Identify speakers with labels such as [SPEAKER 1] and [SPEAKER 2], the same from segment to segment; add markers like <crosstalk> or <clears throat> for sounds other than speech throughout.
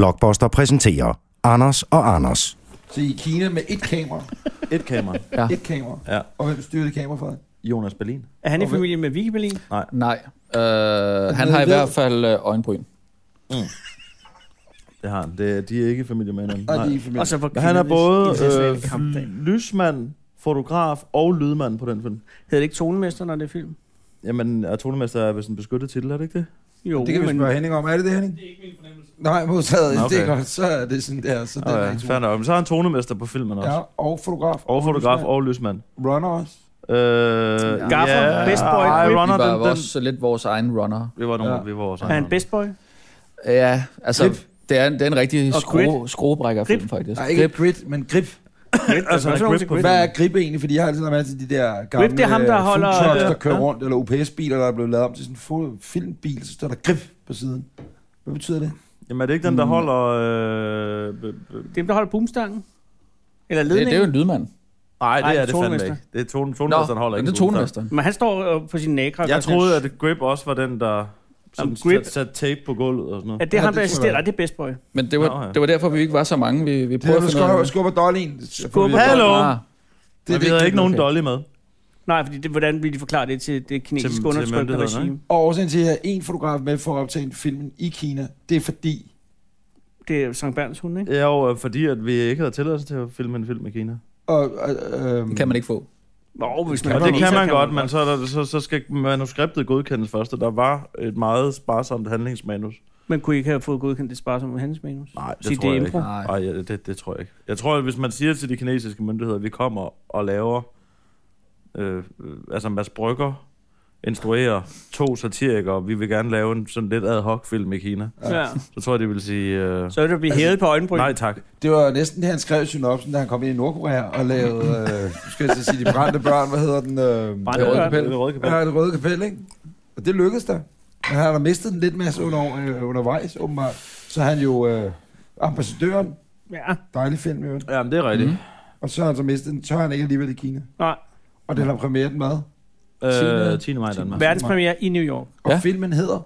[SPEAKER 1] Blockbuster præsenterer Anders og Anders.
[SPEAKER 2] Så I er i Kina med et kamera.
[SPEAKER 3] Et kamera.
[SPEAKER 2] Ja. Et kamera.
[SPEAKER 3] Ja.
[SPEAKER 2] Og hvem styrer det kamera fra?
[SPEAKER 3] Jonas Berlin.
[SPEAKER 4] Er han i
[SPEAKER 2] Okay.
[SPEAKER 4] familie med Vicky Berlin?
[SPEAKER 5] Nej. Øh, han har i
[SPEAKER 2] ved-
[SPEAKER 5] hvert fald øh, øjenbryn.
[SPEAKER 3] Det har han. Det, de er ikke familie med hinanden.
[SPEAKER 2] Og de er
[SPEAKER 3] Nej.
[SPEAKER 2] i familie.
[SPEAKER 4] Og så var
[SPEAKER 3] Men han er både
[SPEAKER 4] internationale
[SPEAKER 3] øh,
[SPEAKER 4] kampdag.
[SPEAKER 3] fl- lysmand, fotograf og lydmand på den film.
[SPEAKER 4] Hedder det ikke tonemester, når det er film?
[SPEAKER 3] Jamen, er tonemester er vist en beskyttet titel, er det ikke det?
[SPEAKER 4] Jo,
[SPEAKER 2] Det kan vi
[SPEAKER 4] men
[SPEAKER 2] spørge Henning om. Er det det, Henning? Det er ikke min fornemmelse. Nej, modtaget.
[SPEAKER 3] Nå,
[SPEAKER 2] Okay. Det er
[SPEAKER 3] okay.
[SPEAKER 2] godt. Så er det sådan der. Så den
[SPEAKER 3] Nå
[SPEAKER 2] er
[SPEAKER 3] ja,
[SPEAKER 2] i to.
[SPEAKER 3] fair nok. Men så er han tonemester på filmen også.
[SPEAKER 2] Ja, og fotograf.
[SPEAKER 3] Og fotograf
[SPEAKER 2] lysmand.
[SPEAKER 3] og lysmand.
[SPEAKER 2] Runner også.
[SPEAKER 3] Øh,
[SPEAKER 4] Gaffer, best boy,
[SPEAKER 3] ej,
[SPEAKER 4] grip.
[SPEAKER 3] runner,
[SPEAKER 5] Vi var
[SPEAKER 3] den, den,
[SPEAKER 5] også lidt vores egen runner.
[SPEAKER 3] vi var nogle,
[SPEAKER 2] Ja.
[SPEAKER 3] vi var også.
[SPEAKER 4] er han best <laughs> boy?
[SPEAKER 5] Ja, altså,
[SPEAKER 2] Grip.
[SPEAKER 5] det er, en- det er en rigtig
[SPEAKER 4] Og
[SPEAKER 5] skrue, skruebrækkerfilm, faktisk.
[SPEAKER 2] Nej, ikke grip. grit, men grip.
[SPEAKER 4] Grip, altså,
[SPEAKER 3] han er grip på-
[SPEAKER 2] Hvad er grip egentlig? Fordi jeg har altid været med til de der gamle
[SPEAKER 4] det er ham, der
[SPEAKER 2] øh,
[SPEAKER 4] holder-
[SPEAKER 2] food trucks, der
[SPEAKER 3] Ja.
[SPEAKER 2] kører rundt, eller UPS-biler, der er blevet lavet om til sådan en fo- filmbil, så står der grip på siden. Hvad betyder det?
[SPEAKER 3] Jamen er det ikke den, der holder... Øh, b- b-
[SPEAKER 4] Dem, der holder boomstangen? Eller
[SPEAKER 5] Det, det er
[SPEAKER 4] ledningen?
[SPEAKER 5] jo en lydmand.
[SPEAKER 3] nej, det
[SPEAKER 4] Ej,
[SPEAKER 3] er det fandme
[SPEAKER 4] tonemester.
[SPEAKER 3] ikke. Det er tone, tonemesteren holder
[SPEAKER 5] men
[SPEAKER 3] ikke.
[SPEAKER 5] det er
[SPEAKER 3] en
[SPEAKER 5] tonemesteren.
[SPEAKER 4] Men han står øh, på sin nækra. og
[SPEAKER 3] tonemester.
[SPEAKER 4] gør
[SPEAKER 3] Jeg
[SPEAKER 4] sådan
[SPEAKER 3] troede,
[SPEAKER 4] her.
[SPEAKER 3] at Grip også var den, der sådan
[SPEAKER 4] Grip-
[SPEAKER 3] sat, sat tape på gulvet og sådan noget.
[SPEAKER 4] At det er
[SPEAKER 2] Ja,
[SPEAKER 4] ham,
[SPEAKER 2] det
[SPEAKER 4] der
[SPEAKER 2] tror jeg
[SPEAKER 4] assisterer.
[SPEAKER 2] var.
[SPEAKER 4] Nej, det er best boy.
[SPEAKER 5] Men det var,
[SPEAKER 3] Nå, ja.
[SPEAKER 5] det var derfor, vi ikke var så mange. Vi, vi
[SPEAKER 2] Det er,
[SPEAKER 5] prøvede
[SPEAKER 2] du
[SPEAKER 5] at finde ud
[SPEAKER 2] skubber,
[SPEAKER 5] af,
[SPEAKER 2] skubber dollen.
[SPEAKER 4] Skubber-
[SPEAKER 2] Det er
[SPEAKER 3] Hallo!
[SPEAKER 5] Ah,
[SPEAKER 3] Det, vi
[SPEAKER 2] vigtigt.
[SPEAKER 3] havde ikke nogen
[SPEAKER 5] okay.
[SPEAKER 3] dolly med.
[SPEAKER 4] Nej, fordi det, hvordan vil de forklare det til det kinesiske
[SPEAKER 3] til
[SPEAKER 4] undertrykkende
[SPEAKER 3] myndighederne,
[SPEAKER 4] regime?
[SPEAKER 2] Og årsagen til, at jeg har en fotograf med for at optage filmen i Kina, det er fordi...
[SPEAKER 4] Det er Sankt Bernds hund, ikke?
[SPEAKER 3] Ja, jo, øh, fordi at vi ikke havde tilladelse til at filme en film i Kina.
[SPEAKER 2] Og, øh, øh,
[SPEAKER 5] det kan man ikke få.
[SPEAKER 4] Nå, hvis man
[SPEAKER 3] Og
[SPEAKER 4] er
[SPEAKER 3] det
[SPEAKER 4] kineser,
[SPEAKER 3] kan man godt, men så, er der, så, så skal manuskriptet godkendes først, og der var et meget sparsomt handlingsmanus.
[SPEAKER 4] Men kunne I ikke have fået godkendt det sparsomt med hans manus?
[SPEAKER 3] Nej, det
[SPEAKER 4] Sige,
[SPEAKER 3] tror
[SPEAKER 4] det er
[SPEAKER 3] jeg ikke.
[SPEAKER 4] impro.
[SPEAKER 3] Nej, ja, det, det tror jeg ikke. Jeg tror, at hvis man siger til de kinesiske myndigheder, at vi kommer og laver... Øh, øh, altså Mads Brygger instruerer to satirikere, og vi vil gerne lave en sådan lidt ad hoc film i Kina.
[SPEAKER 4] Ja.
[SPEAKER 3] Så tror jeg, de vil sige... Øh,
[SPEAKER 4] Så er det at blive hævet på øjenbryn.
[SPEAKER 3] nej tak.
[SPEAKER 2] det var næsten det, han skrev i synopsen, da han kom ind i Nordkorea og lavede... Øh, nu skal jeg til at sige, de brændte børn. Hvad hedder den? Øh,
[SPEAKER 4] Brændte
[SPEAKER 5] Det er røde
[SPEAKER 4] børn.
[SPEAKER 5] kapel.
[SPEAKER 3] Det er Røde Kapel.
[SPEAKER 2] Ja, det røde kapel, ikke? Og det lykkedes der. Men han har da mistet en lidt masse under, øh, undervejs, åbenbart. Så er han jo øh, ambassadøren.
[SPEAKER 4] Ja,
[SPEAKER 2] Dejlig film, jo.
[SPEAKER 3] Ja, men det er rigtigt.
[SPEAKER 5] Mhm.
[SPEAKER 2] Og så har han så mistet den. Så er han ikke alligevel i Kina.
[SPEAKER 4] nej.
[SPEAKER 2] Og den har premiere den mad.
[SPEAKER 3] Mm.
[SPEAKER 5] Tiende-
[SPEAKER 3] Øh, 10. maj i Danmark.
[SPEAKER 4] Verdenspremiere i New York.
[SPEAKER 2] Og ja.
[SPEAKER 5] Ja.
[SPEAKER 2] filmen hedder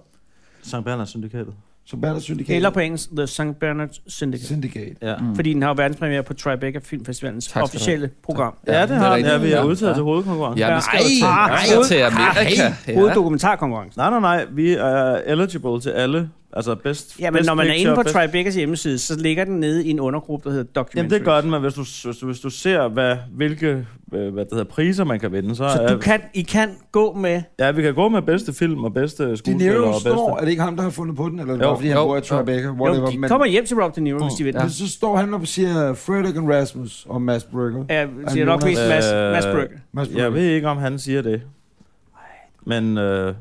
[SPEAKER 3] Sankt Berners Syndikatet.
[SPEAKER 2] Som Berners Syndikat.
[SPEAKER 4] Eller på engelsk, The St. Bernard Syndicate.
[SPEAKER 2] Syndikat.
[SPEAKER 3] Ja.
[SPEAKER 5] Mm.
[SPEAKER 4] Fordi den har jo verdenspremiere på Tribeca Filmfestivalens
[SPEAKER 5] skal du have.
[SPEAKER 4] officielle program.
[SPEAKER 3] Ja, det har
[SPEAKER 5] rigtigt.
[SPEAKER 3] ja, vi er udtaget
[SPEAKER 5] ja.
[SPEAKER 3] til hovedkonkurrencen.
[SPEAKER 5] Ja,
[SPEAKER 4] Ja,
[SPEAKER 5] vi skal jo
[SPEAKER 4] ej,
[SPEAKER 5] til,
[SPEAKER 4] ej,
[SPEAKER 5] vi skal til Amerika. Ja.
[SPEAKER 4] Hoveddokumentarkonkurrencen.
[SPEAKER 3] Nej, nej, nej. Vi er eligible til alle. Altså bedst...
[SPEAKER 4] Ja, men
[SPEAKER 3] bedst
[SPEAKER 4] når man er
[SPEAKER 3] picture,
[SPEAKER 4] inde på
[SPEAKER 3] bedst-
[SPEAKER 4] Tribecas hjemmeside, så ligger den nede i en undergruppe, der hedder
[SPEAKER 3] Jamen
[SPEAKER 4] Documentaries.
[SPEAKER 3] det gør den, men hvis du, hvis du, hvis du ser, hvad, hvilke øh, hvad det hedder, priser man kan vinde, så,
[SPEAKER 4] Så
[SPEAKER 3] er,
[SPEAKER 4] du kan, I kan gå med...
[SPEAKER 3] ja, vi kan gå med bedste film og bedste
[SPEAKER 2] De
[SPEAKER 3] skuespiller og
[SPEAKER 2] Niro
[SPEAKER 3] bedste...
[SPEAKER 2] står, er det ikke ham, der har fundet på den? Eller er det
[SPEAKER 3] Jo,
[SPEAKER 2] bare, fordi han
[SPEAKER 5] jo,
[SPEAKER 2] bor i
[SPEAKER 5] jo.
[SPEAKER 2] Tribeca?
[SPEAKER 4] Jo,
[SPEAKER 2] Whatever.
[SPEAKER 4] de kommer hjem til Rob De Niro, hvis de vil.
[SPEAKER 2] men så står han op og siger Frederick and Rasmus og Mads Brygger.
[SPEAKER 4] Ja, det er nok
[SPEAKER 2] Jonas.
[SPEAKER 4] mest Mads,
[SPEAKER 3] Øh,
[SPEAKER 4] Mads Brygger.
[SPEAKER 2] Mads
[SPEAKER 3] Jeg
[SPEAKER 2] Brygger.
[SPEAKER 3] ved ikke, om han siger det. Men øh,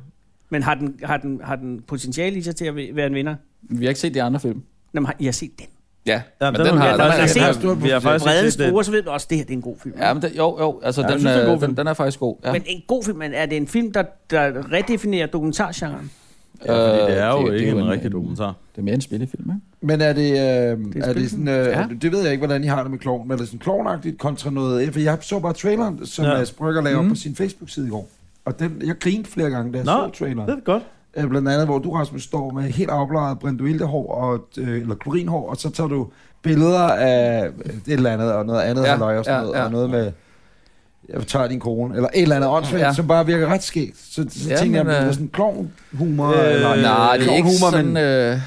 [SPEAKER 4] Men har den, har, den, har den potentiale i sig til at være en vinder?
[SPEAKER 5] Vi har ikke set de andre film.
[SPEAKER 4] Jamen, har, I har set den. Altså,
[SPEAKER 5] Ja,
[SPEAKER 3] ja,
[SPEAKER 5] men den, har...
[SPEAKER 4] der
[SPEAKER 5] Den,
[SPEAKER 4] var-
[SPEAKER 5] den,
[SPEAKER 4] der
[SPEAKER 2] var-
[SPEAKER 3] vi har faktisk
[SPEAKER 4] Brede
[SPEAKER 3] ikke set
[SPEAKER 4] skruer,
[SPEAKER 3] det.
[SPEAKER 4] så ved du også, at det her det er en god film.
[SPEAKER 5] ja, men den, jo, jo, altså
[SPEAKER 3] Ja,
[SPEAKER 5] den,
[SPEAKER 3] jeg synes, det er en
[SPEAKER 5] øh,
[SPEAKER 3] god film.
[SPEAKER 5] den, den er faktisk god. Ja.
[SPEAKER 4] Men en god film, men er det en film, der, der redefinerer dokumentargenren?
[SPEAKER 3] Ja, fordi det er jo
[SPEAKER 5] Øh,
[SPEAKER 3] ikke
[SPEAKER 5] jo
[SPEAKER 3] en rigtig dokumentar.
[SPEAKER 5] Det er mere en spillefilm, ikke?
[SPEAKER 2] Men er det, øh,
[SPEAKER 4] et
[SPEAKER 2] er det
[SPEAKER 4] spil.
[SPEAKER 2] sådan, øh, ja.
[SPEAKER 5] Ja.
[SPEAKER 2] det ved jeg ikke, hvordan I har det med kloven, men er det sådan klovnagtigt kontra noget, for jeg så bare traileren, som
[SPEAKER 3] Ja.
[SPEAKER 2] ja. Mads Brygger lavede mm.
[SPEAKER 5] Mhm.
[SPEAKER 2] på sin Facebook-side i går. Og den, jeg grinede flere gange, da jeg
[SPEAKER 3] Nå,
[SPEAKER 2] Nå, så traileren.
[SPEAKER 3] Det er godt.
[SPEAKER 2] Øh, Blandt andet, hvor du, Rasmus, står med helt afbladet brinduildehår, og, øh, eller klorinhår, og så tager du billeder af et eller andet, og noget andet ja,
[SPEAKER 5] Ja,
[SPEAKER 2] halløj, og sådan
[SPEAKER 5] ja,
[SPEAKER 2] noget,
[SPEAKER 5] ja.
[SPEAKER 2] og noget med, jeg tager din kone, eller et eller andet åndssvagt, ja.
[SPEAKER 5] Ja.
[SPEAKER 2] som bare virker ret skægt. Så, så ja,
[SPEAKER 5] Ja,
[SPEAKER 2] tænker jeg,
[SPEAKER 5] men,
[SPEAKER 2] men, det er
[SPEAKER 5] øh,
[SPEAKER 2] sådan klovnhumor,
[SPEAKER 3] Øh,
[SPEAKER 2] eller
[SPEAKER 3] nej,
[SPEAKER 5] Nej, det er ikke
[SPEAKER 2] klovnhumor,
[SPEAKER 5] sådan...
[SPEAKER 2] men-
[SPEAKER 5] Øh,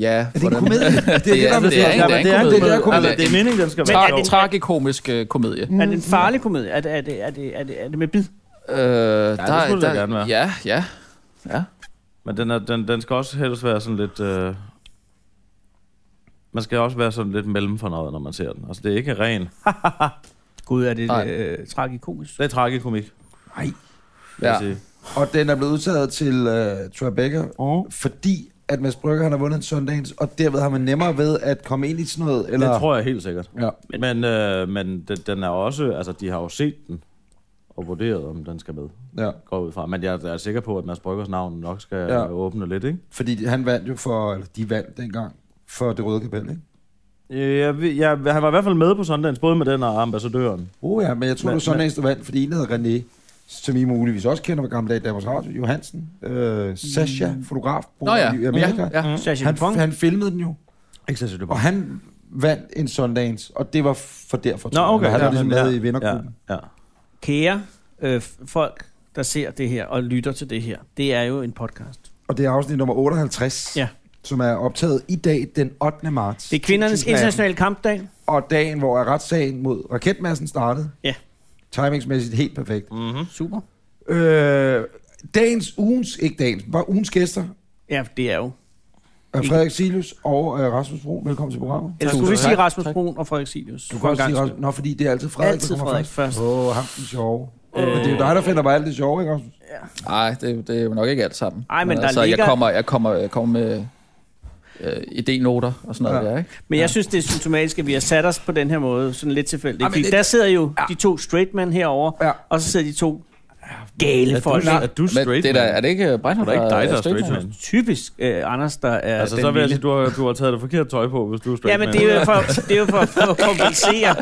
[SPEAKER 5] ja,
[SPEAKER 2] Er det en komedie? Det er det,
[SPEAKER 5] <laughs> Det
[SPEAKER 2] der
[SPEAKER 5] er-
[SPEAKER 2] er
[SPEAKER 5] det er
[SPEAKER 2] betyder.
[SPEAKER 5] en-
[SPEAKER 3] men det er
[SPEAKER 2] Det
[SPEAKER 3] en komedie.
[SPEAKER 5] komedie.
[SPEAKER 2] er-
[SPEAKER 3] Altså, det er meningen, den skal
[SPEAKER 4] Men
[SPEAKER 3] være
[SPEAKER 4] er Mm.
[SPEAKER 3] sjov.
[SPEAKER 4] det-
[SPEAKER 5] tragikomisk øh, komedie.
[SPEAKER 4] Er det en farlig komedie? Er det, er det, er det, er det, er det med bid?
[SPEAKER 5] Øh, ja,
[SPEAKER 3] det skulle det gerne være.
[SPEAKER 5] Ja, ja. Ja.
[SPEAKER 3] Men den, er, den, den skal også helst være sådan lidt... Øh, man skal også være sådan lidt mellem for noget, når man ser den. Altså, det er ikke ren.
[SPEAKER 4] Gud, er det
[SPEAKER 5] Nej.
[SPEAKER 4] øh, tragikomisk?
[SPEAKER 3] Det er tragikomik, vil ja. jeg
[SPEAKER 5] ja.
[SPEAKER 3] sige.
[SPEAKER 5] øh-
[SPEAKER 2] Og den er blevet udtaget til øh, Tribeca,
[SPEAKER 3] Oh.
[SPEAKER 2] fordi at Mads Brygger, han har vundet en søndagens, og derved har man nemmere ved at komme ind i sådan noget, eller...
[SPEAKER 3] Det tror jeg helt sikkert.
[SPEAKER 2] Ja.
[SPEAKER 3] Men, øh, men den, den er også... Altså, de har jo set den og vurderet, om den skal med.
[SPEAKER 2] Ja,
[SPEAKER 3] Går jeg ud fra. Men jeg er sikker på, at Mads Bryggers navn nok skal
[SPEAKER 2] Ja.
[SPEAKER 3] ja. åbne lidt, ikke?
[SPEAKER 2] fordi han vandt jo for, eller de vandt dengang, for det røde kapel, ikke?
[SPEAKER 3] Øh, Jeg, ved- jeg, han var i hvert fald med på Sundance, både med den og ambassadøren.
[SPEAKER 2] Oh ja, men jeg tror,
[SPEAKER 3] Men-
[SPEAKER 2] det var søndagens, der vandt, fordi en hedder René, som I muligvis også kender fra gamle dage i Danmarks Radio, Johansen, øh, Sasha, fotograf, bor
[SPEAKER 5] Nå ja.
[SPEAKER 2] i Amerika.
[SPEAKER 5] Ja.
[SPEAKER 4] Sasha
[SPEAKER 2] Han,
[SPEAKER 4] Fong?
[SPEAKER 2] han filmede den jo.
[SPEAKER 3] Ikke Cecil
[SPEAKER 2] Og
[SPEAKER 3] Dupont.
[SPEAKER 2] han vandt en Sundance, og det var for derfor.
[SPEAKER 3] Nå,
[SPEAKER 2] tror jeg.
[SPEAKER 3] okay.
[SPEAKER 2] Han
[SPEAKER 3] ja,
[SPEAKER 2] var ligesom
[SPEAKER 3] ja,
[SPEAKER 2] med i vinderklubben.
[SPEAKER 3] Ja, ja.
[SPEAKER 4] Kære øh, folk, der ser det her og lytter til det her, det er jo en podcast.
[SPEAKER 2] Og det er afsnit nummer 58,
[SPEAKER 4] Ja.
[SPEAKER 2] som er optaget i dag den 8. marts.
[SPEAKER 4] Det er kvindernes
[SPEAKER 2] 2018,
[SPEAKER 4] internationale kampdag.
[SPEAKER 2] Og dagen, hvor retssagen mod raketmassen startede.
[SPEAKER 4] Ja.
[SPEAKER 2] Timingsmæssigt helt perfekt.
[SPEAKER 3] Mm-hmm.
[SPEAKER 4] Super.
[SPEAKER 2] Øh, dagens, ugens, ikke dagens, var ugens gæster.
[SPEAKER 4] Ja, det er jo.
[SPEAKER 2] er Øh, Frederik Silius og øh, Rasmus Bro. Velkommen til programmet.
[SPEAKER 4] Eller
[SPEAKER 5] Tusind
[SPEAKER 4] skulle vi
[SPEAKER 5] tak.
[SPEAKER 4] sige Rasmus
[SPEAKER 5] Tak.
[SPEAKER 4] Brun og Frederik Silius?
[SPEAKER 2] Du kan også sige, Rasmus, nå, fordi det er altid Frederik,
[SPEAKER 4] Altid
[SPEAKER 2] der kommer
[SPEAKER 4] Frederik først.
[SPEAKER 2] Åh, ham den sjove. Øh. Men det er jo dig, der finder mig alt det sjove, ikke Rasmus?
[SPEAKER 5] Nej, det, det er jo nok ikke alt sammen.
[SPEAKER 4] Ej, men der
[SPEAKER 5] altså,
[SPEAKER 4] ligger-
[SPEAKER 5] jeg kommer, jeg kommer, jeg kommer med øh, idénoter og sådan noget
[SPEAKER 2] Ja.
[SPEAKER 5] ja. der, ikke?
[SPEAKER 4] Men jeg synes, det er symptomatisk, at vi har sat os på den her måde, sådan lidt tilfældigt.
[SPEAKER 2] Ej, men
[SPEAKER 4] Fordi
[SPEAKER 2] det-
[SPEAKER 4] der sidder jo de to straight men herovre,
[SPEAKER 2] Ja.
[SPEAKER 4] og så sidder de to gale folk.
[SPEAKER 3] Er du
[SPEAKER 5] Men
[SPEAKER 3] straight,
[SPEAKER 5] det der,
[SPEAKER 3] man?
[SPEAKER 5] er det ikke øh,
[SPEAKER 3] Så er
[SPEAKER 5] Breinholt,
[SPEAKER 3] det ikke dig, der er
[SPEAKER 5] straight
[SPEAKER 3] straight
[SPEAKER 5] man?
[SPEAKER 3] man?
[SPEAKER 4] Typisk øh, Anders, der er
[SPEAKER 3] Altså,
[SPEAKER 4] den
[SPEAKER 3] så vil jeg
[SPEAKER 4] vilde.
[SPEAKER 3] sige, du har, du har taget det forkerte tøj på, hvis du er straight
[SPEAKER 4] Ja, men det er jo for, det er jo for, for at kompensere.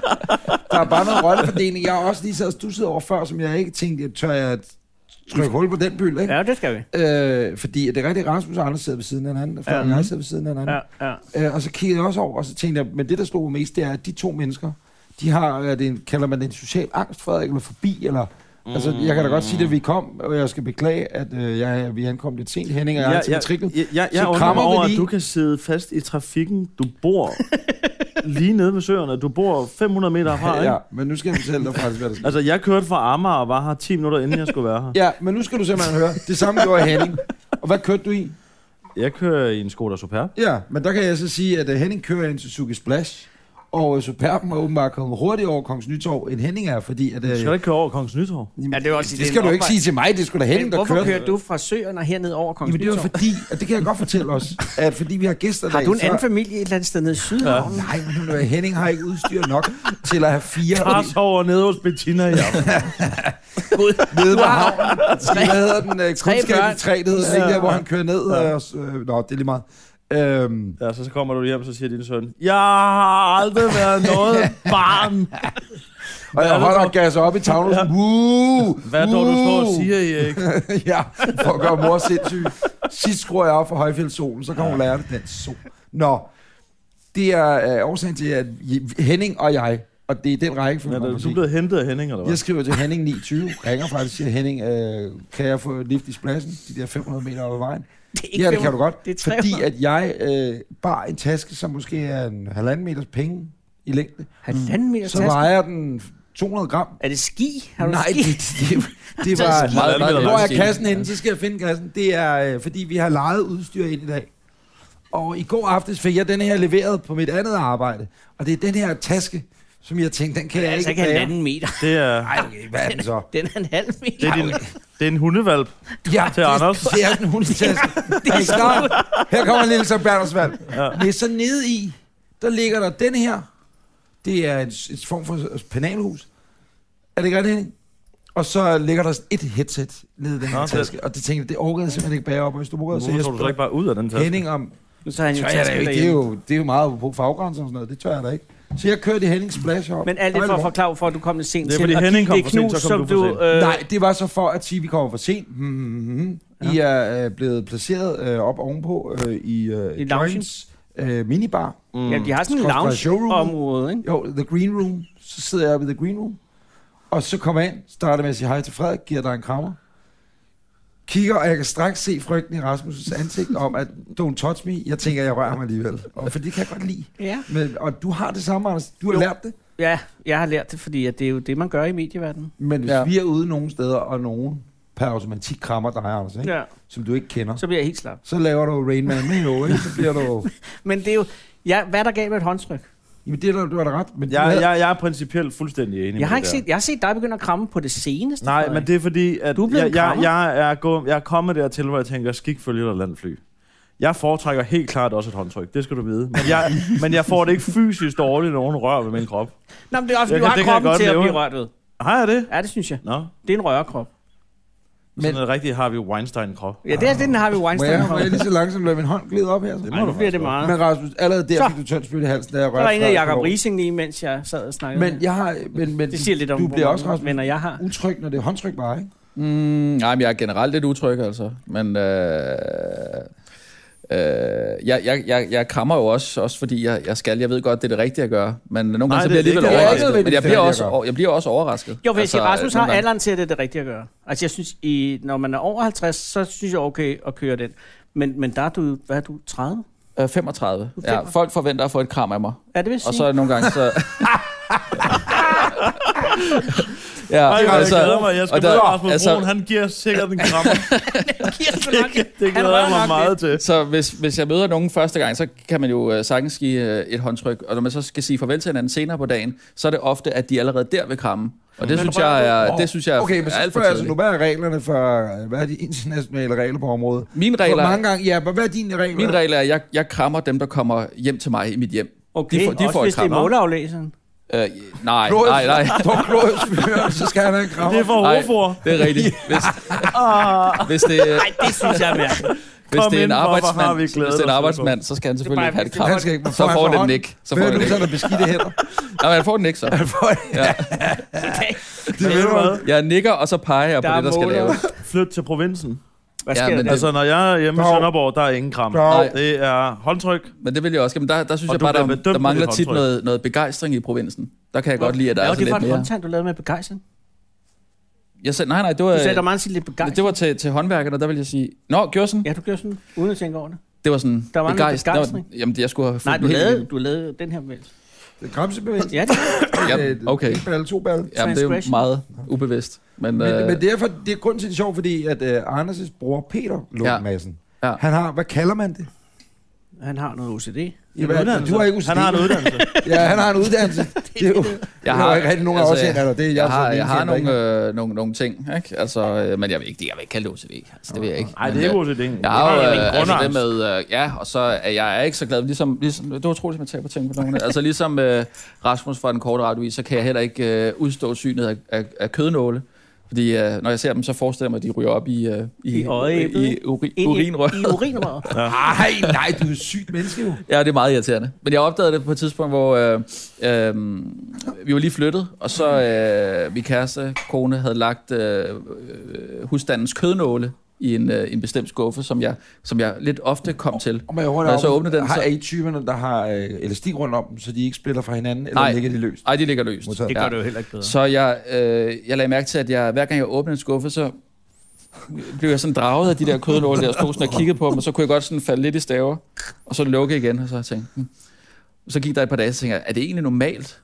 [SPEAKER 2] Der er bare noget rollefordeling. Jeg har også lige sad og stusset over før, som jeg ikke tænkte, at tør jeg trykke hul på den byld, ikke?
[SPEAKER 4] Ja, det skal vi.
[SPEAKER 2] Ja. Øh, fordi det er rigtigt, Rasmus og Anders sidder ved siden af hinanden, og Frederik
[SPEAKER 4] Ja.
[SPEAKER 2] ja. sidder ved siden af hinanden.
[SPEAKER 4] Ja, ja.
[SPEAKER 2] Øh, og så kiggede jeg også over, og så tænkte jeg, men det, der slog mig mest, det er, at de to mennesker, de har, er det en, kalder man det en social angst, Frederik, eller forbi, eller... Mm. Altså, jeg kan da godt sige, at vi kom, og jeg skal beklage, at øh, jeg, vi ankom lidt sent. Henning og jeg, jeg, jeg, jeg,
[SPEAKER 3] jeg, jeg, jeg
[SPEAKER 2] Så
[SPEAKER 3] undrer
[SPEAKER 2] krammer
[SPEAKER 3] mig
[SPEAKER 2] vi
[SPEAKER 3] over, at
[SPEAKER 2] lige.
[SPEAKER 3] du kan sidde fast i trafikken. Du
[SPEAKER 2] <laughs>
[SPEAKER 3] bor lige nede ved søerne. Du bor 500 meter fra, ikke?
[SPEAKER 2] Ja, men nu skal jeg fortælle dig faktisk, hvad der sker.
[SPEAKER 3] Altså, jeg kørte fra Amager og var her 10 minutter, inden jeg skulle være her.
[SPEAKER 2] Ja, men nu skal du simpelthen høre. Det samme gjorde Henning. Og hvad kørte du i?
[SPEAKER 3] Jeg kører i en Skoda Superb.
[SPEAKER 2] Ja, men der kan jeg så sige, at øh, Henning kører i en Suzuki Splash, og øh, Superben er åbenbart kommet hurtigere over Kongens Nytorv, end Henning er, fordi at...
[SPEAKER 3] Du
[SPEAKER 2] Øh,
[SPEAKER 3] skal da ikke køre over Kongens Nytorv.
[SPEAKER 4] Ja, det, er også,
[SPEAKER 2] det skal du ikke sige til mig, det skulle da Henning,
[SPEAKER 4] Men
[SPEAKER 2] der
[SPEAKER 4] hvorfor
[SPEAKER 2] kørte.
[SPEAKER 4] kører du fra Søerne og herned over Kongens
[SPEAKER 2] Jamen det var
[SPEAKER 4] Nytorv?
[SPEAKER 2] fordi, og det kan jeg godt fortælle os, at fordi vi har gæster
[SPEAKER 4] Har
[SPEAKER 2] i
[SPEAKER 4] du en
[SPEAKER 2] dag,
[SPEAKER 4] anden familie et eller andet sted nede i Sydhavn? Ja.
[SPEAKER 2] Nej, men nu er Henning har ikke udstyr nok til at have fire og
[SPEAKER 3] Pas over nede hos Bettina i aften.
[SPEAKER 2] nede ved havnen. Hvad hedder den? Øh,
[SPEAKER 4] Tre
[SPEAKER 2] Kundskab i
[SPEAKER 4] børn.
[SPEAKER 2] træ, det hedder den, ikke der, hvor han kører ned. øh, Og, s- øh, nå, det er lige meget. Øhm,
[SPEAKER 3] Ja, så, så kommer du hjem, så siger din søn, Jeg har aldrig været
[SPEAKER 2] <laughs>
[SPEAKER 3] noget barn.
[SPEAKER 2] og jeg holder gas op i tavlen. Ja. Woo,
[SPEAKER 3] Hvad er det, dog, du står og
[SPEAKER 2] woo.
[SPEAKER 3] siger,
[SPEAKER 2] <laughs>
[SPEAKER 3] Erik?
[SPEAKER 2] Uh. ja, for at gøre mor sindssyg. Sidst skruer jeg op for højfjeldssolen, så kommer hun lære det den sol. Nå, det er øh, årsagen til, at Henning og jeg, og det er den række, for
[SPEAKER 3] Ja, da- du er blevet hentet af Henning, eller hvad?
[SPEAKER 2] Jeg skriver til Henning 29, ringer faktisk og siger, Henning, øh, kan jeg få lift i spladsen, de der 500 meter over vejen?
[SPEAKER 4] Det er
[SPEAKER 2] ja, det kan du
[SPEAKER 4] 500.
[SPEAKER 2] godt.
[SPEAKER 4] Det er 300.
[SPEAKER 2] fordi at jeg øh, bar en taske, som måske er en halvanden meters penge i længde.
[SPEAKER 4] Halvanden meter
[SPEAKER 2] Mm. Så
[SPEAKER 4] taske?
[SPEAKER 2] vejer den 200 gram.
[SPEAKER 4] Er det ski? Har du
[SPEAKER 2] Nej,
[SPEAKER 4] ski?
[SPEAKER 2] det, det,
[SPEAKER 4] <laughs>
[SPEAKER 2] det
[SPEAKER 4] Så
[SPEAKER 2] var...
[SPEAKER 4] skidt.
[SPEAKER 5] Meget, meget,
[SPEAKER 2] Hvor er
[SPEAKER 5] meget
[SPEAKER 2] kassen henne? Så skal jeg finde kassen. Det er, øh, fordi vi har lejet udstyr ind i dag. Og i går aftes fik jeg den her leveret på mit andet arbejde. Og det er den her taske, som jeg tænkte, den kan
[SPEAKER 4] <laughs> Det
[SPEAKER 2] jeg
[SPEAKER 4] er altså
[SPEAKER 2] ikke
[SPEAKER 4] ikke
[SPEAKER 2] bære.
[SPEAKER 4] halvanden meter.
[SPEAKER 3] Det er,
[SPEAKER 2] Ej, okay, hvad er den så?
[SPEAKER 4] Den er en halv meter.
[SPEAKER 3] det er,
[SPEAKER 4] <laughs>
[SPEAKER 3] din, det er en hundevalp.
[SPEAKER 2] Ja,
[SPEAKER 3] til
[SPEAKER 2] det,
[SPEAKER 3] Anders.
[SPEAKER 2] Det er sådan en hundetaske. Er I klar? Her kommer en lille Sankt Bernhardsvalg. Ja. Men så nede i, der ligger der den her. Det er en, en form for penalhus. Er det ikke rigtigt, Henning? Og så ligger der et headset nede i den her
[SPEAKER 3] Nå,
[SPEAKER 2] taske. Og det tænkte jeg, det orkede jeg simpelthen ikke bære op på Østerbrogade. Så
[SPEAKER 3] Hvorfor
[SPEAKER 2] jeg
[SPEAKER 3] tog du så
[SPEAKER 2] spurgte
[SPEAKER 3] ikke bare ud af den taske?
[SPEAKER 2] Henning om,
[SPEAKER 4] Så har han jo
[SPEAKER 2] tør jeg da
[SPEAKER 4] taske
[SPEAKER 2] ikke. Det er
[SPEAKER 4] derhjemme.
[SPEAKER 2] jo, det er jo meget på faggrænser og sådan noget. Det tør jeg da ikke. Så jeg kørte i Hennings splash op.
[SPEAKER 4] Men alt det
[SPEAKER 2] Hold
[SPEAKER 4] for at
[SPEAKER 2] da op.
[SPEAKER 4] forklare, hvorfor du kom lidt sent
[SPEAKER 3] Det er,
[SPEAKER 4] til.
[SPEAKER 3] fordi
[SPEAKER 4] og
[SPEAKER 3] Henning
[SPEAKER 4] dit-
[SPEAKER 3] kom
[SPEAKER 4] det
[SPEAKER 3] for sent,
[SPEAKER 4] knus,
[SPEAKER 3] så kom
[SPEAKER 4] som
[SPEAKER 3] du for sent.
[SPEAKER 4] øh,
[SPEAKER 2] Nej, det var så for at sige, at vi kommer for sent. Mm, mm, mm. I er øh, blevet placeret øh, op ovenpå øh, i, øh,
[SPEAKER 4] I loungen.
[SPEAKER 2] Joints øh, minibar.
[SPEAKER 4] Ja, de har sådan en
[SPEAKER 2] Skråstreg
[SPEAKER 4] lounge-område, ikke?
[SPEAKER 2] Jo, The Green Room. Så sidder jeg oppe i The Green Room. Og så kommer jeg ind, starter med at sige hej til Frederik, giver dig en krammer. Kigger, og jeg kan straks se frygten i Rasmus' ansigt om, at don't touch me. Jeg tænker, jeg rører ham alligevel. Og for det kan jeg godt lide.
[SPEAKER 4] Ja.
[SPEAKER 2] Men, og du har det samme, Anders. Du har jo.
[SPEAKER 4] Jo.
[SPEAKER 2] lært det.
[SPEAKER 4] ja, jeg har lært det, fordi at det er jo det, man gør i medieverdenen.
[SPEAKER 2] Men hvis ja.
[SPEAKER 5] Ja.
[SPEAKER 2] vi er ude nogen steder, og nogen per automatik krammer dig, Anders, ikke? Ja.
[SPEAKER 4] Ja,
[SPEAKER 2] som du ikke kender,
[SPEAKER 4] så bliver jeg helt slap.
[SPEAKER 2] så laver du Rain Man Mayo, ikke? Så bliver du...
[SPEAKER 4] Men det er jo... Ja, hvad er der galt med et håndtryk?
[SPEAKER 2] Jamen, det er der, du har da ret. Men du
[SPEAKER 3] Jeg,
[SPEAKER 2] havde-
[SPEAKER 3] jeg, jeg er principielt fuldstændig enig med
[SPEAKER 4] Jeg har,
[SPEAKER 3] det
[SPEAKER 4] ikke
[SPEAKER 3] der.
[SPEAKER 4] set, jeg har set dig begynde at kramme på det seneste.
[SPEAKER 3] Nej,
[SPEAKER 4] Frederik.
[SPEAKER 3] men det er fordi, at
[SPEAKER 4] Du er blevet
[SPEAKER 3] jeg,
[SPEAKER 4] en
[SPEAKER 3] jeg,
[SPEAKER 4] krammer.
[SPEAKER 3] jeg, er gå, jeg er kommet dertil, hvor jeg tænker, skikfølge eller landfly. Jeg foretrækker helt klart også et håndtryk, det skal du vide. Men jeg, men jeg får det ikke fysisk dårligt, når nogen rører ved min krop.
[SPEAKER 4] Nå, men det er også,
[SPEAKER 3] Jeg
[SPEAKER 4] fordi du
[SPEAKER 3] kan-
[SPEAKER 4] har
[SPEAKER 3] det kan jeg
[SPEAKER 4] kroppen
[SPEAKER 3] godt
[SPEAKER 4] til at
[SPEAKER 3] leve
[SPEAKER 4] blive
[SPEAKER 3] med.
[SPEAKER 4] rørt ved.
[SPEAKER 3] Har jeg det?
[SPEAKER 4] Ja, det synes jeg.
[SPEAKER 3] Nå,
[SPEAKER 4] Det er en rørekrop.
[SPEAKER 3] men, sådan en rigtig Harvey Weinstein-krop.
[SPEAKER 4] Ja, det er den har vi
[SPEAKER 2] må, jeg,
[SPEAKER 4] Weinstein
[SPEAKER 2] må jeg lige så langsomt lade min hånd glide op her? Så?
[SPEAKER 4] Nu bliver det meget.
[SPEAKER 2] Men Rasmus, allerede der
[SPEAKER 4] Så.
[SPEAKER 2] fik du tørt spyt i halsen, da jeg
[SPEAKER 4] Så er der
[SPEAKER 2] rørte
[SPEAKER 4] en af
[SPEAKER 2] Frederik
[SPEAKER 4] Jacob
[SPEAKER 2] over.
[SPEAKER 4] Rising lige, mens jeg sad og snakkede.
[SPEAKER 2] Men jeg har... Men, men,
[SPEAKER 4] det siger lidt om,
[SPEAKER 2] du
[SPEAKER 4] hvor
[SPEAKER 2] bliver
[SPEAKER 4] mange
[SPEAKER 2] også Rasmus,
[SPEAKER 4] venner jeg har.
[SPEAKER 2] utryg, når det er håndtryk bare, ikke?
[SPEAKER 5] Mm, nej, men jeg er generelt lidt utryg, altså. Men øh, Øh, jeg, jeg, jeg, jeg krammer jo også, også fordi jeg, jeg skal. Jeg ved godt, det er det rigtige at gøre. Men nogle gange
[SPEAKER 3] Nej,
[SPEAKER 5] så
[SPEAKER 3] det
[SPEAKER 5] bliver
[SPEAKER 3] er
[SPEAKER 5] jeg alligevel
[SPEAKER 3] ikke det
[SPEAKER 5] overrasket.
[SPEAKER 2] rigtige.
[SPEAKER 5] Men jeg
[SPEAKER 2] Det er
[SPEAKER 5] bliver,
[SPEAKER 2] det
[SPEAKER 5] også,
[SPEAKER 2] rigtige at
[SPEAKER 5] over- jeg bliver også overrasket.
[SPEAKER 4] Jo, hvis altså, Rasmus
[SPEAKER 5] nogle
[SPEAKER 4] har
[SPEAKER 5] gange-
[SPEAKER 4] alderen til at det er det rigtige at gøre. Altså, jeg synes, i, når man er over 50, så synes jeg okay at køre den. Men, men der er du, hvad er du, 30?
[SPEAKER 5] Øh, 35. Ja,
[SPEAKER 4] 35.
[SPEAKER 5] folk forventer at få et kram af mig.
[SPEAKER 4] Er det vil sige?
[SPEAKER 5] Og
[SPEAKER 4] <laughs>
[SPEAKER 5] så nogle gange så... ja, altså-
[SPEAKER 3] Ej, jeg glæder mig. Jeg skal
[SPEAKER 5] og
[SPEAKER 3] møde
[SPEAKER 5] der-
[SPEAKER 3] Rasmus altså, Broen. Han giver sikkert en krammer. det
[SPEAKER 4] Han
[SPEAKER 3] glæder jeg
[SPEAKER 4] rører
[SPEAKER 3] mig
[SPEAKER 4] nok
[SPEAKER 3] meget til.
[SPEAKER 5] Så hvis, hvis jeg møder nogen første gang, så kan man jo øh, sagtens give øh, et håndtryk. Og når man så skal sige farvel til hinanden senere på dagen, så er det ofte, at de allerede der vil kramme. Og det, synes jeg, er, det synes jeg er,
[SPEAKER 2] Okay, men
[SPEAKER 5] er
[SPEAKER 2] så
[SPEAKER 5] alt for
[SPEAKER 2] spørger jeg altså nu,
[SPEAKER 5] tidligt.
[SPEAKER 2] hvad er reglerne for, hvad er de internationale regler på området?
[SPEAKER 5] Mine
[SPEAKER 2] Regler.
[SPEAKER 5] regler,
[SPEAKER 2] altså, Hvor mange gange, ja, men hvad er dine regler?
[SPEAKER 5] mine regler er, at jeg, jeg krammer dem, der kommer hjem til mig i mit hjem.
[SPEAKER 4] Okay,
[SPEAKER 5] de får- de
[SPEAKER 4] også
[SPEAKER 5] får et
[SPEAKER 4] hvis det er
[SPEAKER 5] kram, hva'?
[SPEAKER 4] måleaflæseren.
[SPEAKER 5] Øh, nej,
[SPEAKER 2] Klods.
[SPEAKER 5] nej, nej.
[SPEAKER 2] Står Klods fyr, så skal han have en kram.
[SPEAKER 3] Det er for
[SPEAKER 5] <laughs> Nej.
[SPEAKER 3] hovedfor.
[SPEAKER 5] Det er rigtigt. Hvis,
[SPEAKER 2] Ah.
[SPEAKER 5] hvis det,
[SPEAKER 4] Nej, det synes jeg er mærkeligt.
[SPEAKER 5] Hvis
[SPEAKER 3] Kom
[SPEAKER 5] <laughs> det er en
[SPEAKER 3] ind, hvorfor har
[SPEAKER 5] arbejdsmand,
[SPEAKER 3] vi
[SPEAKER 5] hvis
[SPEAKER 3] glædet
[SPEAKER 5] det er en
[SPEAKER 3] os,
[SPEAKER 5] arbejdsmand, så skal han selvfølgelig
[SPEAKER 4] bare
[SPEAKER 5] ikke have et
[SPEAKER 4] vigtigt.
[SPEAKER 5] kram.
[SPEAKER 2] Han skal ikke-
[SPEAKER 5] Så
[SPEAKER 2] han
[SPEAKER 5] får
[SPEAKER 2] får
[SPEAKER 5] han et
[SPEAKER 2] hånden.
[SPEAKER 5] nik. Så
[SPEAKER 2] Så
[SPEAKER 5] får
[SPEAKER 2] får
[SPEAKER 5] han
[SPEAKER 2] du
[SPEAKER 5] et
[SPEAKER 2] sådan
[SPEAKER 5] nik.
[SPEAKER 2] der beskidte hænder.
[SPEAKER 5] Nej, men han får et nik så.
[SPEAKER 3] Det ved du hvad?
[SPEAKER 5] Jeg nikker, og så peger jeg på
[SPEAKER 4] Der er
[SPEAKER 5] det, der skal
[SPEAKER 4] måler.
[SPEAKER 5] laves.
[SPEAKER 3] Flyt til provinsen.
[SPEAKER 4] Hvad
[SPEAKER 5] Ja,
[SPEAKER 4] sker
[SPEAKER 5] men
[SPEAKER 4] der?
[SPEAKER 5] det-
[SPEAKER 4] Altså,
[SPEAKER 3] Altså, når jeg er hjemme i
[SPEAKER 2] Dog.
[SPEAKER 3] Sønderborg, der er ingen kram.
[SPEAKER 2] Dog.
[SPEAKER 3] Det er håndtryk.
[SPEAKER 5] Men det vil jeg også. Men der, der synes
[SPEAKER 3] Og
[SPEAKER 5] jeg
[SPEAKER 3] du
[SPEAKER 5] bare,
[SPEAKER 3] bliver
[SPEAKER 5] der,
[SPEAKER 3] bedømt
[SPEAKER 5] der
[SPEAKER 3] på
[SPEAKER 5] mangler
[SPEAKER 3] dit
[SPEAKER 5] tit
[SPEAKER 3] håndtryk.
[SPEAKER 5] noget, noget begejstring i provinsen. Der kan jeg godt lide, at der er
[SPEAKER 4] ja,
[SPEAKER 5] sådan
[SPEAKER 4] det var
[SPEAKER 5] lidt
[SPEAKER 4] et
[SPEAKER 5] mere.
[SPEAKER 4] håndtag, du lavede med begejstring.
[SPEAKER 5] Jeg sagde, nej, nej, det var,
[SPEAKER 4] Du sagde, der var meget sige lidt
[SPEAKER 5] Øh, men det
[SPEAKER 4] begejstring.
[SPEAKER 5] var til, til håndværkerne, der ville jeg sige, Nå, gjorde sådan?
[SPEAKER 4] Ja, du gjorde sådan, uden at tænke over det.
[SPEAKER 5] Det var sådan
[SPEAKER 4] Der var en
[SPEAKER 5] begejst-
[SPEAKER 4] begejstring.
[SPEAKER 5] Nå, Jamen, jeg skulle have fulgt
[SPEAKER 4] Nej, du
[SPEAKER 5] den helt
[SPEAKER 4] lavede,
[SPEAKER 5] igennem.
[SPEAKER 4] du lavede den her bevægelse.
[SPEAKER 2] Det er kramsebevægelse.
[SPEAKER 4] Ja, det
[SPEAKER 5] Ja, okay.
[SPEAKER 2] En balle, to balle.
[SPEAKER 5] Jamen, det er jo
[SPEAKER 4] Transgression.
[SPEAKER 5] meget ubevidst. Men,
[SPEAKER 2] Men,
[SPEAKER 5] øh,
[SPEAKER 2] men derfor, det er grunden til, det er sjovt, fordi at uh, Anders' bror Peter Lund
[SPEAKER 5] Ja.
[SPEAKER 2] ja. Madsen,
[SPEAKER 5] Ja.
[SPEAKER 2] ja. han har, hvad kalder man det?
[SPEAKER 4] han har noget OCD.
[SPEAKER 2] Ja, hvad- du har ikke
[SPEAKER 3] Han har en <laughs> uddannelse.
[SPEAKER 2] Ja, han har en <laughs> uddannelse. det er jo, jeg har jo ikke rigtig nogen altså, årsager, der. Det er jeg,
[SPEAKER 5] jeg har,
[SPEAKER 2] sådan
[SPEAKER 5] jeg
[SPEAKER 2] en
[SPEAKER 5] har
[SPEAKER 2] ting, der ikke-
[SPEAKER 5] nogle, øh, nogle, nogle ting, ikke? Altså, øh, men jeg vil ikke, det- jeg vil ikke kalde det OCD. Altså, det vil jeg ikke.
[SPEAKER 3] Nej, det
[SPEAKER 5] Men,
[SPEAKER 3] er ikke
[SPEAKER 5] øh,
[SPEAKER 3] OCD.
[SPEAKER 5] Jeg har jo
[SPEAKER 3] en
[SPEAKER 5] øh, altså det
[SPEAKER 3] grundangst.
[SPEAKER 5] med, øh, ja, og så er jeg er ikke så glad, ligesom, ligesom det var utroligt, at man taber ting på nogen. altså ligesom øh, Rasmus fra den korte radiovis, så kan jeg heller ikke øh, udstå synet af, af, af kødnåle. Fordi øh, når jeg ser dem, så forestiller jeg mig, at de ryger op i, øh,
[SPEAKER 4] I øjeæblet.
[SPEAKER 5] i uri,
[SPEAKER 4] Ind i-
[SPEAKER 5] urinrør.
[SPEAKER 4] I
[SPEAKER 5] <laughs>
[SPEAKER 4] urinrøret.
[SPEAKER 2] Ej,
[SPEAKER 5] øh,
[SPEAKER 2] nej, du er et sygt menneske jo.
[SPEAKER 5] Ja, det er meget irriterende. Men jeg opdagede det på et tidspunkt, hvor øh, øh, vi var lige flyttet, og så øh, min kæreste, kone, havde lagt øh, øh, husstandens kødnåle i en, øh, en bestemt skuffe, som jeg, som jeg lidt ofte kom til.
[SPEAKER 2] Og man hurtigt
[SPEAKER 5] Når jeg så
[SPEAKER 2] om,
[SPEAKER 5] åbner den,
[SPEAKER 2] har
[SPEAKER 5] så-
[SPEAKER 2] er I typerne, der har øh, elastik rundt om dem, så de ikke splitter fra hinanden, eller
[SPEAKER 5] Nej.
[SPEAKER 2] ligger de løst?
[SPEAKER 5] Ej, de ligger løst.
[SPEAKER 2] Modtaget.
[SPEAKER 4] Det gør det jo heller ikke bedre.
[SPEAKER 5] Så jeg, øh, jeg lagde mærke til, at jeg, hver gang jeg åbnede en skuffe, så blev jeg sådan draget af de der kødnåle, der stod sådan og kiggede på dem, og så kunne jeg godt sådan falde lidt i staver, og så lukke igen, og så tænkte hmm. Så gik der et par dage, så tænkte jeg, er det egentlig normalt,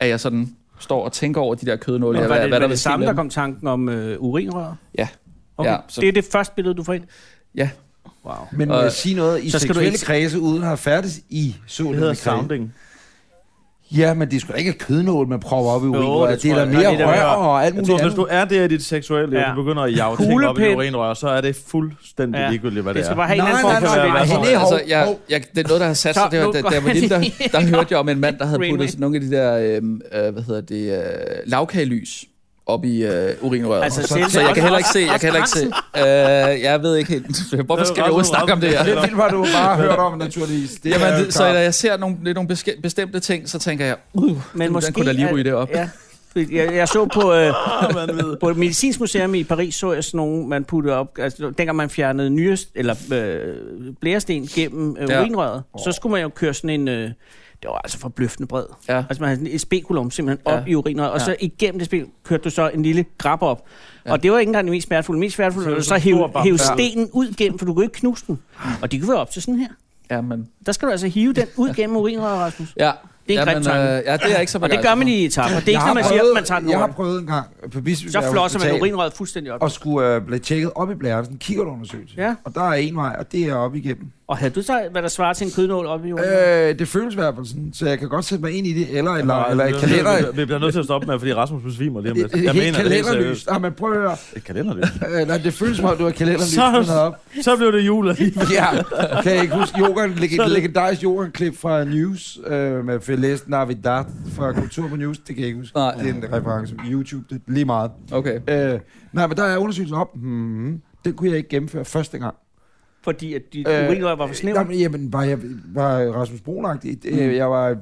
[SPEAKER 5] at jeg sådan står og tænker over de der kødnåle,
[SPEAKER 4] Men
[SPEAKER 5] og
[SPEAKER 4] var
[SPEAKER 5] hvad,
[SPEAKER 4] det,
[SPEAKER 5] hvad der
[SPEAKER 4] var
[SPEAKER 5] vil
[SPEAKER 4] det
[SPEAKER 5] ske
[SPEAKER 4] samme,
[SPEAKER 5] med
[SPEAKER 4] der
[SPEAKER 5] dem?
[SPEAKER 4] kom tanken om øh, urinrør?
[SPEAKER 5] Ja.
[SPEAKER 4] Okay.
[SPEAKER 5] Ja,
[SPEAKER 4] Ja,
[SPEAKER 5] så-
[SPEAKER 4] Det er det første billede, du får ind.
[SPEAKER 5] Ja.
[SPEAKER 4] Wow.
[SPEAKER 2] Men
[SPEAKER 5] Og-
[SPEAKER 2] øh, sige noget, i
[SPEAKER 4] så skal du
[SPEAKER 2] seksuelle
[SPEAKER 4] ikke-
[SPEAKER 2] kredse, uden at have færdes i sådanne
[SPEAKER 3] Det hedder
[SPEAKER 2] kredse.
[SPEAKER 3] sounding.
[SPEAKER 2] Ja, men det er sgu da ikke et kødnål, man propper op i urin.
[SPEAKER 4] Jo,
[SPEAKER 2] Jo,
[SPEAKER 4] det
[SPEAKER 2] det, det er
[SPEAKER 4] tror
[SPEAKER 2] da
[SPEAKER 4] jeg. Der er lidt
[SPEAKER 2] mere
[SPEAKER 4] af
[SPEAKER 2] rør
[SPEAKER 3] rør.
[SPEAKER 2] og alt
[SPEAKER 3] Jeg
[SPEAKER 2] muligt
[SPEAKER 3] tror, hvis
[SPEAKER 2] andet.
[SPEAKER 3] du er der i dit seksuelle liv,
[SPEAKER 4] Ja.
[SPEAKER 3] ja. du begynder at jage ting op i
[SPEAKER 4] Kuglepen.
[SPEAKER 3] dit urinrør, så er det fuldstændig
[SPEAKER 4] Ja.
[SPEAKER 3] ja. ligegyldigt, hvad
[SPEAKER 4] Det
[SPEAKER 3] det,
[SPEAKER 4] skal
[SPEAKER 3] er.
[SPEAKER 4] bare have en
[SPEAKER 2] Nej,
[SPEAKER 4] eller
[SPEAKER 2] nej,
[SPEAKER 4] anden
[SPEAKER 2] nej,
[SPEAKER 4] form for
[SPEAKER 2] nej,
[SPEAKER 4] bevægelse.
[SPEAKER 2] nej, hov,
[SPEAKER 5] Altså, jeg,
[SPEAKER 2] hov.
[SPEAKER 5] jeg, det er noget, der har sat sig.
[SPEAKER 4] Så,
[SPEAKER 5] Det var,
[SPEAKER 4] nu
[SPEAKER 5] da,
[SPEAKER 4] går
[SPEAKER 5] da jeg var
[SPEAKER 4] han
[SPEAKER 5] lille, der,
[SPEAKER 4] i-
[SPEAKER 5] der
[SPEAKER 2] <laughs>
[SPEAKER 5] hørte jeg om en mand, der havde
[SPEAKER 4] Rain
[SPEAKER 5] puttet
[SPEAKER 4] Man.
[SPEAKER 5] sådan nogle af de der, øh, øh, hvad hedder det, øh, lavkagelys op i øh, urinrøret.
[SPEAKER 4] Altså,
[SPEAKER 5] så,
[SPEAKER 4] selv-
[SPEAKER 5] så, jeg kan heller ikke se, jeg kan heller ikke se. Øh, jeg ved ikke helt, <laughs> hvorfor skal vi overhovedet snakke om det
[SPEAKER 4] Altså,
[SPEAKER 5] her?
[SPEAKER 2] Det har du bare hørt om, naturligvis. Det er
[SPEAKER 5] Jamen, det, så
[SPEAKER 2] klart.
[SPEAKER 5] når jeg ser nogle, lidt nogle beske- bestemte ting, så tænker jeg, uh, Men den, måske den kunne da lige
[SPEAKER 4] er-
[SPEAKER 5] ryge det op. Ja.
[SPEAKER 4] Ja. Jeg, jeg så på, øh,
[SPEAKER 3] man ved.
[SPEAKER 4] på et medicinsk museum i Paris, så jeg sådan nogle, man puttede op, altså dengang man fjernede nyrest, eller øh, blæresten gennem øh,
[SPEAKER 5] Ja.
[SPEAKER 4] urinrøret, så skulle man jo køre sådan en, øh, det var altså forbløffende bred.
[SPEAKER 5] Ja.
[SPEAKER 4] Altså man havde sådan et spekulum simpelthen
[SPEAKER 5] Ja.
[SPEAKER 4] op i urinrøret, og
[SPEAKER 5] Ja.
[SPEAKER 4] så igennem det spil kørte du så en lille grab op. Og det var ikke engang det mest smertefulde. Mest smertefulde
[SPEAKER 3] Så
[SPEAKER 4] var
[SPEAKER 3] det
[SPEAKER 4] at
[SPEAKER 3] var
[SPEAKER 4] så
[SPEAKER 3] sådan en
[SPEAKER 4] hæve,
[SPEAKER 3] stor bamse.
[SPEAKER 4] hæve stenen ud gennem, for du kunne ikke knuse den. Og det kunne være op til sådan her.
[SPEAKER 5] ja, men...
[SPEAKER 4] Der skal du altså hive den ud gennem urinrøret, Rasmus.
[SPEAKER 5] Ja.
[SPEAKER 4] Det er en
[SPEAKER 5] ja,
[SPEAKER 4] grim
[SPEAKER 5] men,
[SPEAKER 4] tanke.
[SPEAKER 5] øh, ja, det er jeg ikke så
[SPEAKER 4] Og det gør man i etaper. Det er
[SPEAKER 2] Jeg
[SPEAKER 4] ikke,
[SPEAKER 2] har
[SPEAKER 4] når man siger,
[SPEAKER 2] prøvet-
[SPEAKER 4] at man tager den
[SPEAKER 2] Jeg har
[SPEAKER 4] over.
[SPEAKER 2] prøvet en gang på Bisbjerg
[SPEAKER 4] Så flosser man
[SPEAKER 2] Hospital,
[SPEAKER 4] urinrøret fuldstændig op.
[SPEAKER 2] Og skulle øh, blive tjekket op i blæren, sådan en kikkertundersøgelse.
[SPEAKER 4] Ja.
[SPEAKER 2] Og der er en vej, og det er op igennem.
[SPEAKER 4] Og havde du så, hvad der svarer til en kødnål op i jorden? Øh,
[SPEAKER 2] Øh, det føles i hvert fald sådan, så jeg kan godt sætte mig ind i det, eller, eller,
[SPEAKER 3] Nej,
[SPEAKER 2] eller et
[SPEAKER 3] vi-
[SPEAKER 2] kalender.
[SPEAKER 3] vi- Vi bliver nødt til at stoppe med, fordi Rasmus besvimer lige om
[SPEAKER 2] Et,
[SPEAKER 3] lidt.
[SPEAKER 2] et, et helt
[SPEAKER 3] det er helt
[SPEAKER 2] kalenderlys.
[SPEAKER 3] seriøst.
[SPEAKER 2] Ah, men prøv at høre.
[SPEAKER 3] Et kalenderlys.
[SPEAKER 2] Øh, nej, det føles som om, du har kalenderlys.
[SPEAKER 3] Så-
[SPEAKER 2] Så... op.
[SPEAKER 3] Så blev det jul alligevel.
[SPEAKER 2] Ja, <laughs> kan jeg ikke huske yoghurt, leg- et legendarisk yoghurt-klip fra News øh, med Feliz Navidad fra Kultur på News, det kan jeg ikke huske.
[SPEAKER 5] Nej.
[SPEAKER 2] Det er en reference på YouTube, det er lige meget.
[SPEAKER 5] Okay.
[SPEAKER 2] Øh, nej, men der er undersøgelser op. Hmm, den kunne jeg ikke gennemføre første gang.
[SPEAKER 4] fordi at dit
[SPEAKER 2] øh,
[SPEAKER 4] øh, urinrør var for snæver?
[SPEAKER 2] Jamen, jamen, var jeg var Rasmus Brunagtig. Mm. Jeg var øh,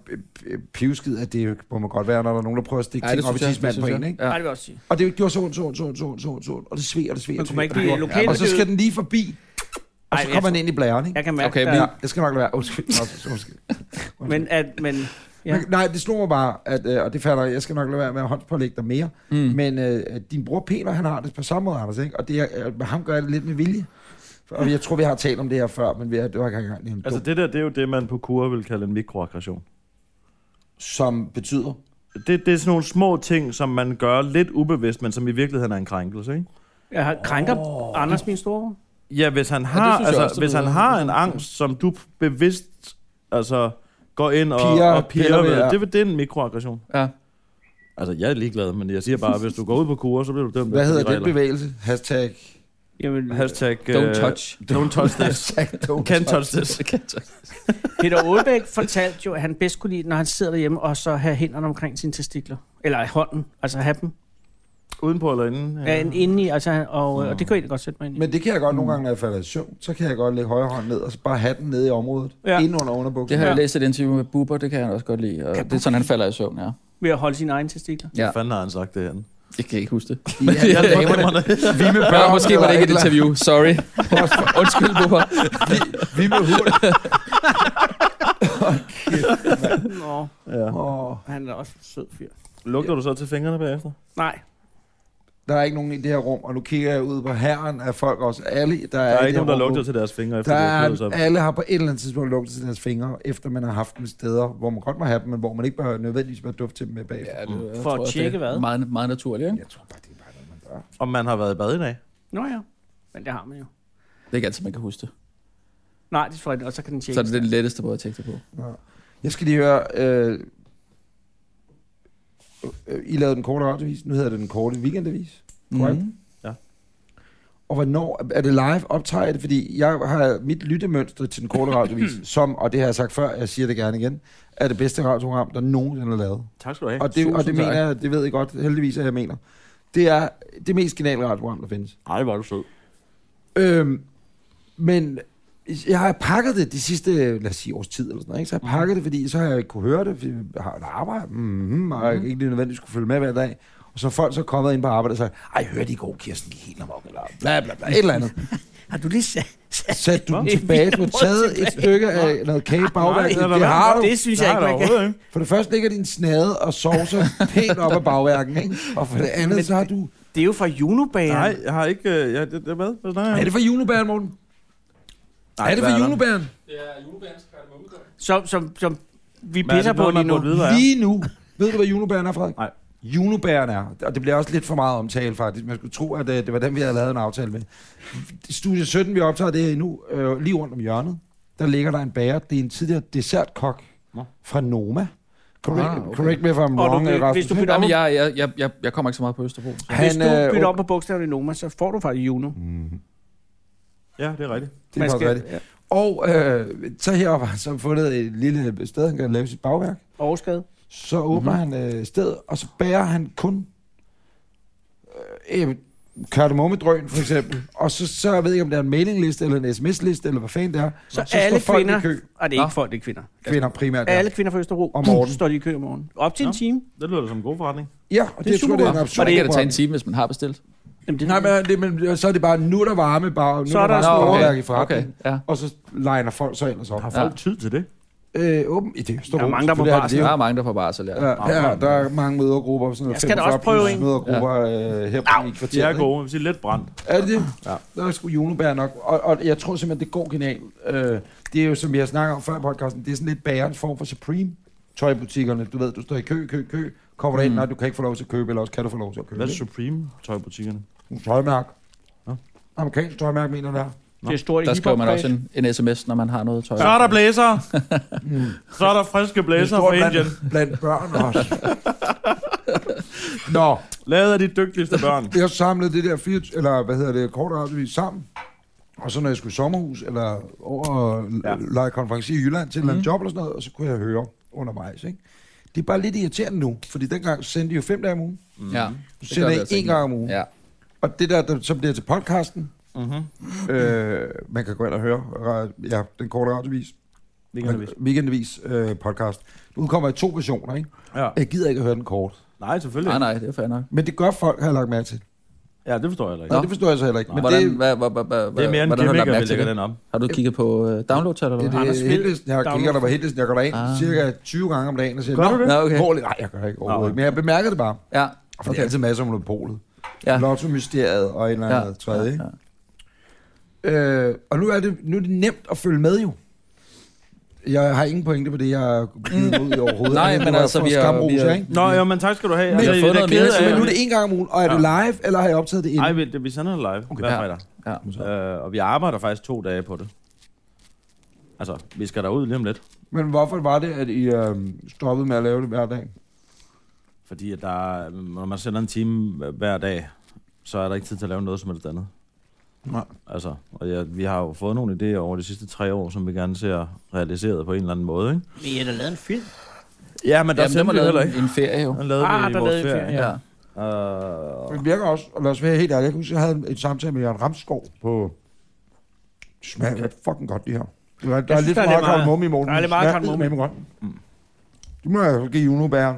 [SPEAKER 2] øh, pivsket, at det må man godt være, når der er nogen, der prøver at stikke
[SPEAKER 5] Ej, det
[SPEAKER 2] ting op i
[SPEAKER 5] synes jeg, det
[SPEAKER 2] tidsmanden på
[SPEAKER 5] synes
[SPEAKER 2] en,
[SPEAKER 5] jeg.
[SPEAKER 2] ikke?
[SPEAKER 5] Ja.
[SPEAKER 4] Nej, det vil jeg også sige.
[SPEAKER 2] Og det gjorde så ondt, så ondt, så ondt, så ondt, så ondt, så ondt, og det sved, og det sved.
[SPEAKER 4] Men
[SPEAKER 2] og
[SPEAKER 4] kunne
[SPEAKER 2] det
[SPEAKER 4] man ikke
[SPEAKER 2] sved, og det
[SPEAKER 4] blive
[SPEAKER 2] gjorde-
[SPEAKER 4] lokale?
[SPEAKER 2] Og så skal den lige forbi. og
[SPEAKER 4] Ej,
[SPEAKER 2] så
[SPEAKER 4] men jeg
[SPEAKER 2] kommer
[SPEAKER 4] tror-
[SPEAKER 2] den ind i blæren, ikke?
[SPEAKER 4] Jeg kan mærke,
[SPEAKER 5] Okay,
[SPEAKER 4] okay,
[SPEAKER 5] men-
[SPEAKER 4] der,
[SPEAKER 2] Ja, jeg skal nok lade være. Undskyld. Nå, så- undskyld.
[SPEAKER 4] men, at, men Ja.
[SPEAKER 2] Ja. Men, nej, det slog mig bare, at, øh, og det fatter jeg, jeg skal nok lade være med at håndspålægge dig mere, mm. men øh, din bror Peter, han har det på samme måde, Anders, ikke? og det er, øh, ham gør jeg det lidt med vilje. Og jeg tror, vi har talt om det her før, men vi har, det var ikke engang det er en
[SPEAKER 3] Altså
[SPEAKER 2] altså,
[SPEAKER 3] det der, det er jo det, man på kur vil kalde en mikroaggression.
[SPEAKER 2] Som betyder,
[SPEAKER 3] Det, det er sådan nogle små ting, som man gør lidt ubevidst, men som i virkeligheden er en krænkelse, ikke?
[SPEAKER 4] jeg har, krænker oh. Anders min store.
[SPEAKER 3] Ja, hvis han har, ja,
[SPEAKER 5] synes jeg
[SPEAKER 3] altså,
[SPEAKER 5] også, det
[SPEAKER 3] hvis han
[SPEAKER 5] lyder-
[SPEAKER 3] har en angst, som du bevidst altså, går ind og
[SPEAKER 2] Piger
[SPEAKER 3] piger,
[SPEAKER 2] og
[SPEAKER 3] og piger
[SPEAKER 2] piller ved,
[SPEAKER 3] ved,
[SPEAKER 2] ja.
[SPEAKER 3] det, vil- det er en mikroaggression.
[SPEAKER 5] Ja.
[SPEAKER 3] Altså, jeg er ligeglad, men jeg siger bare, hvis du går ud på kur, så bliver du dømt.
[SPEAKER 2] hvad
[SPEAKER 3] efter de
[SPEAKER 2] hedder den
[SPEAKER 3] regler.
[SPEAKER 2] bevægelse? Hashtag,
[SPEAKER 4] Jamen,
[SPEAKER 3] Hashtag...
[SPEAKER 5] Don't
[SPEAKER 3] øh,
[SPEAKER 2] <laughs>
[SPEAKER 5] touch.
[SPEAKER 3] Don't touch this.
[SPEAKER 2] hashtag don't
[SPEAKER 3] Can't touch this.
[SPEAKER 4] Peter Olbæk fortalte jo, at han bedst kunne lide, når han sidder derhjemme, og så have hænderne omkring sine testikler. Eller hånden, altså have dem.
[SPEAKER 3] Udenpå eller inden? øh,
[SPEAKER 4] Ja. Indeni, altså, han- og, øh, og det kunne jeg egentlig godt sætte mig ind i.
[SPEAKER 2] Men det kan jeg godt nogle gange, når jeg falder i søvn, så kan jeg godt lægge højre hånd ned, og så bare have den nede i området,
[SPEAKER 4] Ja.
[SPEAKER 2] ja. inden under underbuksen.
[SPEAKER 5] Det har jeg læst et interview med Bubber, det kan han også godt lide. Og det er sådan, han falder i søvn, ja.
[SPEAKER 4] Ved at holde sine egne testikler.
[SPEAKER 5] Ja.
[SPEAKER 3] Hvad fanden har han sagt det her?
[SPEAKER 5] Jeg kan ikke huske det.
[SPEAKER 2] Ja, damerne. Vi med
[SPEAKER 5] Nå,
[SPEAKER 2] børn,
[SPEAKER 5] måske var
[SPEAKER 2] eller
[SPEAKER 5] det ikke et
[SPEAKER 2] eller-
[SPEAKER 5] interview.
[SPEAKER 2] <laughs>
[SPEAKER 5] Sorry. Undskyld, Bubber.
[SPEAKER 2] Vi med hund.
[SPEAKER 4] Nå,
[SPEAKER 3] Ja.
[SPEAKER 2] Åh,
[SPEAKER 4] han er også en sød fyr.
[SPEAKER 3] Lugter du så til fingrene bagefter?
[SPEAKER 4] Nej,
[SPEAKER 2] der er ikke nogen i det her rum, og nu kigger jeg ud på herren af folk også. Alle, der er,
[SPEAKER 3] Der
[SPEAKER 2] i
[SPEAKER 3] er
[SPEAKER 2] det
[SPEAKER 3] ikke
[SPEAKER 2] her
[SPEAKER 3] nogen, der
[SPEAKER 2] rum nu.
[SPEAKER 3] lugter til deres fingre, efter
[SPEAKER 2] Der
[SPEAKER 3] det er
[SPEAKER 2] er,
[SPEAKER 3] knyttet sig op.
[SPEAKER 2] alle har på et eller andet tidspunkt lugtet til deres fingre, efter man har haft dem steder, hvor man godt må have dem, men hvor man ikke behøver nødvendigvis behøver duft til dem med bagefter.
[SPEAKER 5] Ja, det, jeg
[SPEAKER 4] For at
[SPEAKER 5] også,
[SPEAKER 4] tjekke
[SPEAKER 5] det er
[SPEAKER 4] hvad?
[SPEAKER 5] Mm. Meget, meget naturligt, ikke?
[SPEAKER 2] Jeg tror bare, det er bare noget, man gør.
[SPEAKER 3] Om man har været i bad i dag?
[SPEAKER 4] nå ja. Men det har man jo.
[SPEAKER 5] Det er ikke altid, man kan huske det.
[SPEAKER 4] Nej, det tror jeg, ikke, og så kan den tjekke.
[SPEAKER 5] Så er det den letteste måde at tjekke det på.
[SPEAKER 2] Jeg skal lige høre... Øh, øh, I lavede den korte radiovis, nu hedder det den korte weekendavis. Korrekt?
[SPEAKER 5] Mhm.
[SPEAKER 2] Og hvornår er det live optager I det? Fordi jeg har mit lyttemønster til den korte
[SPEAKER 3] <clears throat>
[SPEAKER 2] radiovis, som, og det har jeg sagt før, jeg siger det gerne igen, er det bedste radioprogram, der nogensinde er lavet.
[SPEAKER 3] Tak skal du have.
[SPEAKER 2] Og det, og det
[SPEAKER 5] tusind tak.
[SPEAKER 2] mener jeg, det ved I godt, heldigvis, at jeg mener. Det er det mest geniale radioprogram, der findes.
[SPEAKER 3] Ej, hvor er du sød.
[SPEAKER 2] Øhm, men jeg har pakket det de sidste, lad os sige, års tid eller sådan noget, ikke? Så jeg har pakket det, fordi så har jeg ikke kunne høre det, fordi jeg har et arbejde, mm-hmm, og jeg ikke lige nødvendigvis skulle følge med hver dag. Og så er folk så kommet ind på arbejde og sagt, ej, hørte I går, Kirsten gik helt amok, eller bla bla bla, et eller <laughs> andet.
[SPEAKER 4] Har du lige sagt?
[SPEAKER 2] Satte du den
[SPEAKER 4] Nå.
[SPEAKER 2] tilbage, du har taget et stykke af noget kage bagværket, det har du.
[SPEAKER 4] Det synes jeg ikke, man kan.
[SPEAKER 3] ikke.
[SPEAKER 2] For det første ligger din snade og sovser pænt op ad bagværken, ikke? Og for det andet, så har du...
[SPEAKER 4] Det er jo fra Junobageren.
[SPEAKER 3] Nej, jeg har ikke... øh, Ja, det, det er hvad? Hvad snakker jeg om?
[SPEAKER 2] Er det for julebæren, Morten? Er det for julebæren?
[SPEAKER 4] Som, som, som vi
[SPEAKER 3] Hvad er
[SPEAKER 4] pisser
[SPEAKER 3] det,
[SPEAKER 4] på
[SPEAKER 3] noget,
[SPEAKER 4] lige
[SPEAKER 3] man
[SPEAKER 4] nu.
[SPEAKER 3] burde vide, hvad er?
[SPEAKER 2] Lige nu. Ved du, hvad junebæren er, Frederik?
[SPEAKER 3] Nej.
[SPEAKER 2] Junebæren er, og det bliver også lidt for meget omtale faktisk, man skulle tro, at øh, det var dem, vi havde lavet en aftale med. Studie 17, vi optager det her endnu, øh, lige rundt om hjørnet, der ligger der en bager. Det er en tidligere dessertkok
[SPEAKER 3] Nå.
[SPEAKER 2] fra Noma. Correct,
[SPEAKER 5] Ah,
[SPEAKER 2] ah,
[SPEAKER 5] okay.
[SPEAKER 2] okay. correct me if I'm
[SPEAKER 4] Og du,
[SPEAKER 2] wrong,
[SPEAKER 4] hvis-
[SPEAKER 2] Rasmus.
[SPEAKER 4] hvis du bytter
[SPEAKER 5] Nå,
[SPEAKER 4] om,
[SPEAKER 5] men jeg, jeg, jeg, jeg, jeg kommer ikke så meget på Østerbro.
[SPEAKER 4] hvis
[SPEAKER 2] øh,
[SPEAKER 4] du bytter om på bogstaverne i Noma, så får du faktisk Juno.
[SPEAKER 3] Ja, det er rigtigt.
[SPEAKER 2] Det er
[SPEAKER 4] Man
[SPEAKER 2] faktisk
[SPEAKER 4] skal-
[SPEAKER 2] rigtigt. Og øh, så heroppe har han så fundet et lille sted, han kan lave sit bagværk.
[SPEAKER 4] Overskade.
[SPEAKER 2] Så åbner
[SPEAKER 4] Mhm.
[SPEAKER 2] mm-hmm. han øh, stedet, og så bærer han kun øh, øh, kardemommedrøn, for eksempel. Og så, så jeg ved jeg ikke, om det er en mailingliste, eller en sms-liste, eller hvad fanden det er.
[SPEAKER 4] Så,
[SPEAKER 2] står
[SPEAKER 4] alle
[SPEAKER 2] folk
[SPEAKER 4] kvinder...
[SPEAKER 2] i kø,
[SPEAKER 4] Ej, det er
[SPEAKER 5] Nå.
[SPEAKER 4] ikke folk, det er kvinder.
[SPEAKER 2] kvinder primært. Ja,
[SPEAKER 4] Alle kvinder fra Østerbro
[SPEAKER 2] Og Morten.
[SPEAKER 4] står de i kø om morgenen. Op til en
[SPEAKER 3] Nå.
[SPEAKER 4] time.
[SPEAKER 3] Det lyder da som en god forretning.
[SPEAKER 2] ja og det, det tror jeg, det er en absurd
[SPEAKER 5] Og det kan det tage en
[SPEAKER 2] program.
[SPEAKER 5] time, hvis man har bestilt.
[SPEAKER 4] Jamen, det,
[SPEAKER 2] Nej, men, det, men så er det bare, nu er der varme, bare, nu
[SPEAKER 4] Så er
[SPEAKER 2] der
[SPEAKER 4] der
[SPEAKER 2] varme
[SPEAKER 4] sådan-
[SPEAKER 2] bagværk i
[SPEAKER 5] okay.
[SPEAKER 2] forretningen.
[SPEAKER 5] Ja.
[SPEAKER 2] Og så liner folk så ellers op.
[SPEAKER 3] Har
[SPEAKER 5] Ja.
[SPEAKER 3] folk tid til det?
[SPEAKER 2] Øh, åben, i det
[SPEAKER 4] Der er mange, der er på
[SPEAKER 2] selvfølgelig er det
[SPEAKER 4] barsel.
[SPEAKER 2] det jo.
[SPEAKER 5] Der er mange, der får barsel, ja.
[SPEAKER 2] Ja, ja, der er mange mødergrupper. Sådan noget
[SPEAKER 4] Jeg skal da også prøve
[SPEAKER 2] 45
[SPEAKER 4] en.
[SPEAKER 2] Mødergrupper ja. øh, her på i
[SPEAKER 3] De
[SPEAKER 2] kvarteret.
[SPEAKER 3] er
[SPEAKER 2] ikke?
[SPEAKER 3] gode. Jeg vil sige, lidt brændt.
[SPEAKER 2] Er det det? Ja. Der er sgu junebær nok. Og, og jeg tror simpelthen, det går genialt. Øh, det er jo, som jeg snakker om før i podcasten, det er sådan lidt bærens form for Supreme tøjbutikkerne. Du ved, du står i kø, kø, kø. Kommer mm. ind, nej, du kan ikke få lov til at købe, eller også kan du få lov til at købe.
[SPEAKER 3] Hvad er
[SPEAKER 2] Hvad
[SPEAKER 3] Supreme tøjbutikkerne?
[SPEAKER 2] Tøjmærk.
[SPEAKER 3] Nå.
[SPEAKER 2] Amerikansk tøjmærk, mener jeg, det er.
[SPEAKER 4] det er stort i
[SPEAKER 5] Der skriver man
[SPEAKER 4] hiphop-fag.
[SPEAKER 5] også en, en sms, når man har noget tøj.
[SPEAKER 3] Så er der blæser. Så er der friske blæser fra Indien.
[SPEAKER 2] blandt, blandt børn også.
[SPEAKER 3] <laughs>
[SPEAKER 2] Nå,
[SPEAKER 3] Lavet af de dygtigste børn.
[SPEAKER 2] jeg samlede det der fire, eller hvad hedder det, kort og radiovis sammen. Og så når jeg skulle i sommerhus, eller over og
[SPEAKER 3] Ja. Mhm.
[SPEAKER 2] ja. lege konference i Jylland til en mm. job eller sådan noget, og så kunne jeg høre undervejs, ikke? Det er bare lidt irriterende nu, fordi dengang sendte de jo fem dage om ugen.
[SPEAKER 3] Mm.
[SPEAKER 5] Ja.
[SPEAKER 2] Nu
[SPEAKER 5] Det
[SPEAKER 2] sender
[SPEAKER 5] gør
[SPEAKER 2] jeg
[SPEAKER 5] vi altså
[SPEAKER 2] én
[SPEAKER 5] ikke.
[SPEAKER 2] gang om ugen. Ja.
[SPEAKER 5] Ja.
[SPEAKER 2] Og det der, der så bliver til podcasten,
[SPEAKER 3] Mhm.
[SPEAKER 2] øh, man kan gå ind og høre ra- ja, den korte radiovis,
[SPEAKER 3] Det kan jeg
[SPEAKER 2] weekendavis, weekendavis
[SPEAKER 3] vist.
[SPEAKER 2] øh, podcast. Nu udkommer jeg i to versioner, ikke?
[SPEAKER 3] Ja.
[SPEAKER 2] Jeg gider ikke at høre den kort.
[SPEAKER 3] Nej, selvfølgelig.
[SPEAKER 5] Ah, Nej, nej, det er fair nok.
[SPEAKER 2] Men det gør folk, har jeg lagt mærke til.
[SPEAKER 3] Ja, det forstår jeg heller ikke.
[SPEAKER 2] Nå,
[SPEAKER 5] Nå.
[SPEAKER 2] det forstår jeg så heller ikke. Men
[SPEAKER 5] hvordan,
[SPEAKER 2] det,
[SPEAKER 5] hvad, hvad, hvad, hvad,
[SPEAKER 3] Det er mere en
[SPEAKER 5] hvordan har
[SPEAKER 3] gimmick,
[SPEAKER 5] du lagt
[SPEAKER 3] at vi
[SPEAKER 5] mærke til
[SPEAKER 3] lægger
[SPEAKER 5] det?
[SPEAKER 3] den op.
[SPEAKER 5] Har du kigget på uh, download-tal, eller
[SPEAKER 2] det,
[SPEAKER 5] hvad?
[SPEAKER 2] det,
[SPEAKER 4] Anders
[SPEAKER 2] det,
[SPEAKER 4] Fjeldt,
[SPEAKER 2] Hendelsen, jeg kigger der på Hendelsen, jeg går derind ah.
[SPEAKER 5] Ah.
[SPEAKER 2] cirka 20 gange om dagen og siger,
[SPEAKER 3] Gør du
[SPEAKER 2] "Nå,
[SPEAKER 3] det?
[SPEAKER 5] Nå, okay.
[SPEAKER 2] hvor er det?" Nej, jeg gør ikke overhovedet
[SPEAKER 3] Nå.
[SPEAKER 2] ikke, men jeg bemærkede det bare.
[SPEAKER 5] Ja,
[SPEAKER 2] For okay. det er altid masser om monopolet.
[SPEAKER 5] ja.
[SPEAKER 2] Ja. Lotto-mysteriet og en eller anden ja. tredje.
[SPEAKER 5] ja.
[SPEAKER 2] Ja, ja. Øh, og nu er, det, nu er det nemt at følge med jo. Jeg har ingen pointe på det, jeg har givet ud i overhovedet.
[SPEAKER 5] Nej,
[SPEAKER 2] Andet end
[SPEAKER 5] men
[SPEAKER 2] du har
[SPEAKER 5] altså,
[SPEAKER 2] fået
[SPEAKER 5] vi har-
[SPEAKER 2] skamros,
[SPEAKER 5] vi har-
[SPEAKER 2] ikke?
[SPEAKER 3] Nå, jo, men tak skal du have.
[SPEAKER 5] Men- Jeg har fået
[SPEAKER 3] det er
[SPEAKER 5] noget
[SPEAKER 3] ked
[SPEAKER 5] mere,
[SPEAKER 3] af-
[SPEAKER 5] så
[SPEAKER 2] Men nu er det en gang om ugen, og er ja. du live, eller har jeg optaget det inden?
[SPEAKER 3] Ej, vi, det, vi sender det live okay. hver
[SPEAKER 5] Ja.
[SPEAKER 3] fredag.
[SPEAKER 5] Ja.
[SPEAKER 3] Øh, og vi arbejder faktisk to dage på det. Altså, vi skal derud lige om lidt.
[SPEAKER 2] Men hvorfor var det, at I øh, stoppede med at lave det hver dag?
[SPEAKER 3] Fordi at der, er- når man sender en time hver dag, så er der ikke tid til at lave noget som helst andet.
[SPEAKER 2] Nej.
[SPEAKER 3] Altså, og ja, vi har jo fået nogle idéer over de sidste tre år, som vi gerne ser realiseret på en eller anden måde, ikke?
[SPEAKER 4] Vi har da lavet en film.
[SPEAKER 3] Ja, men der
[SPEAKER 5] Jamen, den
[SPEAKER 3] sendte
[SPEAKER 5] var
[SPEAKER 3] vi heller ikke.
[SPEAKER 5] lavet en ferie, jo.
[SPEAKER 3] Den lavede
[SPEAKER 4] Ah,
[SPEAKER 3] vi i
[SPEAKER 4] der
[SPEAKER 3] vores
[SPEAKER 4] lavede vi
[SPEAKER 3] ferie.
[SPEAKER 4] ferie,
[SPEAKER 5] Ja.
[SPEAKER 3] Øh,
[SPEAKER 2] Men det virker også, og lad os være helt ærlig, jeg kan huske, jeg havde en samtale med Jørgen Ramskov på... Det smager ret fucking godt, det her. Det var, der er
[SPEAKER 4] synes,
[SPEAKER 2] lidt
[SPEAKER 4] der
[SPEAKER 2] for
[SPEAKER 4] er
[SPEAKER 2] meget
[SPEAKER 4] lidt meget-
[SPEAKER 2] Karl Mumme i morgen.
[SPEAKER 4] der er lidt meget Karl Mumme.
[SPEAKER 2] godt. Det må jeg give Juno bæren.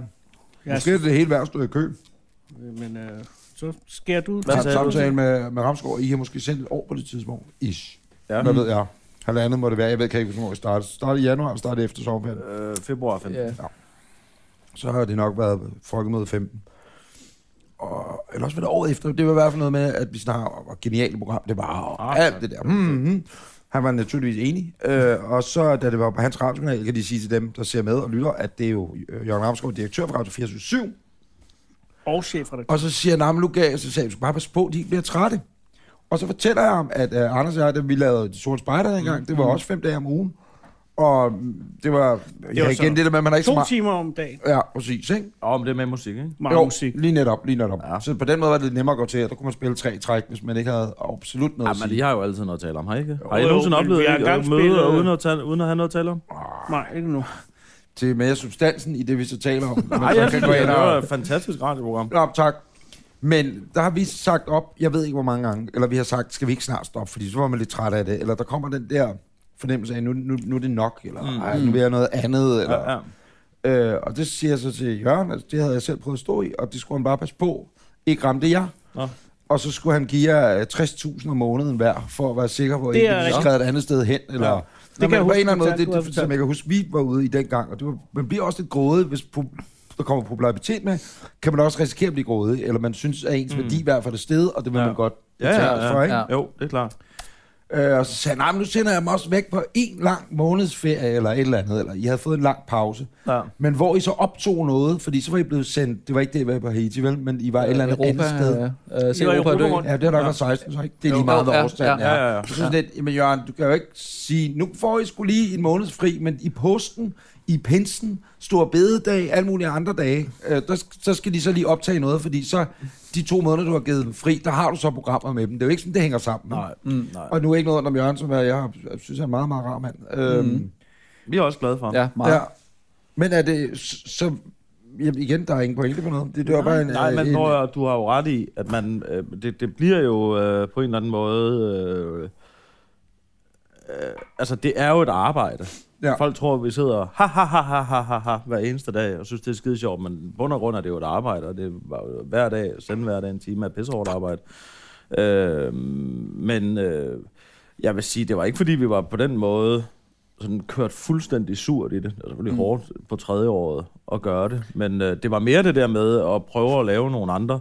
[SPEAKER 4] Jeg
[SPEAKER 2] Måske er det hele værd at stå i kø.
[SPEAKER 4] Men øh, så skærer du... altså-
[SPEAKER 3] Hvad sagde du?
[SPEAKER 2] Samtalen med, med Ramskov, I har måske sendt et år på det tidspunkt. Ish.
[SPEAKER 3] ja.
[SPEAKER 2] Hvad ved jeg? Halvandet må det være. Jeg ved kan ikke, hvornår I startede. Startede i januar, startede efter sommerferien.
[SPEAKER 3] Øh, februar 15.
[SPEAKER 5] Ja.
[SPEAKER 2] så har det nok været folkemøde 15. Og, eller også var det året efter. Det var i hvert fald noget med, at vi snakker om, hvor genialt program det var, og
[SPEAKER 3] Ah,
[SPEAKER 2] ah, alt det der. Mm-hmm. Han var naturligvis enig. Øh, og så, da det var på hans radiokanal, kan de sige til dem, der ser med og lytter, at det er jo øh, Jørgen Ramskov, direktør for Radio 427.
[SPEAKER 4] Og chefredaktør.
[SPEAKER 2] Og så siger han, nu gav jeg, så sagde jeg, "Du skal bare passe på, de ikke bliver trætte. Og så fortæller jeg ham, at uh, Anders og jeg, da vi lavede De Sorte Spejder dengang, det var også fem dage om ugen. Og mm, det var, det var ja,
[SPEAKER 4] var
[SPEAKER 2] igen
[SPEAKER 4] sådan
[SPEAKER 2] det der med, at man har ikke så
[SPEAKER 4] To
[SPEAKER 2] meget...
[SPEAKER 4] timer om dagen.
[SPEAKER 2] Ja, præcis, ikke?
[SPEAKER 3] Og om det er med musik, ikke?
[SPEAKER 4] Meget musik.
[SPEAKER 2] lige netop, lige netop.
[SPEAKER 3] Ja.
[SPEAKER 2] Ja. Så på den måde var det lidt nemmere at gå til, at der kunne man spille tre træk, hvis man ikke havde absolut noget
[SPEAKER 3] Ja,
[SPEAKER 2] at
[SPEAKER 3] Ah, men
[SPEAKER 2] sige.
[SPEAKER 3] de har jo altid noget at tale om, har I ikke? Har I
[SPEAKER 4] Jo,
[SPEAKER 3] nogensinde
[SPEAKER 4] men
[SPEAKER 3] oplevet
[SPEAKER 4] vi har
[SPEAKER 3] ikke at
[SPEAKER 4] engang
[SPEAKER 3] møde
[SPEAKER 4] spillet-
[SPEAKER 3] uden at, tale, uden at have noget at tale om?
[SPEAKER 4] Nej, ikke nu.
[SPEAKER 2] Til mere substansen i det, vi så taler
[SPEAKER 3] <laughs>
[SPEAKER 2] om.
[SPEAKER 3] Nej, jeg synes,
[SPEAKER 2] gå
[SPEAKER 3] Altså, det
[SPEAKER 2] ind og-
[SPEAKER 3] var et fantastisk radioprogram.
[SPEAKER 2] Nå, tak. Men der har vi sagt op, jeg ved ikke hvor mange gange, eller vi har sagt, skal vi ikke snart stoppe, fordi så var man lidt træt af det, eller der kommer den der fornemmelse af, nu, nu, nu er det nok, eller
[SPEAKER 3] Mm.
[SPEAKER 2] ej, nu vil jeg noget andet, eller...
[SPEAKER 3] Ja, ja.
[SPEAKER 2] Øh, og det siger jeg så til Jørgen, altså, det havde jeg selv prøvet at stå i, og det skulle han bare passe på. Ikke ramte jeg.
[SPEAKER 3] Nå.
[SPEAKER 2] Og så skulle han give jer øh, 60.000 om måneden hver, for at være sikker på, at I
[SPEAKER 4] Det er
[SPEAKER 2] ikke
[SPEAKER 4] rigtigt.
[SPEAKER 2] skrev et andet sted hen. Eller,
[SPEAKER 3] Ja.
[SPEAKER 2] ja.
[SPEAKER 3] Det
[SPEAKER 2] Nå,
[SPEAKER 4] kan jeg
[SPEAKER 2] men på
[SPEAKER 4] huske,
[SPEAKER 2] en eller anden
[SPEAKER 4] du
[SPEAKER 2] måde, det,
[SPEAKER 4] fortalte,
[SPEAKER 2] det,
[SPEAKER 4] du
[SPEAKER 2] det,
[SPEAKER 4] havde
[SPEAKER 2] som jeg kan huske, vi var ude i den gang, og det var, man bliver også lidt grådig, hvis pro, der kommer popularitet med, kan man også risikere at blive grådig, eller man synes, at ens
[SPEAKER 3] Mm.
[SPEAKER 2] mm. værdi i hvert fald er stedet, og det vil
[SPEAKER 3] Ja.
[SPEAKER 2] man godt
[SPEAKER 3] Ja, ja,
[SPEAKER 2] betale
[SPEAKER 3] ja.
[SPEAKER 2] for, ikke?
[SPEAKER 5] Ja.
[SPEAKER 3] Jo, det er klart.
[SPEAKER 2] Øh, og så sagde han, "Nej, men nu sender jeg mig også væk på en lang månedsferie, eller et eller andet, eller I havde fået en lang pause.
[SPEAKER 3] Ja.
[SPEAKER 2] Men hvor I så optog noget, fordi så var I blevet sendt, det var ikke det, I var på Haiti, vel? Men I var et eller andet
[SPEAKER 5] Øh, Europa,
[SPEAKER 2] andet sted. Ja,
[SPEAKER 5] Øh, se
[SPEAKER 4] Det var
[SPEAKER 5] Europa
[SPEAKER 4] Europa
[SPEAKER 5] dø.
[SPEAKER 4] rundt.
[SPEAKER 2] ja det har nok
[SPEAKER 3] Ja.
[SPEAKER 2] været 16, så ikke? Det er
[SPEAKER 5] Jo,
[SPEAKER 2] lige meget,
[SPEAKER 5] jo,
[SPEAKER 2] hvad
[SPEAKER 5] ja,
[SPEAKER 2] årstanden
[SPEAKER 5] ja,
[SPEAKER 2] er.
[SPEAKER 3] ja, ja.
[SPEAKER 2] Så sådan lidt, men Jørgen, du kan jo ikke sige, nu får I skulle lige en måneds fri, men i posten, i pinsen, stor bededag, alle mulige andre dage, øh, der, så skal de så lige optage noget, fordi så de to måneder, du har givet dem fri, der har du så programmer med dem. Det er jo ikke sådan, det hænger sammen.
[SPEAKER 3] Nej,
[SPEAKER 5] Mm.
[SPEAKER 3] nej.
[SPEAKER 2] Og nu er ikke noget om Jørgen, som jeg, jeg har- jeg synes, han er en meget, meget rar mand. Øhm,
[SPEAKER 5] Mm.
[SPEAKER 3] Vi er også glade for ham.
[SPEAKER 5] Ja, meget.
[SPEAKER 2] Ja. Men er det s- så... Jamen igen, der er ingen pointe på noget. Det, det var bare en... øh,
[SPEAKER 3] Nej, men
[SPEAKER 2] en,
[SPEAKER 3] prøv, at- du har jo ret i, at man, øh, det, det bliver jo øh, på en eller anden måde... Øh, øh, altså, det er jo et arbejde.
[SPEAKER 2] Ja.
[SPEAKER 3] Folk tror, at vi sidder ha, ha, ha, ha, ha, ha, ha, hver eneste dag, og synes, det er skide sjovt, men bund og grund er det jo et arbejde, og det var jo hver dag, sende hver dag en time af pissehårdt arbejde. Øh, men øh, jeg vil sige, det var ikke, fordi vi var på den måde sådan kørt fuldstændig surt i det. Det var selvfølgelig mm. hårdt på tredje året at gøre det, men øh, det var mere det der med at prøve at lave nogle andre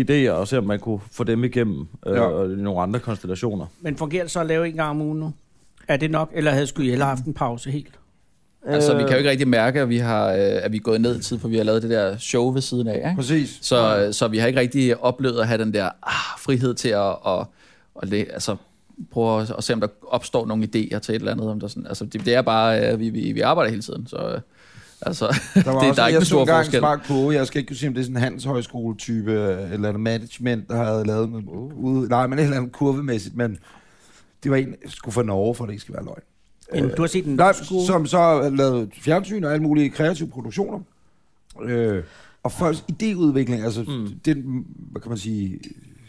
[SPEAKER 3] idéer, og se om man kunne få dem igennem øh,
[SPEAKER 2] Ja.
[SPEAKER 3] ja. nogle andre konstellationer.
[SPEAKER 4] Men fungerer det så at lave en gang om ugen nu? Er det nok, eller havde skulle I hellere haft en pause helt?
[SPEAKER 5] Altså, vi kan jo ikke rigtig mærke, at vi, har, øh, at vi er gået ned i tid, for vi har lavet det der show ved siden af. Ikke?
[SPEAKER 2] Præcis.
[SPEAKER 5] Så, øh, så vi har ikke rigtig oplevet at have den der ah, frihed til at, at, at, læ- altså, prøve at, at se, om der opstår nogle idéer til et eller andet. Om der sådan, altså, det, det er bare, at vi, vi, vi arbejder hele tiden. Så, øh, altså, det, <laughs>
[SPEAKER 2] Der, var
[SPEAKER 5] der
[SPEAKER 2] også,
[SPEAKER 5] er ikke
[SPEAKER 2] jeg
[SPEAKER 5] en
[SPEAKER 2] så
[SPEAKER 5] stor
[SPEAKER 2] engang
[SPEAKER 5] forskel.
[SPEAKER 2] en smart koge. Jeg skal ikke kunne sige, om det er sådan en handelshøjskole-type, øh, eller en management, der havde lavet en, ude, nej, men et eller andet kurvemæssigt, men det var en, jeg skulle fra Norge, for at det ikke skal være løgn.
[SPEAKER 4] Øh, du har set den
[SPEAKER 2] Nej,
[SPEAKER 4] skole.
[SPEAKER 2] som så lavede fjernsyn og alle mulige kreative produktioner. Øh, og folks idéudvikling, altså mm. den, hvad kan man sige,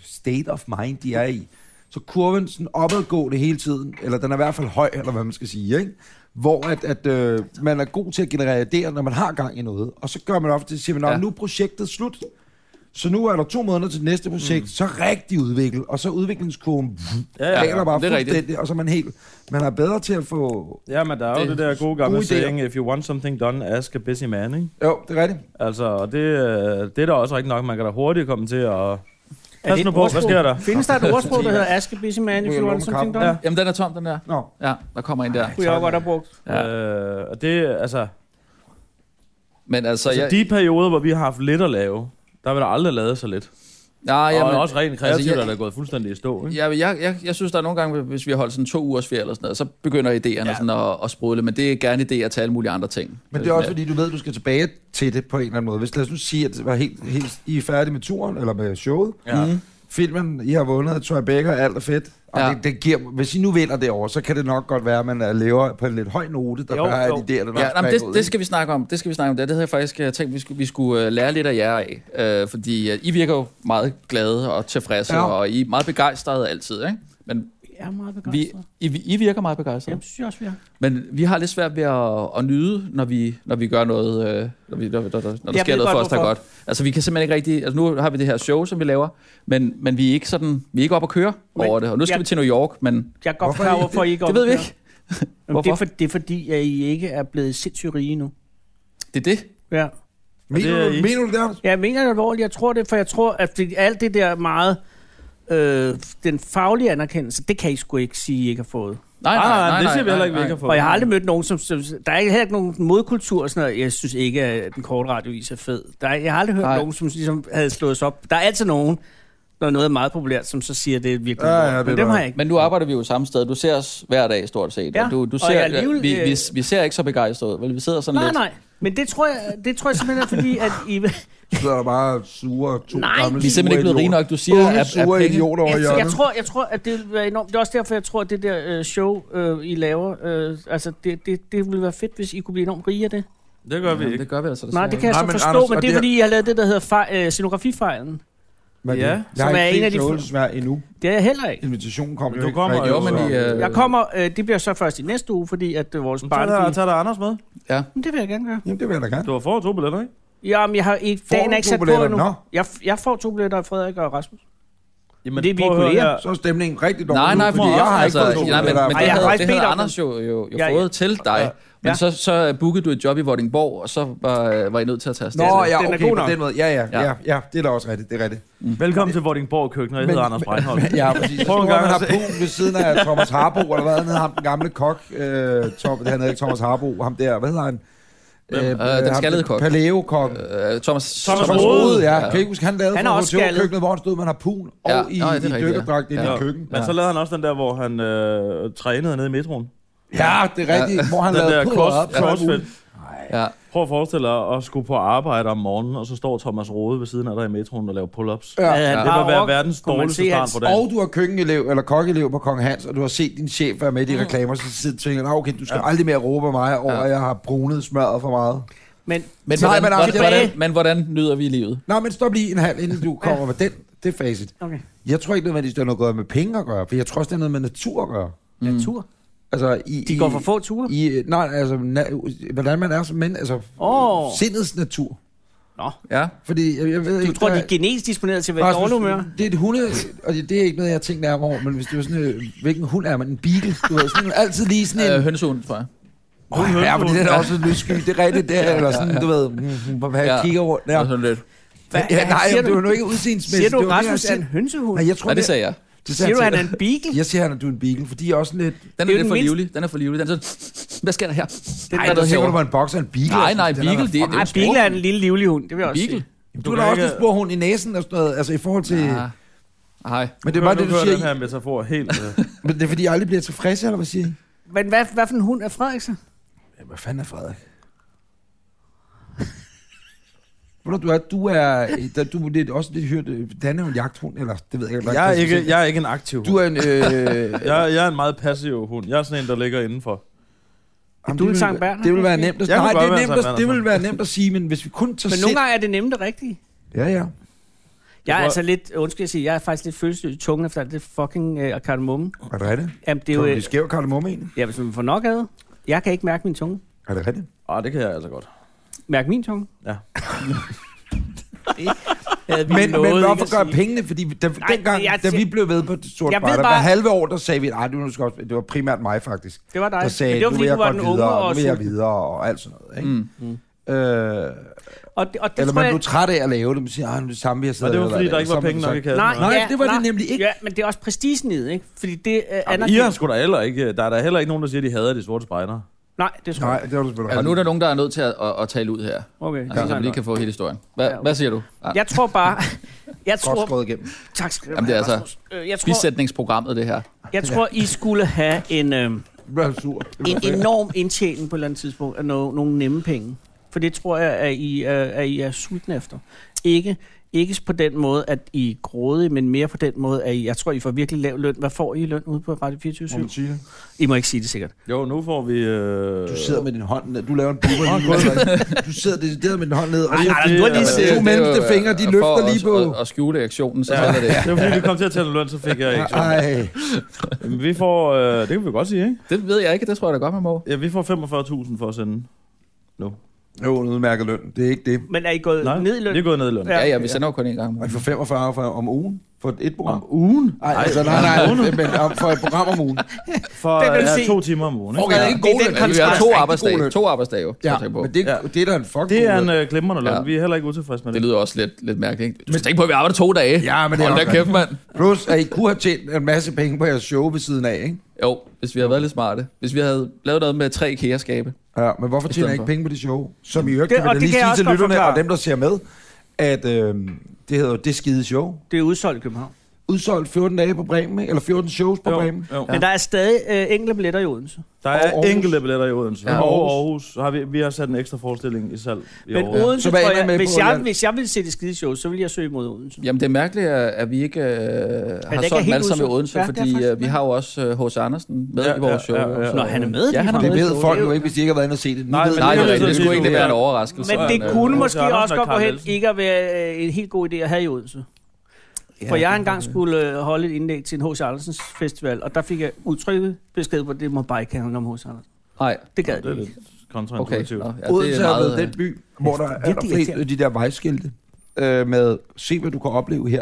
[SPEAKER 2] state of mind, de er i. Så kurven sådan opadgående hele tiden, eller den er i hvert fald høj, eller hvad man skal sige, ikke? Hvor at, at øh, man er god til at generere idéer, når man har gang i noget. Og så gør man ofte, siger man,
[SPEAKER 5] Ja.
[SPEAKER 2] ja. nu er projektet slut. Så nu er der to måneder til næste projekt, mm. så rigtig udvikle, og så udviklingskurven
[SPEAKER 3] Ja,
[SPEAKER 2] ja,
[SPEAKER 3] ja.
[SPEAKER 2] daler bare
[SPEAKER 5] det er rigtigt.
[SPEAKER 2] fuldstændig, og så er man helt... Man er bedre til at få...
[SPEAKER 3] ja, men der er jo det,
[SPEAKER 5] Det-
[SPEAKER 3] det der gode gamle
[SPEAKER 2] gode idéer.
[SPEAKER 3] saying, if you want something done, ask a busy man, ikke?
[SPEAKER 2] Jo, det er rigtigt.
[SPEAKER 3] Altså, og det, øh, det er da også rigtigt nok, man kan da hurtigt komme til at...
[SPEAKER 4] Er
[SPEAKER 3] Pas
[SPEAKER 4] det
[SPEAKER 3] nu
[SPEAKER 4] et
[SPEAKER 3] på, hvad
[SPEAKER 4] ordsprog?
[SPEAKER 3] sker der?
[SPEAKER 4] Findes der et ordsprog, der hedder Aske Busy Man, if
[SPEAKER 2] Ryger
[SPEAKER 4] you
[SPEAKER 2] lommen
[SPEAKER 4] want something
[SPEAKER 2] kaffe.
[SPEAKER 4] done?
[SPEAKER 3] Ja.
[SPEAKER 5] Jamen, den er tom, den der.
[SPEAKER 2] Nå,
[SPEAKER 5] Ja, der kommer en der.
[SPEAKER 4] Kunne jeg jo godt have brugt.
[SPEAKER 5] Ja.
[SPEAKER 3] Øh, og det, altså,
[SPEAKER 5] Men altså,
[SPEAKER 3] altså
[SPEAKER 5] jeg,
[SPEAKER 3] de perioder, hvor vi har haft lidt at lave, der har vi da aldrig lavet så lidt.
[SPEAKER 5] ja,
[SPEAKER 3] Og
[SPEAKER 5] jamen,
[SPEAKER 3] også rent kreativt
[SPEAKER 5] altså,
[SPEAKER 3] altså,
[SPEAKER 5] jeg-
[SPEAKER 3] er der gået fuldstændig i stå, ikke?
[SPEAKER 5] ja, men jeg, jeg, jeg synes, der er nogle gange, hvis vi har holdt sådan to ugers ferie eller sådan noget, så begynder idéerne ja. sådan at, at sprudle, men det er gerne idéer til alle mulige andre ting.
[SPEAKER 2] Men det er også fordi, du ved, at du skal tilbage til det på en eller anden måde. Hvis lad os nu sige, at det var helt, helt, I er færdige med turen, eller med showet, Mhm.
[SPEAKER 3] Ja.
[SPEAKER 5] Mm.
[SPEAKER 2] filmen, I har vundet, Troy Baker, alt er fedt. Og
[SPEAKER 5] Ja.
[SPEAKER 2] ja. det, det giver, hvis I nu vinder det år, så kan det nok godt være, at man er- lever på en lidt høj note, der
[SPEAKER 4] Jo,
[SPEAKER 2] jo, gør, at
[SPEAKER 4] jo.
[SPEAKER 2] idéer, der nok
[SPEAKER 5] Ja, nej, men
[SPEAKER 2] springer
[SPEAKER 5] det,
[SPEAKER 2] ud,
[SPEAKER 5] det
[SPEAKER 2] ikke?
[SPEAKER 5] skal vi snakke om. Det skal vi snakke om. Det, det havde jeg faktisk øh, tænkt, vi skulle, vi skulle øh, lære lidt af jer af. Øh, fordi øh, I virker jo meget glade og tilfredse, ja.
[SPEAKER 2] Ja.
[SPEAKER 5] og I er meget begejstrede altid. Ikke? Men
[SPEAKER 4] Jeg er meget
[SPEAKER 5] vi,
[SPEAKER 4] begejstret.
[SPEAKER 5] I, I virker meget begejstrede.
[SPEAKER 4] Jamen, synes jeg også, vi er.
[SPEAKER 5] Men vi har lidt svært ved at, at nyde, når vi, når vi gør noget, øh, når, vi, når, når, når der
[SPEAKER 4] Jeg
[SPEAKER 5] sker
[SPEAKER 4] ved
[SPEAKER 5] noget for
[SPEAKER 4] godt,
[SPEAKER 5] os, der er
[SPEAKER 4] hvorfor.
[SPEAKER 5] godt. Altså, vi kan simpelthen ikke rigtig... Altså, nu har vi det her show, som vi laver, men, men vi er ikke sådan... Vi er ikke oppe at køre
[SPEAKER 4] Men-
[SPEAKER 5] over det. Og nu skal
[SPEAKER 4] Ja.
[SPEAKER 5] vi til New York, men
[SPEAKER 4] Jeg er godt
[SPEAKER 2] Hvorfor
[SPEAKER 4] klar
[SPEAKER 2] er I-
[SPEAKER 4] over, hvorfor I ikke
[SPEAKER 5] det ved vi
[SPEAKER 4] opdager.
[SPEAKER 5] ikke.
[SPEAKER 4] Jamen, det, er
[SPEAKER 5] Hvorfor?
[SPEAKER 4] for, det er fordi, at I ikke er blevet sindssygt rige nu.
[SPEAKER 5] Det er det.
[SPEAKER 4] Ja.
[SPEAKER 3] Og
[SPEAKER 2] Mener,
[SPEAKER 3] det er
[SPEAKER 2] det
[SPEAKER 3] I-
[SPEAKER 2] mener du det, Anders?
[SPEAKER 4] Jeg mener det alvorligt, jeg tror det, for jeg tror, at det- alt det der meget, øh, den faglige anerkendelse, det kan I sgu ikke sige, I ikke har fået.
[SPEAKER 5] Nej,
[SPEAKER 3] Nej,
[SPEAKER 5] nej, nej, nej,
[SPEAKER 3] det siger vi
[SPEAKER 5] nej,
[SPEAKER 3] heller ikke, vi
[SPEAKER 5] nej.
[SPEAKER 3] ikke har fået.
[SPEAKER 4] Og jeg har aldrig mødt nogen, som... som der er ikke- heller ikke nogen modkultur og sådan noget. Jeg synes ikke, at den korte radiovis er fed. Der er, jeg har aldrig hørt
[SPEAKER 5] Nej.
[SPEAKER 4] Nej. nogen, som ligesom havde slået sig op. Der er altid nogen, når noget er meget populært, som så siger, at det er virkelig
[SPEAKER 2] Ja, ja,
[SPEAKER 4] lort.
[SPEAKER 2] det
[SPEAKER 4] Men
[SPEAKER 2] er
[SPEAKER 4] dem
[SPEAKER 2] der.
[SPEAKER 4] har jeg ikke.
[SPEAKER 5] Men nu arbejder vi jo samme sted. Du ser os hver dag, stort set.
[SPEAKER 4] Ja,
[SPEAKER 5] Og Du, du
[SPEAKER 4] og
[SPEAKER 5] ser,
[SPEAKER 4] jeg alligevel,
[SPEAKER 5] vi, vi,
[SPEAKER 4] øh,
[SPEAKER 5] vi ser ikke så begejstrede ud. vel? Vi sidder sådan
[SPEAKER 4] Nej,
[SPEAKER 5] lidt...
[SPEAKER 4] nej. Men det tror jeg, det tror jeg simpelthen er fordi, at I...
[SPEAKER 2] <laughs> Du sidder der bare sure to
[SPEAKER 4] Nej,
[SPEAKER 2] gamle
[SPEAKER 5] Vi er simpelthen ikke blevet rige nok. Du siger,
[SPEAKER 2] Unge,
[SPEAKER 5] at, at
[SPEAKER 2] sure
[SPEAKER 5] penge...
[SPEAKER 2] idioter over i
[SPEAKER 4] Altså, Jeg, jeg,
[SPEAKER 2] hjørnet.
[SPEAKER 4] tror, jeg tror, at det vil være enormt. Det er også derfor, jeg tror, at det der øh, show, øh, I laver, øh, altså det, det, det ville være fedt, hvis I kunne blive enormt rige af det.
[SPEAKER 3] Det gør vi
[SPEAKER 5] Jamen,
[SPEAKER 3] ikke.
[SPEAKER 5] det gør vi altså.
[SPEAKER 4] Nej, det kan jeg
[SPEAKER 2] Altså, Nej,
[SPEAKER 4] så
[SPEAKER 2] men
[SPEAKER 4] forstå,
[SPEAKER 2] Anders,
[SPEAKER 4] men
[SPEAKER 2] og
[SPEAKER 4] det er
[SPEAKER 2] det-
[SPEAKER 4] fordi, I har lavet det, der hedder fej- øh, scenografifejlen.
[SPEAKER 2] Men
[SPEAKER 3] Ja.
[SPEAKER 2] jeg
[SPEAKER 4] Som
[SPEAKER 2] har
[SPEAKER 4] er en
[SPEAKER 2] ikke
[SPEAKER 4] af de
[SPEAKER 2] set
[SPEAKER 4] få-
[SPEAKER 2] noget, som er endnu.
[SPEAKER 4] Det er jeg heller ikke.
[SPEAKER 2] Invitationen kom
[SPEAKER 3] Men
[SPEAKER 2] jo
[SPEAKER 3] du
[SPEAKER 2] ikke.
[SPEAKER 3] kommer
[SPEAKER 2] rigtig
[SPEAKER 5] jo,
[SPEAKER 2] ud,
[SPEAKER 5] men
[SPEAKER 2] så-
[SPEAKER 5] de, øh,
[SPEAKER 4] Jeg kommer, øh, det bliver så først i næste uge, fordi at øh, vores
[SPEAKER 3] Så tager
[SPEAKER 4] barnbil...
[SPEAKER 2] altså-
[SPEAKER 3] der, tager der Anders med.
[SPEAKER 4] Men det vil jeg gerne gøre.
[SPEAKER 2] Jamen, det vil jeg da gerne.
[SPEAKER 3] Du har fået to billetter, ikke?
[SPEAKER 4] Jamen, jeg har ikke,
[SPEAKER 2] Får
[SPEAKER 4] dagen
[SPEAKER 2] du
[SPEAKER 4] er ikke sat
[SPEAKER 2] to
[SPEAKER 4] på
[SPEAKER 2] billetter?
[SPEAKER 4] endnu.
[SPEAKER 2] Nå.
[SPEAKER 4] Jeg, f- jeg får to billetter af Frederik og Rasmus.
[SPEAKER 3] Jamen,
[SPEAKER 4] Det er vi
[SPEAKER 3] prøv at
[SPEAKER 4] ikke
[SPEAKER 3] høre
[SPEAKER 4] mere.
[SPEAKER 3] her.
[SPEAKER 2] Så er stemningen rigtig dårlig,
[SPEAKER 5] Nej, nej,
[SPEAKER 2] fordi
[SPEAKER 5] for
[SPEAKER 2] jeg
[SPEAKER 5] os,
[SPEAKER 2] har ikke
[SPEAKER 5] altså,
[SPEAKER 2] fået to
[SPEAKER 5] nej, men,
[SPEAKER 2] billetter.
[SPEAKER 5] men
[SPEAKER 4] Ej,
[SPEAKER 5] det,
[SPEAKER 4] jeg har
[SPEAKER 5] havde,
[SPEAKER 4] faktisk
[SPEAKER 5] det
[SPEAKER 4] bedt
[SPEAKER 5] havde
[SPEAKER 4] om
[SPEAKER 5] Anders jo, jo, jo
[SPEAKER 4] Ja, ja.
[SPEAKER 5] fået til dig. Men
[SPEAKER 4] Ja.
[SPEAKER 5] så, så øh, bookede du et job i Vordingborg, og så var, var I nødt til at tage
[SPEAKER 2] Nå,
[SPEAKER 5] afsted.
[SPEAKER 4] Den
[SPEAKER 2] ja,
[SPEAKER 4] er
[SPEAKER 2] okay,
[SPEAKER 4] god
[SPEAKER 2] på
[SPEAKER 4] nok.
[SPEAKER 2] den måde. Ja, ja,
[SPEAKER 5] Ja.
[SPEAKER 2] ja, ja, det er da også rigtigt, det er rigtigt.
[SPEAKER 3] Velkommen til Vordingborg Køkken, jeg hedder Anders Breinholt.
[SPEAKER 2] Ja, præcis.
[SPEAKER 3] Prøv
[SPEAKER 2] Prøv
[SPEAKER 3] en
[SPEAKER 2] en
[SPEAKER 3] gang
[SPEAKER 2] gang, han har
[SPEAKER 3] at se.
[SPEAKER 2] brug ved siden af Thomas Harbo, eller hvad han hedder, ham den gamle kok. Øh, Tom, han hedder ikke Thomas Harbo, ham der, hvad hedder han? Øh,
[SPEAKER 5] den
[SPEAKER 2] ham
[SPEAKER 5] skaldede
[SPEAKER 2] den
[SPEAKER 5] kok.
[SPEAKER 2] Paleo-kokken.
[SPEAKER 5] Øh, Thomas,
[SPEAKER 3] Thomas
[SPEAKER 2] Thomas
[SPEAKER 3] Rode.
[SPEAKER 2] Rode, ja.
[SPEAKER 5] Ja.
[SPEAKER 2] Kan I ikke huske, han lavede
[SPEAKER 4] Han
[SPEAKER 2] han
[SPEAKER 4] er
[SPEAKER 2] for
[SPEAKER 4] også skaldet.
[SPEAKER 2] hotelkøkkenet, hvor han stod med en harpun og
[SPEAKER 5] Ja.
[SPEAKER 2] i,
[SPEAKER 5] Nå, ja, det er
[SPEAKER 2] i
[SPEAKER 5] rigtigt, ja.
[SPEAKER 2] dykkerdragt inde
[SPEAKER 5] Ja.
[SPEAKER 2] i køkkenet.
[SPEAKER 3] Men så lavede han også den der, hvor han øh, trænede nede i metroen.
[SPEAKER 2] Ja, det er rigtigt, hvor han
[SPEAKER 3] Den
[SPEAKER 2] lavede
[SPEAKER 3] der
[SPEAKER 2] pull
[SPEAKER 3] cross,
[SPEAKER 2] op.
[SPEAKER 3] crossfit.
[SPEAKER 5] Ja.
[SPEAKER 3] Prøv at forestille dig at skulle på arbejde om morgenen, og så står Thomas Rode ved siden af dig i metroen og laver pull-ups. Ja.
[SPEAKER 2] Ja.
[SPEAKER 4] Havde han
[SPEAKER 3] Det må
[SPEAKER 4] bare
[SPEAKER 3] være
[SPEAKER 4] rock,
[SPEAKER 3] verdens
[SPEAKER 4] kunne man
[SPEAKER 3] dårligste
[SPEAKER 4] se
[SPEAKER 3] start
[SPEAKER 4] hans-
[SPEAKER 3] på
[SPEAKER 2] Og
[SPEAKER 3] dagen.
[SPEAKER 2] du har køkkenelev eller kokkeelev på Kong Hans, og du har set din chef være med i de reklamer, så sidder du og tænker, "Nå, okay, du skal aldrig mere råbe af mig over,
[SPEAKER 5] Ja.
[SPEAKER 2] at jeg har brunet smørret for meget.
[SPEAKER 4] Men
[SPEAKER 5] Men,
[SPEAKER 2] Så
[SPEAKER 5] hvordan,
[SPEAKER 2] er man
[SPEAKER 5] hvordan,
[SPEAKER 2] tilbage.
[SPEAKER 5] hvordan, men hvordan nyder vi livet?
[SPEAKER 2] Nå, men stop lige en halv, inden du kommer med den. Det er facit.
[SPEAKER 4] okay.
[SPEAKER 2] Jeg tror ikke nødvendigvis, det har noget at gøre med penge at gøre, for jeg tror også, det har noget med natur at gøre.
[SPEAKER 4] Mm. natur.
[SPEAKER 2] Altså, i,
[SPEAKER 4] De
[SPEAKER 2] i,
[SPEAKER 4] går for få ture.
[SPEAKER 2] I, nej, altså, na- hvordan man er som mænd, altså,
[SPEAKER 4] Åh.
[SPEAKER 2] oh. sindets natur.
[SPEAKER 4] Nå,
[SPEAKER 5] Ja.
[SPEAKER 2] Fordi, jeg, jeg ved
[SPEAKER 4] du
[SPEAKER 2] ikke,
[SPEAKER 4] tror,
[SPEAKER 2] der-
[SPEAKER 4] de er genetisk disponeret til at være i
[SPEAKER 2] Rasmus,
[SPEAKER 4] dårlig humør?
[SPEAKER 2] Det er et hunde, og det, det er ikke noget, jeg har tænkt nærmere over, men hvis det var sådan, øh, hvilken hund er man? En beagle? Du ved, sådan, altid lige sådan en...
[SPEAKER 5] Øh, hønsehund, tror jeg.
[SPEAKER 2] Åh, øh, ja, fordi den er også lidt lyssky, det er rigtigt, det er, eller sådan, du ved, mm, hvor jeg
[SPEAKER 5] Ja.
[SPEAKER 2] kigger rundt der.
[SPEAKER 5] Ja. Sådan lidt.
[SPEAKER 4] Hvad,
[SPEAKER 2] Ja, nej,
[SPEAKER 4] siger
[SPEAKER 2] det var
[SPEAKER 4] du,
[SPEAKER 2] nu ikke udseendsmæssigt.
[SPEAKER 4] siger du
[SPEAKER 2] det var mere
[SPEAKER 4] Rasmus er en
[SPEAKER 2] sind-
[SPEAKER 4] hønsehund?
[SPEAKER 2] Nej, jeg tror,
[SPEAKER 5] Hvad det sagde jeg?
[SPEAKER 2] det
[SPEAKER 4] Siger du,
[SPEAKER 2] til
[SPEAKER 4] han er
[SPEAKER 2] dig.
[SPEAKER 4] en beagle?
[SPEAKER 2] Jeg siger, han er du er en beagle, fordi jeg er også sådan lidt...
[SPEAKER 5] Den
[SPEAKER 4] Det er
[SPEAKER 5] er
[SPEAKER 4] den
[SPEAKER 5] lidt for
[SPEAKER 4] mindste-
[SPEAKER 5] livlig. Den er for livlig. Den er sådan, hvad sker der her? Den
[SPEAKER 2] Ej, der tænker du, var en bokser en beagle.
[SPEAKER 5] Nej,
[SPEAKER 2] Jeg
[SPEAKER 5] nej,
[SPEAKER 2] synes, den er da
[SPEAKER 5] beagle, det,
[SPEAKER 2] fucking-
[SPEAKER 5] det er
[SPEAKER 4] Nej,
[SPEAKER 5] jo
[SPEAKER 4] Beagle er en lille livlig hund, det vil jeg også
[SPEAKER 5] Beagle?
[SPEAKER 4] sige.
[SPEAKER 2] Du har da også lidt
[SPEAKER 3] ikke-
[SPEAKER 2] spor hun i næsen og sådan noget, altså i forhold til...
[SPEAKER 5] Ja. Nej.
[SPEAKER 2] Men det er bare
[SPEAKER 3] Nu
[SPEAKER 2] det, du
[SPEAKER 3] kører
[SPEAKER 2] siger.
[SPEAKER 3] den her metafor helt... Øh,
[SPEAKER 2] I- Men det er fordi, jeg aldrig bliver tilfreds, eller hvad siger I?
[SPEAKER 4] Men hvad, hvad for en hund er Frederik så?
[SPEAKER 2] Ja, Hvad fanden er Frederik? Ved du, du er, du er, der, du er lidt, også lidt hørt, øh, Dan er jo en jagthund, eller det ved jeg eller
[SPEAKER 3] jeg, er
[SPEAKER 2] hvad skal
[SPEAKER 3] ikke,
[SPEAKER 2] sige.
[SPEAKER 3] jeg er ikke en aktiv hund.
[SPEAKER 2] Du er en, øh,
[SPEAKER 3] Jeg, jeg er en meget passiv hund. Jeg er sådan en, der ligger indenfor.
[SPEAKER 2] jamen,
[SPEAKER 4] du en
[SPEAKER 2] det vil-
[SPEAKER 4] Sankt Bernhard?
[SPEAKER 2] Det vil være nemt at,
[SPEAKER 3] Jeg
[SPEAKER 2] nej,
[SPEAKER 3] kunne godt
[SPEAKER 2] det, er
[SPEAKER 3] være
[SPEAKER 2] nemt
[SPEAKER 3] Sankt
[SPEAKER 2] at, det
[SPEAKER 3] Bernhard.
[SPEAKER 2] vil være nemt at sige, men hvis vi kun tager
[SPEAKER 4] Men nogle gange er det nemme det rigtige.
[SPEAKER 2] Ja, ja.
[SPEAKER 4] Jeg er
[SPEAKER 3] tror-
[SPEAKER 4] altså lidt, undskyld at sige, jeg er faktisk lidt følelsesløs i tungen efter alt det fucking øh, kardemomme.
[SPEAKER 2] Er det rigtigt?
[SPEAKER 4] Jamen, det
[SPEAKER 2] Det
[SPEAKER 4] er jo,
[SPEAKER 2] er jo
[SPEAKER 4] øh,
[SPEAKER 2] skæv kardemomme egentlig.
[SPEAKER 4] ja, hvis man får nok af det. Jeg kan ikke mærke min tunge.
[SPEAKER 2] Er det rigtigt?
[SPEAKER 3] Ah, det kan jeg altså godt.
[SPEAKER 4] Mærke min tunge?
[SPEAKER 3] Ja.
[SPEAKER 4] havde vi
[SPEAKER 2] Men,
[SPEAKER 4] noget,
[SPEAKER 2] men
[SPEAKER 4] ikke
[SPEAKER 2] hvorfor
[SPEAKER 4] at
[SPEAKER 2] gør
[SPEAKER 4] sige.
[SPEAKER 2] pengene? Fordi da,
[SPEAKER 4] Nej,
[SPEAKER 2] dengang,
[SPEAKER 4] jeg
[SPEAKER 2] da vi
[SPEAKER 4] siger-
[SPEAKER 2] blev ved på det sorte
[SPEAKER 4] Jeg ved
[SPEAKER 2] bare, der
[SPEAKER 4] bare-
[SPEAKER 2] var halve år, der sagde vi, nej, det, var nu skal også, det var primært mig faktisk,
[SPEAKER 4] Det var dig.
[SPEAKER 2] der sagde,
[SPEAKER 4] Men det var,
[SPEAKER 2] nu
[SPEAKER 4] fordi
[SPEAKER 2] vil
[SPEAKER 4] du
[SPEAKER 2] jeg
[SPEAKER 4] var
[SPEAKER 2] godt
[SPEAKER 4] den unge
[SPEAKER 2] videre, nu
[SPEAKER 4] og
[SPEAKER 2] vil jeg
[SPEAKER 4] sulten.
[SPEAKER 2] videre, og alt sådan noget. Ikke?
[SPEAKER 5] Mm.
[SPEAKER 2] Øh,
[SPEAKER 4] Og, det- og det
[SPEAKER 2] eller
[SPEAKER 4] tror
[SPEAKER 2] man
[SPEAKER 4] jeg,
[SPEAKER 2] blev træt af at lave det, men siger, "Ej, nu er det samme, vi har
[SPEAKER 3] Og
[SPEAKER 2] siddet
[SPEAKER 3] det var
[SPEAKER 2] og lavet
[SPEAKER 3] fordi,
[SPEAKER 2] det,
[SPEAKER 3] der ikke var
[SPEAKER 2] så må
[SPEAKER 3] penge
[SPEAKER 2] du
[SPEAKER 3] nok i
[SPEAKER 2] så-
[SPEAKER 3] kassen.
[SPEAKER 4] Nej,
[SPEAKER 3] hva'?
[SPEAKER 2] Nej,
[SPEAKER 4] ja,
[SPEAKER 2] det var det
[SPEAKER 4] nej.
[SPEAKER 2] nemlig ikke.
[SPEAKER 4] Ja, men det er også prestigen i det, ikke? Fordi det øh,
[SPEAKER 3] Jamen, I har
[SPEAKER 4] anerkendt.
[SPEAKER 3] sgu da heller ikke... Der er der heller ikke nogen, der siger, de hader de sorte spejdere.
[SPEAKER 4] Nej, det tror jeg.
[SPEAKER 2] Nej, det var du selvfølgelig
[SPEAKER 5] Altså, nu er
[SPEAKER 2] ret
[SPEAKER 5] der nogen, der er nødt til at, at, at tale ud her.
[SPEAKER 4] Okay.
[SPEAKER 5] Altså,
[SPEAKER 4] det
[SPEAKER 5] så
[SPEAKER 4] er
[SPEAKER 5] vi lige
[SPEAKER 4] godt.
[SPEAKER 5] kan få hele historien. Hva,
[SPEAKER 4] Ja, okay.
[SPEAKER 5] Hvad siger du? Ja.
[SPEAKER 4] Jeg tror bare... Jeg
[SPEAKER 2] i. Godt
[SPEAKER 4] tror...
[SPEAKER 2] skåret igennem.
[SPEAKER 4] Tak skal du have,
[SPEAKER 5] Jamen, det er altså-
[SPEAKER 4] Rasmus. Øh, Jeg tror,
[SPEAKER 5] Bisætningsprogrammet, det her.
[SPEAKER 4] jeg tror, I skulle have en, øh, en
[SPEAKER 2] Nu blev jeg sur.
[SPEAKER 4] enorm indtjening på et eller andet tidspunkt af no, nogle nemme penge. For det tror jeg, at I, øh, at I er sultne efter. Ikke, ikke på den måde, at I er grådige, men mere på den måde, at I, jeg tror, I får virkelig lav løn. Hvad får I i løn ude på Radio 24 I må ikke sige det sikkert.
[SPEAKER 3] Jo, nu får vi... Øh...
[SPEAKER 2] Du sidder med din hånd ned. Du laver en boomer lige på gulvet. Du sidder decideret med din hånd ned. Og
[SPEAKER 4] Ej,
[SPEAKER 2] lige,
[SPEAKER 4] nej, du har lige
[SPEAKER 2] to
[SPEAKER 4] set-
[SPEAKER 5] det er
[SPEAKER 2] mellemste
[SPEAKER 5] jo,
[SPEAKER 2] fingre, de
[SPEAKER 5] øh,
[SPEAKER 2] løfter
[SPEAKER 5] for
[SPEAKER 2] lige
[SPEAKER 5] os
[SPEAKER 2] på.
[SPEAKER 5] At, at skjule reaktionen, så
[SPEAKER 3] Ja.
[SPEAKER 5] ja. det.
[SPEAKER 3] Det var fordi, vi kom til at tale løn, så fik jeg ikke.
[SPEAKER 2] Ej,
[SPEAKER 3] Jamen, Vi får... Øh, det kan vi godt sige, ikke?
[SPEAKER 5] Det ved jeg ikke, det tror jeg da godt, man må.
[SPEAKER 3] Ja, vi får 45.000 for at sende.
[SPEAKER 2] jo, en udmærket løn. Det er ikke det.
[SPEAKER 4] Men er I gået Nej, ned i løn?
[SPEAKER 3] Vi er gået ned i løn.
[SPEAKER 4] Ja.
[SPEAKER 5] Ja, ja, vi sender jo kun en gang om
[SPEAKER 2] Man
[SPEAKER 5] ugen.
[SPEAKER 2] får 45 for, om ugen for et program.
[SPEAKER 3] Om ugen?
[SPEAKER 2] Nej, altså, nej, nej, men om, for et program om <laughs> ugen.
[SPEAKER 3] For
[SPEAKER 4] Det vil
[SPEAKER 3] ja,
[SPEAKER 4] sige-
[SPEAKER 3] to timer om ugen. Ikke?
[SPEAKER 5] Okay,
[SPEAKER 2] det er ikke god
[SPEAKER 5] det
[SPEAKER 2] løn.
[SPEAKER 5] er den
[SPEAKER 2] Det er
[SPEAKER 5] kontrast.
[SPEAKER 2] rigtig
[SPEAKER 5] to
[SPEAKER 2] god
[SPEAKER 5] arbejdsdage.
[SPEAKER 2] løn.
[SPEAKER 5] To arbejdsdage, jo.
[SPEAKER 2] Ja,
[SPEAKER 5] Ja, på.
[SPEAKER 2] men det,
[SPEAKER 3] Ja.
[SPEAKER 2] det er da en fucking
[SPEAKER 3] Det er
[SPEAKER 2] god
[SPEAKER 3] en
[SPEAKER 2] løn.
[SPEAKER 3] øh, glimrende løn.
[SPEAKER 5] Ja.
[SPEAKER 3] Vi er heller ikke utilfredse med
[SPEAKER 5] det
[SPEAKER 3] det.
[SPEAKER 5] lyder også lidt, lidt mærkeligt. Ikke? Du skal tænke på, at vi arbejder to dage.
[SPEAKER 2] Ja, men det er
[SPEAKER 5] Hold da
[SPEAKER 2] også-
[SPEAKER 5] kæft, mand.
[SPEAKER 4] øh-
[SPEAKER 2] Plus, at I kunne have tjent en masse penge på jeres show ved siden af, ikke?
[SPEAKER 5] Jo, hvis vi havde været lidt smarte. Hvis vi havde lavet noget med tre kæreskabe.
[SPEAKER 2] Ja, men hvorfor tjener
[SPEAKER 5] stedet
[SPEAKER 2] jeg ikke
[SPEAKER 5] for.
[SPEAKER 2] penge på det show? Som i øvrigt,
[SPEAKER 4] Det-
[SPEAKER 2] kan vi
[SPEAKER 4] og
[SPEAKER 2] da
[SPEAKER 4] det
[SPEAKER 2] lige
[SPEAKER 4] kan jeg
[SPEAKER 2] sige
[SPEAKER 4] også
[SPEAKER 2] til
[SPEAKER 4] godt
[SPEAKER 2] lytterne
[SPEAKER 4] forklare.
[SPEAKER 2] og dem, der ser med, at øh, det hedder jo Det Skide Show.
[SPEAKER 4] Det er udsolgt i København.
[SPEAKER 2] Udsolgt 14 dage på Bremen, ikke? eller 14 shows på Bremen.
[SPEAKER 3] Jo, jo.
[SPEAKER 4] Men der er stadig øh, enkelte billetter i Odense.
[SPEAKER 3] Der
[SPEAKER 2] Og
[SPEAKER 3] er
[SPEAKER 2] Aarhus.
[SPEAKER 3] enkelte billetter i Odense.
[SPEAKER 5] Ja.
[SPEAKER 3] Ja. Og Aarhus. Så har vi, vi har sat en ekstra forestilling i salg i
[SPEAKER 4] Men
[SPEAKER 3] Aarhus.
[SPEAKER 4] Odense,
[SPEAKER 2] Så hvad
[SPEAKER 4] tror
[SPEAKER 2] ender
[SPEAKER 4] jeg,
[SPEAKER 2] med på
[SPEAKER 4] hvis, jeg,
[SPEAKER 2] Odense?
[SPEAKER 4] hvis jeg ville se det skide show, så ville jeg søge mod Odense.
[SPEAKER 5] Jamen, det er mærkeligt, at at vi ikke øh, har
[SPEAKER 4] ikke er
[SPEAKER 5] solgt dem
[SPEAKER 4] helt
[SPEAKER 5] alle sammen i
[SPEAKER 4] udsolgt.
[SPEAKER 5] Odense,
[SPEAKER 4] Ja,
[SPEAKER 5] ja,
[SPEAKER 4] det er
[SPEAKER 5] fordi
[SPEAKER 4] faktisk
[SPEAKER 5] øh, vi har jo også øh, H.C. Andersen med
[SPEAKER 3] Ja,
[SPEAKER 5] i vores
[SPEAKER 3] ja,
[SPEAKER 5] show.
[SPEAKER 3] ja, ja.
[SPEAKER 5] så-
[SPEAKER 4] Nå, han er med
[SPEAKER 5] Ja, han er
[SPEAKER 4] ligefrem.
[SPEAKER 5] med.
[SPEAKER 2] Det ved
[SPEAKER 4] Det er
[SPEAKER 2] folk
[SPEAKER 4] jo-
[SPEAKER 2] jo ikke, hvis de ikke har været inde og set det.
[SPEAKER 3] Nej,
[SPEAKER 2] Nej, ved,
[SPEAKER 3] men
[SPEAKER 5] Nej, det,
[SPEAKER 2] det,
[SPEAKER 5] er rigtigt. det skulle
[SPEAKER 3] Det
[SPEAKER 5] ikke
[SPEAKER 3] er-
[SPEAKER 5] være en overraskelse.
[SPEAKER 4] Men det
[SPEAKER 5] øh,
[SPEAKER 4] kunne
[SPEAKER 3] øh,
[SPEAKER 4] måske
[SPEAKER 3] Andersen
[SPEAKER 4] også
[SPEAKER 3] og
[SPEAKER 4] godt gå
[SPEAKER 3] Carl
[SPEAKER 4] hen
[SPEAKER 3] Nielsen.
[SPEAKER 4] ikke at være øh, en helt god idé at have i Odense. For jeg engang skulle øh, holde et indlæg til en H.C. Andersens festival, og der fik jeg udtrykket besked på, at det må bare ikke handle om H.C. Andersen.
[SPEAKER 5] Nej,
[SPEAKER 4] Det gad
[SPEAKER 3] Det er
[SPEAKER 4] det ikke.
[SPEAKER 3] lidt
[SPEAKER 5] okay.
[SPEAKER 3] kontraintuitivt.
[SPEAKER 5] Nå,
[SPEAKER 3] Okay.
[SPEAKER 5] ja, det
[SPEAKER 2] Odense
[SPEAKER 5] er
[SPEAKER 2] har været
[SPEAKER 5] meget... øh,
[SPEAKER 2] den by, hvor der er der
[SPEAKER 4] virkelig
[SPEAKER 2] flest
[SPEAKER 4] irriterende.
[SPEAKER 2] af de der vejskilte øh, med, se hvad du kan opleve her.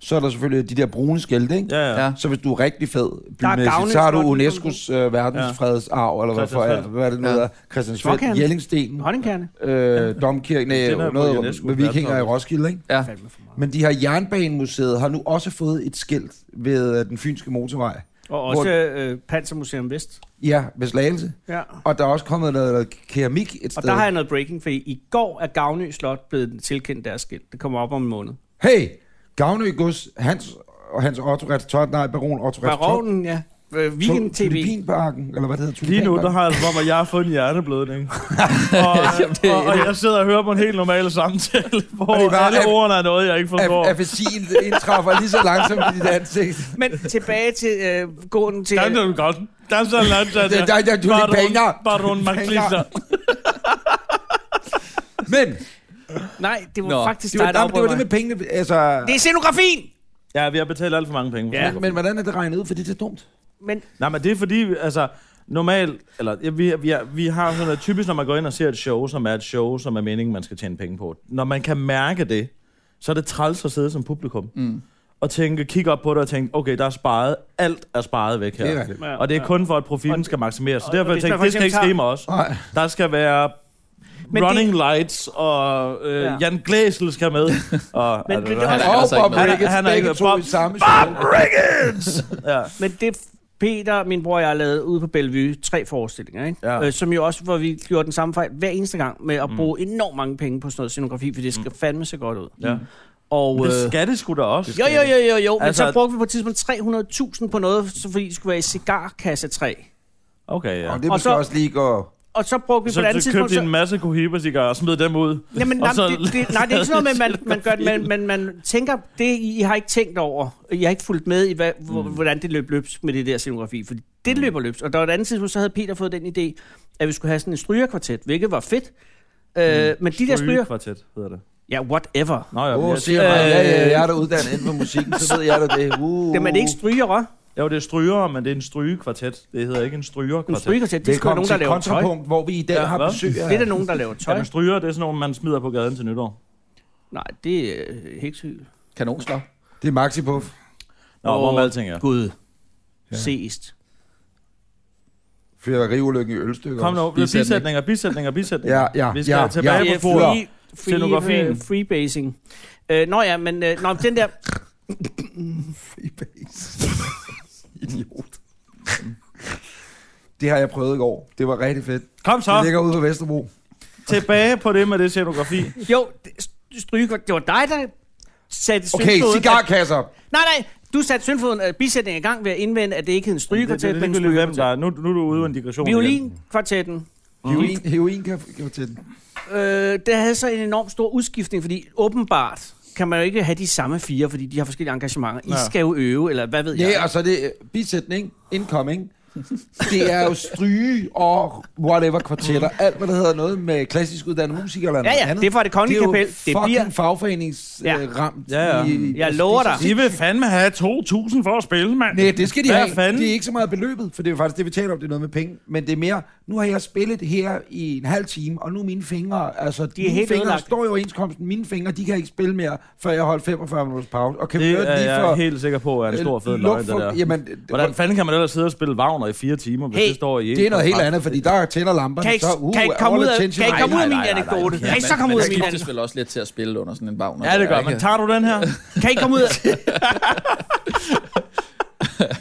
[SPEAKER 2] Så er der selvfølgelig de der brune skilte, ikke?
[SPEAKER 3] Ja, ja.
[SPEAKER 5] Ja.
[SPEAKER 3] ja.
[SPEAKER 2] Så hvis du er rigtig fed
[SPEAKER 4] gavne-
[SPEAKER 2] bymæssigt, så har du
[SPEAKER 4] Slotten-
[SPEAKER 2] UNESCO's øh, verdensfredsarv, eller hvad, for,
[SPEAKER 3] Christiansfeld.
[SPEAKER 2] hvad er det nu
[SPEAKER 5] Ja.
[SPEAKER 2] hedder? Christiansfeld,
[SPEAKER 4] Småkærne.
[SPEAKER 2] Jellingstenen,
[SPEAKER 4] Honningkerne.
[SPEAKER 2] øh, Domkirken,
[SPEAKER 3] Den er
[SPEAKER 2] øh,
[SPEAKER 3] på
[SPEAKER 2] noget
[SPEAKER 3] UNESCO
[SPEAKER 2] med vikinger i
[SPEAKER 3] verdensarv.
[SPEAKER 2] Roskilde, ikke?
[SPEAKER 5] Ja,
[SPEAKER 4] Fandme for meget.
[SPEAKER 2] Men de her Jernbanemuseet har nu også fået et skilt ved øh, den fynske motorvej.
[SPEAKER 4] Og
[SPEAKER 2] Hvor-
[SPEAKER 4] også øh, Pansermuseum Vest.
[SPEAKER 2] Ja, ved Slagelse.
[SPEAKER 4] Ja.
[SPEAKER 2] Og der er også kommet noget, noget keramik et sted.
[SPEAKER 4] Og der har jeg noget breaking, for i går er Gavnø Slot blevet tilkendt deres skilt. Det kommer op om en måned.
[SPEAKER 2] Hey, Gavnø Gus, Hans og Hans Otto Retort, nej, Baron Otto Retort.
[SPEAKER 4] Baronen, ja. Øh, Weekend TV.
[SPEAKER 2] Tulipinparken, eller hvad det hedder,
[SPEAKER 3] Lige nu, der
[SPEAKER 2] Tulipanparken.
[SPEAKER 3] har jeg det som om, at jeg har fået en <laughs> hjerneblødning. og, og, og, jeg sidder og hører på en helt normal <laughs> samtale, hvor
[SPEAKER 2] Og det er bare-
[SPEAKER 3] alle ordene er noget, jeg ikke forstår.
[SPEAKER 2] Af- Afasien indtræffer lige så langsomt i dit ansigt.
[SPEAKER 4] Men tilbage til øh, gården til...
[SPEAKER 3] Der er godt. Der er sådan noget, der
[SPEAKER 2] Det- der- der- tulipaner.
[SPEAKER 3] <laughs> Baron McLister.
[SPEAKER 2] Men
[SPEAKER 4] Nej, det var
[SPEAKER 5] Nå,
[SPEAKER 4] faktisk
[SPEAKER 2] det
[SPEAKER 4] dig,
[SPEAKER 2] var,
[SPEAKER 4] der
[SPEAKER 2] nej, men det var det
[SPEAKER 4] afbrød
[SPEAKER 2] med pengene. Altså,
[SPEAKER 4] mig. Det er scenografien!
[SPEAKER 3] Ja, vi har betalt alt for mange penge.
[SPEAKER 4] Ja.
[SPEAKER 2] men hvordan er det regnet ud? For det er dumt.
[SPEAKER 4] Men
[SPEAKER 3] Nej, men det er fordi, altså, normalt, eller ja, vi, vi, vi har sådan noget, typisk når man går ind og ser et show, som er et show, som er meningen, man skal tjene penge på. Når man kan mærke det, så er det træls at sidde som publikum. Mm. Og tænke, kigge op på det og tænke, okay, der er sparet, alt er sparet væk
[SPEAKER 2] Det er
[SPEAKER 3] her.
[SPEAKER 2] rigtigt.
[SPEAKER 4] Ja,
[SPEAKER 3] og det er kun for, at profilen
[SPEAKER 4] Og-
[SPEAKER 3] skal maksimeres. Så
[SPEAKER 4] og-
[SPEAKER 3] derfor
[SPEAKER 4] og
[SPEAKER 3] jeg
[SPEAKER 4] hvis
[SPEAKER 3] tænkte,
[SPEAKER 4] man for
[SPEAKER 3] det skal ikke
[SPEAKER 4] eksempel
[SPEAKER 3] ske med os.
[SPEAKER 2] Nej.
[SPEAKER 3] Der skal være
[SPEAKER 4] Men det-
[SPEAKER 3] running lights, og øh,
[SPEAKER 4] Ja.
[SPEAKER 3] Jan Glæsel skal
[SPEAKER 4] <laughs>
[SPEAKER 3] med. Og,
[SPEAKER 4] Men
[SPEAKER 3] altså,
[SPEAKER 4] det-
[SPEAKER 3] han-
[SPEAKER 5] Han er
[SPEAKER 2] Og
[SPEAKER 5] altså ikke
[SPEAKER 2] Bob
[SPEAKER 5] med.
[SPEAKER 3] Han er-
[SPEAKER 2] Ricketts,
[SPEAKER 3] han er
[SPEAKER 2] begge
[SPEAKER 3] ikke-
[SPEAKER 2] to
[SPEAKER 3] Bob-
[SPEAKER 2] i samme show.
[SPEAKER 3] ja.
[SPEAKER 4] Men det Peter, min bror og jeg lavede ude på Bellevue, tre forestillinger, ikke?
[SPEAKER 3] Ja.
[SPEAKER 4] Øh, som jo også, hvor vi gjorde den samme fejl hver eneste gang, med
[SPEAKER 2] Mm.
[SPEAKER 4] at bruge enormt mange penge på sådan noget scenografi, for det skal fandme se godt ud.
[SPEAKER 3] Ja.
[SPEAKER 4] Og,
[SPEAKER 3] Men
[SPEAKER 4] øh,
[SPEAKER 3] det skal det sgu da også.
[SPEAKER 4] jo, jo, jo, jo, jo, men
[SPEAKER 3] Altså-
[SPEAKER 4] så brugte vi på et tidspunkt 300.000 på noget, så fordi det skulle være i cigarkasse 3.
[SPEAKER 3] Okay, ja.
[SPEAKER 2] Og det
[SPEAKER 4] Og
[SPEAKER 2] måske
[SPEAKER 4] så-
[SPEAKER 2] også lige gå...
[SPEAKER 4] Og så brugte vi på
[SPEAKER 3] Så,
[SPEAKER 4] et andet
[SPEAKER 3] så købte
[SPEAKER 4] tidspunkt...
[SPEAKER 3] de en masse Cohiba-cigarer og smed dem ud.
[SPEAKER 4] Jamen,
[SPEAKER 3] Og
[SPEAKER 4] nej,
[SPEAKER 3] så-
[SPEAKER 4] det, det, nej, det er ikke sådan
[SPEAKER 3] <laughs>
[SPEAKER 4] noget med, at man, man gør det, men, men man tænker, det I har ikke tænkt over, I har ikke fulgt med i, hvad, mm. hvordan det løb løbs med det der scenografi, for det mm. løber løbs. Og der var et andet tidspunkt, så havde Peter fået den idé, at vi skulle have sådan en strygerkvartet, hvilket var fedt. Øh,
[SPEAKER 3] Mm.
[SPEAKER 4] men de der stryger...
[SPEAKER 3] Strygekvartet hedder det.
[SPEAKER 4] Ja, whatever.
[SPEAKER 3] Nå, ja,
[SPEAKER 2] Åh,
[SPEAKER 3] oh,
[SPEAKER 2] oh, siger
[SPEAKER 3] siger,
[SPEAKER 2] man,
[SPEAKER 4] øh,
[SPEAKER 2] ja, ja, jeg er da uddannet inden for musikken, så ved jeg da det. Uh,
[SPEAKER 4] Det er ikke stryger,
[SPEAKER 3] jo, det er stryger, men det er en strygekvartet. Det hedder ikke en
[SPEAKER 4] En
[SPEAKER 3] strygerkvartet.
[SPEAKER 4] strygerkvartet, det er sgu da
[SPEAKER 2] Velkommen
[SPEAKER 4] nogen, der
[SPEAKER 2] til
[SPEAKER 4] laver tøj.
[SPEAKER 2] kontrapunkt, hvor vi i dag
[SPEAKER 3] Ja,
[SPEAKER 2] har
[SPEAKER 3] hvad?
[SPEAKER 2] besøg af...
[SPEAKER 4] Det er der nogen, der laver
[SPEAKER 3] Ja,
[SPEAKER 4] tøj.
[SPEAKER 3] men stryger, det er sådan nogle, man smider på gaden til nytår.
[SPEAKER 4] Nej, det er øh, heksehyl.
[SPEAKER 5] Kanonslag.
[SPEAKER 2] Det er Maxipuff.
[SPEAKER 3] Nå, hvor med alting er.
[SPEAKER 4] Gud.
[SPEAKER 2] Ja.
[SPEAKER 4] Ja. Seest.
[SPEAKER 2] Fyrværkeriulykken i Ølstykker.
[SPEAKER 3] Kom nu,
[SPEAKER 5] Bisætning.
[SPEAKER 3] bisætninger, bisætninger, bisætninger.
[SPEAKER 2] Ja, ja,
[SPEAKER 3] Vi skal
[SPEAKER 2] ja,
[SPEAKER 3] tilbage
[SPEAKER 4] Det
[SPEAKER 3] på
[SPEAKER 4] er
[SPEAKER 3] foret.
[SPEAKER 4] free, free,
[SPEAKER 3] Scenografien.
[SPEAKER 4] øh, freebasing. Øh, nå ja, men øh, nå, men den der...
[SPEAKER 2] Freebase. Idiot. Det har jeg prøvet i går. Det var rigtig fedt.
[SPEAKER 3] Kom
[SPEAKER 2] Det
[SPEAKER 3] så,
[SPEAKER 2] ligger ude på Vesterbro.
[SPEAKER 3] tilbage på det med det scenografi.
[SPEAKER 4] Jo, det- stryge, det var dig, der satte
[SPEAKER 2] Okay,
[SPEAKER 4] syndfloden-
[SPEAKER 2] cigarkasser.
[SPEAKER 4] Nej, nej, du satte syndfoden af bisætningen i gang ved at indvende, at det ikke hed en
[SPEAKER 3] Det,
[SPEAKER 4] stryger
[SPEAKER 3] det,
[SPEAKER 4] til,
[SPEAKER 3] det, det,
[SPEAKER 4] men
[SPEAKER 3] det, hvem der
[SPEAKER 4] stryger
[SPEAKER 3] er. Nu, nu er du ude af en digression igen.
[SPEAKER 4] Violinkvartetten.
[SPEAKER 2] Heroin,
[SPEAKER 3] Mhm.
[SPEAKER 2] heroin kan kan jeg til den.
[SPEAKER 4] Øh, det havde så en enorm stor udskiftning, fordi åbenbart kan man jo ikke have de samme fire, fordi de har forskellige engagementer. I
[SPEAKER 3] Ja.
[SPEAKER 4] skal jo øve, eller hvad ved jeg.
[SPEAKER 2] Ja, og så er det øh, bisætning, incoming. Det er jo stryge og whatever kvartetter. Alt, hvad der hedder noget med klassisk uddannet musikere eller
[SPEAKER 4] Ja,
[SPEAKER 2] noget
[SPEAKER 4] ja,
[SPEAKER 2] andet.
[SPEAKER 4] det er fra det kongelige
[SPEAKER 2] det er
[SPEAKER 4] kapel.
[SPEAKER 2] jo
[SPEAKER 4] Det
[SPEAKER 2] fucking øh,
[SPEAKER 4] bliver- Ja.
[SPEAKER 2] fagforeningsramt.
[SPEAKER 3] Ja, ja.
[SPEAKER 2] altså,
[SPEAKER 4] Jeg lover dig.
[SPEAKER 3] I vil fandme have 2.000 for at spille, mand.
[SPEAKER 2] Nej, det skal de
[SPEAKER 3] Hvad
[SPEAKER 2] have.
[SPEAKER 3] Fanden?
[SPEAKER 2] Det er ikke så meget beløbet, for det er jo faktisk det, vi taler om, det er noget med penge. Men det er mere, nu har jeg spillet her i en halv time, og nu er mine fingre, altså de
[SPEAKER 4] er
[SPEAKER 2] mine
[SPEAKER 4] helt
[SPEAKER 2] fingre
[SPEAKER 4] ødelagte.
[SPEAKER 2] står i overenskomsten, mine fingre, de kan ikke spille mere, før jeg har holdt 45 minutters pause. Og kan vi
[SPEAKER 3] Det
[SPEAKER 2] høre
[SPEAKER 3] er
[SPEAKER 2] lige
[SPEAKER 3] jeg
[SPEAKER 2] for...
[SPEAKER 3] helt sikker på, er en stor fed
[SPEAKER 2] øh,
[SPEAKER 3] løgn,
[SPEAKER 2] luk
[SPEAKER 3] det
[SPEAKER 2] for-
[SPEAKER 3] der.
[SPEAKER 2] Jamen, øh,
[SPEAKER 3] Hvordan fanden kan man ellers sidde og spille Wagner i fire timer, hvis
[SPEAKER 4] Hey,
[SPEAKER 3] det står i
[SPEAKER 2] det er noget helt andet, fordi der tænder lamperne,
[SPEAKER 4] Kan I ikke-
[SPEAKER 2] så uh,
[SPEAKER 4] kan I ikke komme
[SPEAKER 2] all
[SPEAKER 4] ud af-
[SPEAKER 2] attention.
[SPEAKER 4] kan I ikke
[SPEAKER 2] Nej,
[SPEAKER 4] komme ud
[SPEAKER 2] nej,
[SPEAKER 4] af min
[SPEAKER 2] nej, nej, nej.
[SPEAKER 4] anekdote? Kan I så
[SPEAKER 5] man-
[SPEAKER 4] komme
[SPEAKER 2] <laughs>
[SPEAKER 4] ud af
[SPEAKER 5] Man
[SPEAKER 4] min
[SPEAKER 5] skiftes vel også lidt til at spille under sådan en Wagner.
[SPEAKER 3] Ja, det gør man. Tager du den her?
[SPEAKER 4] Kan I ikke komme ud af...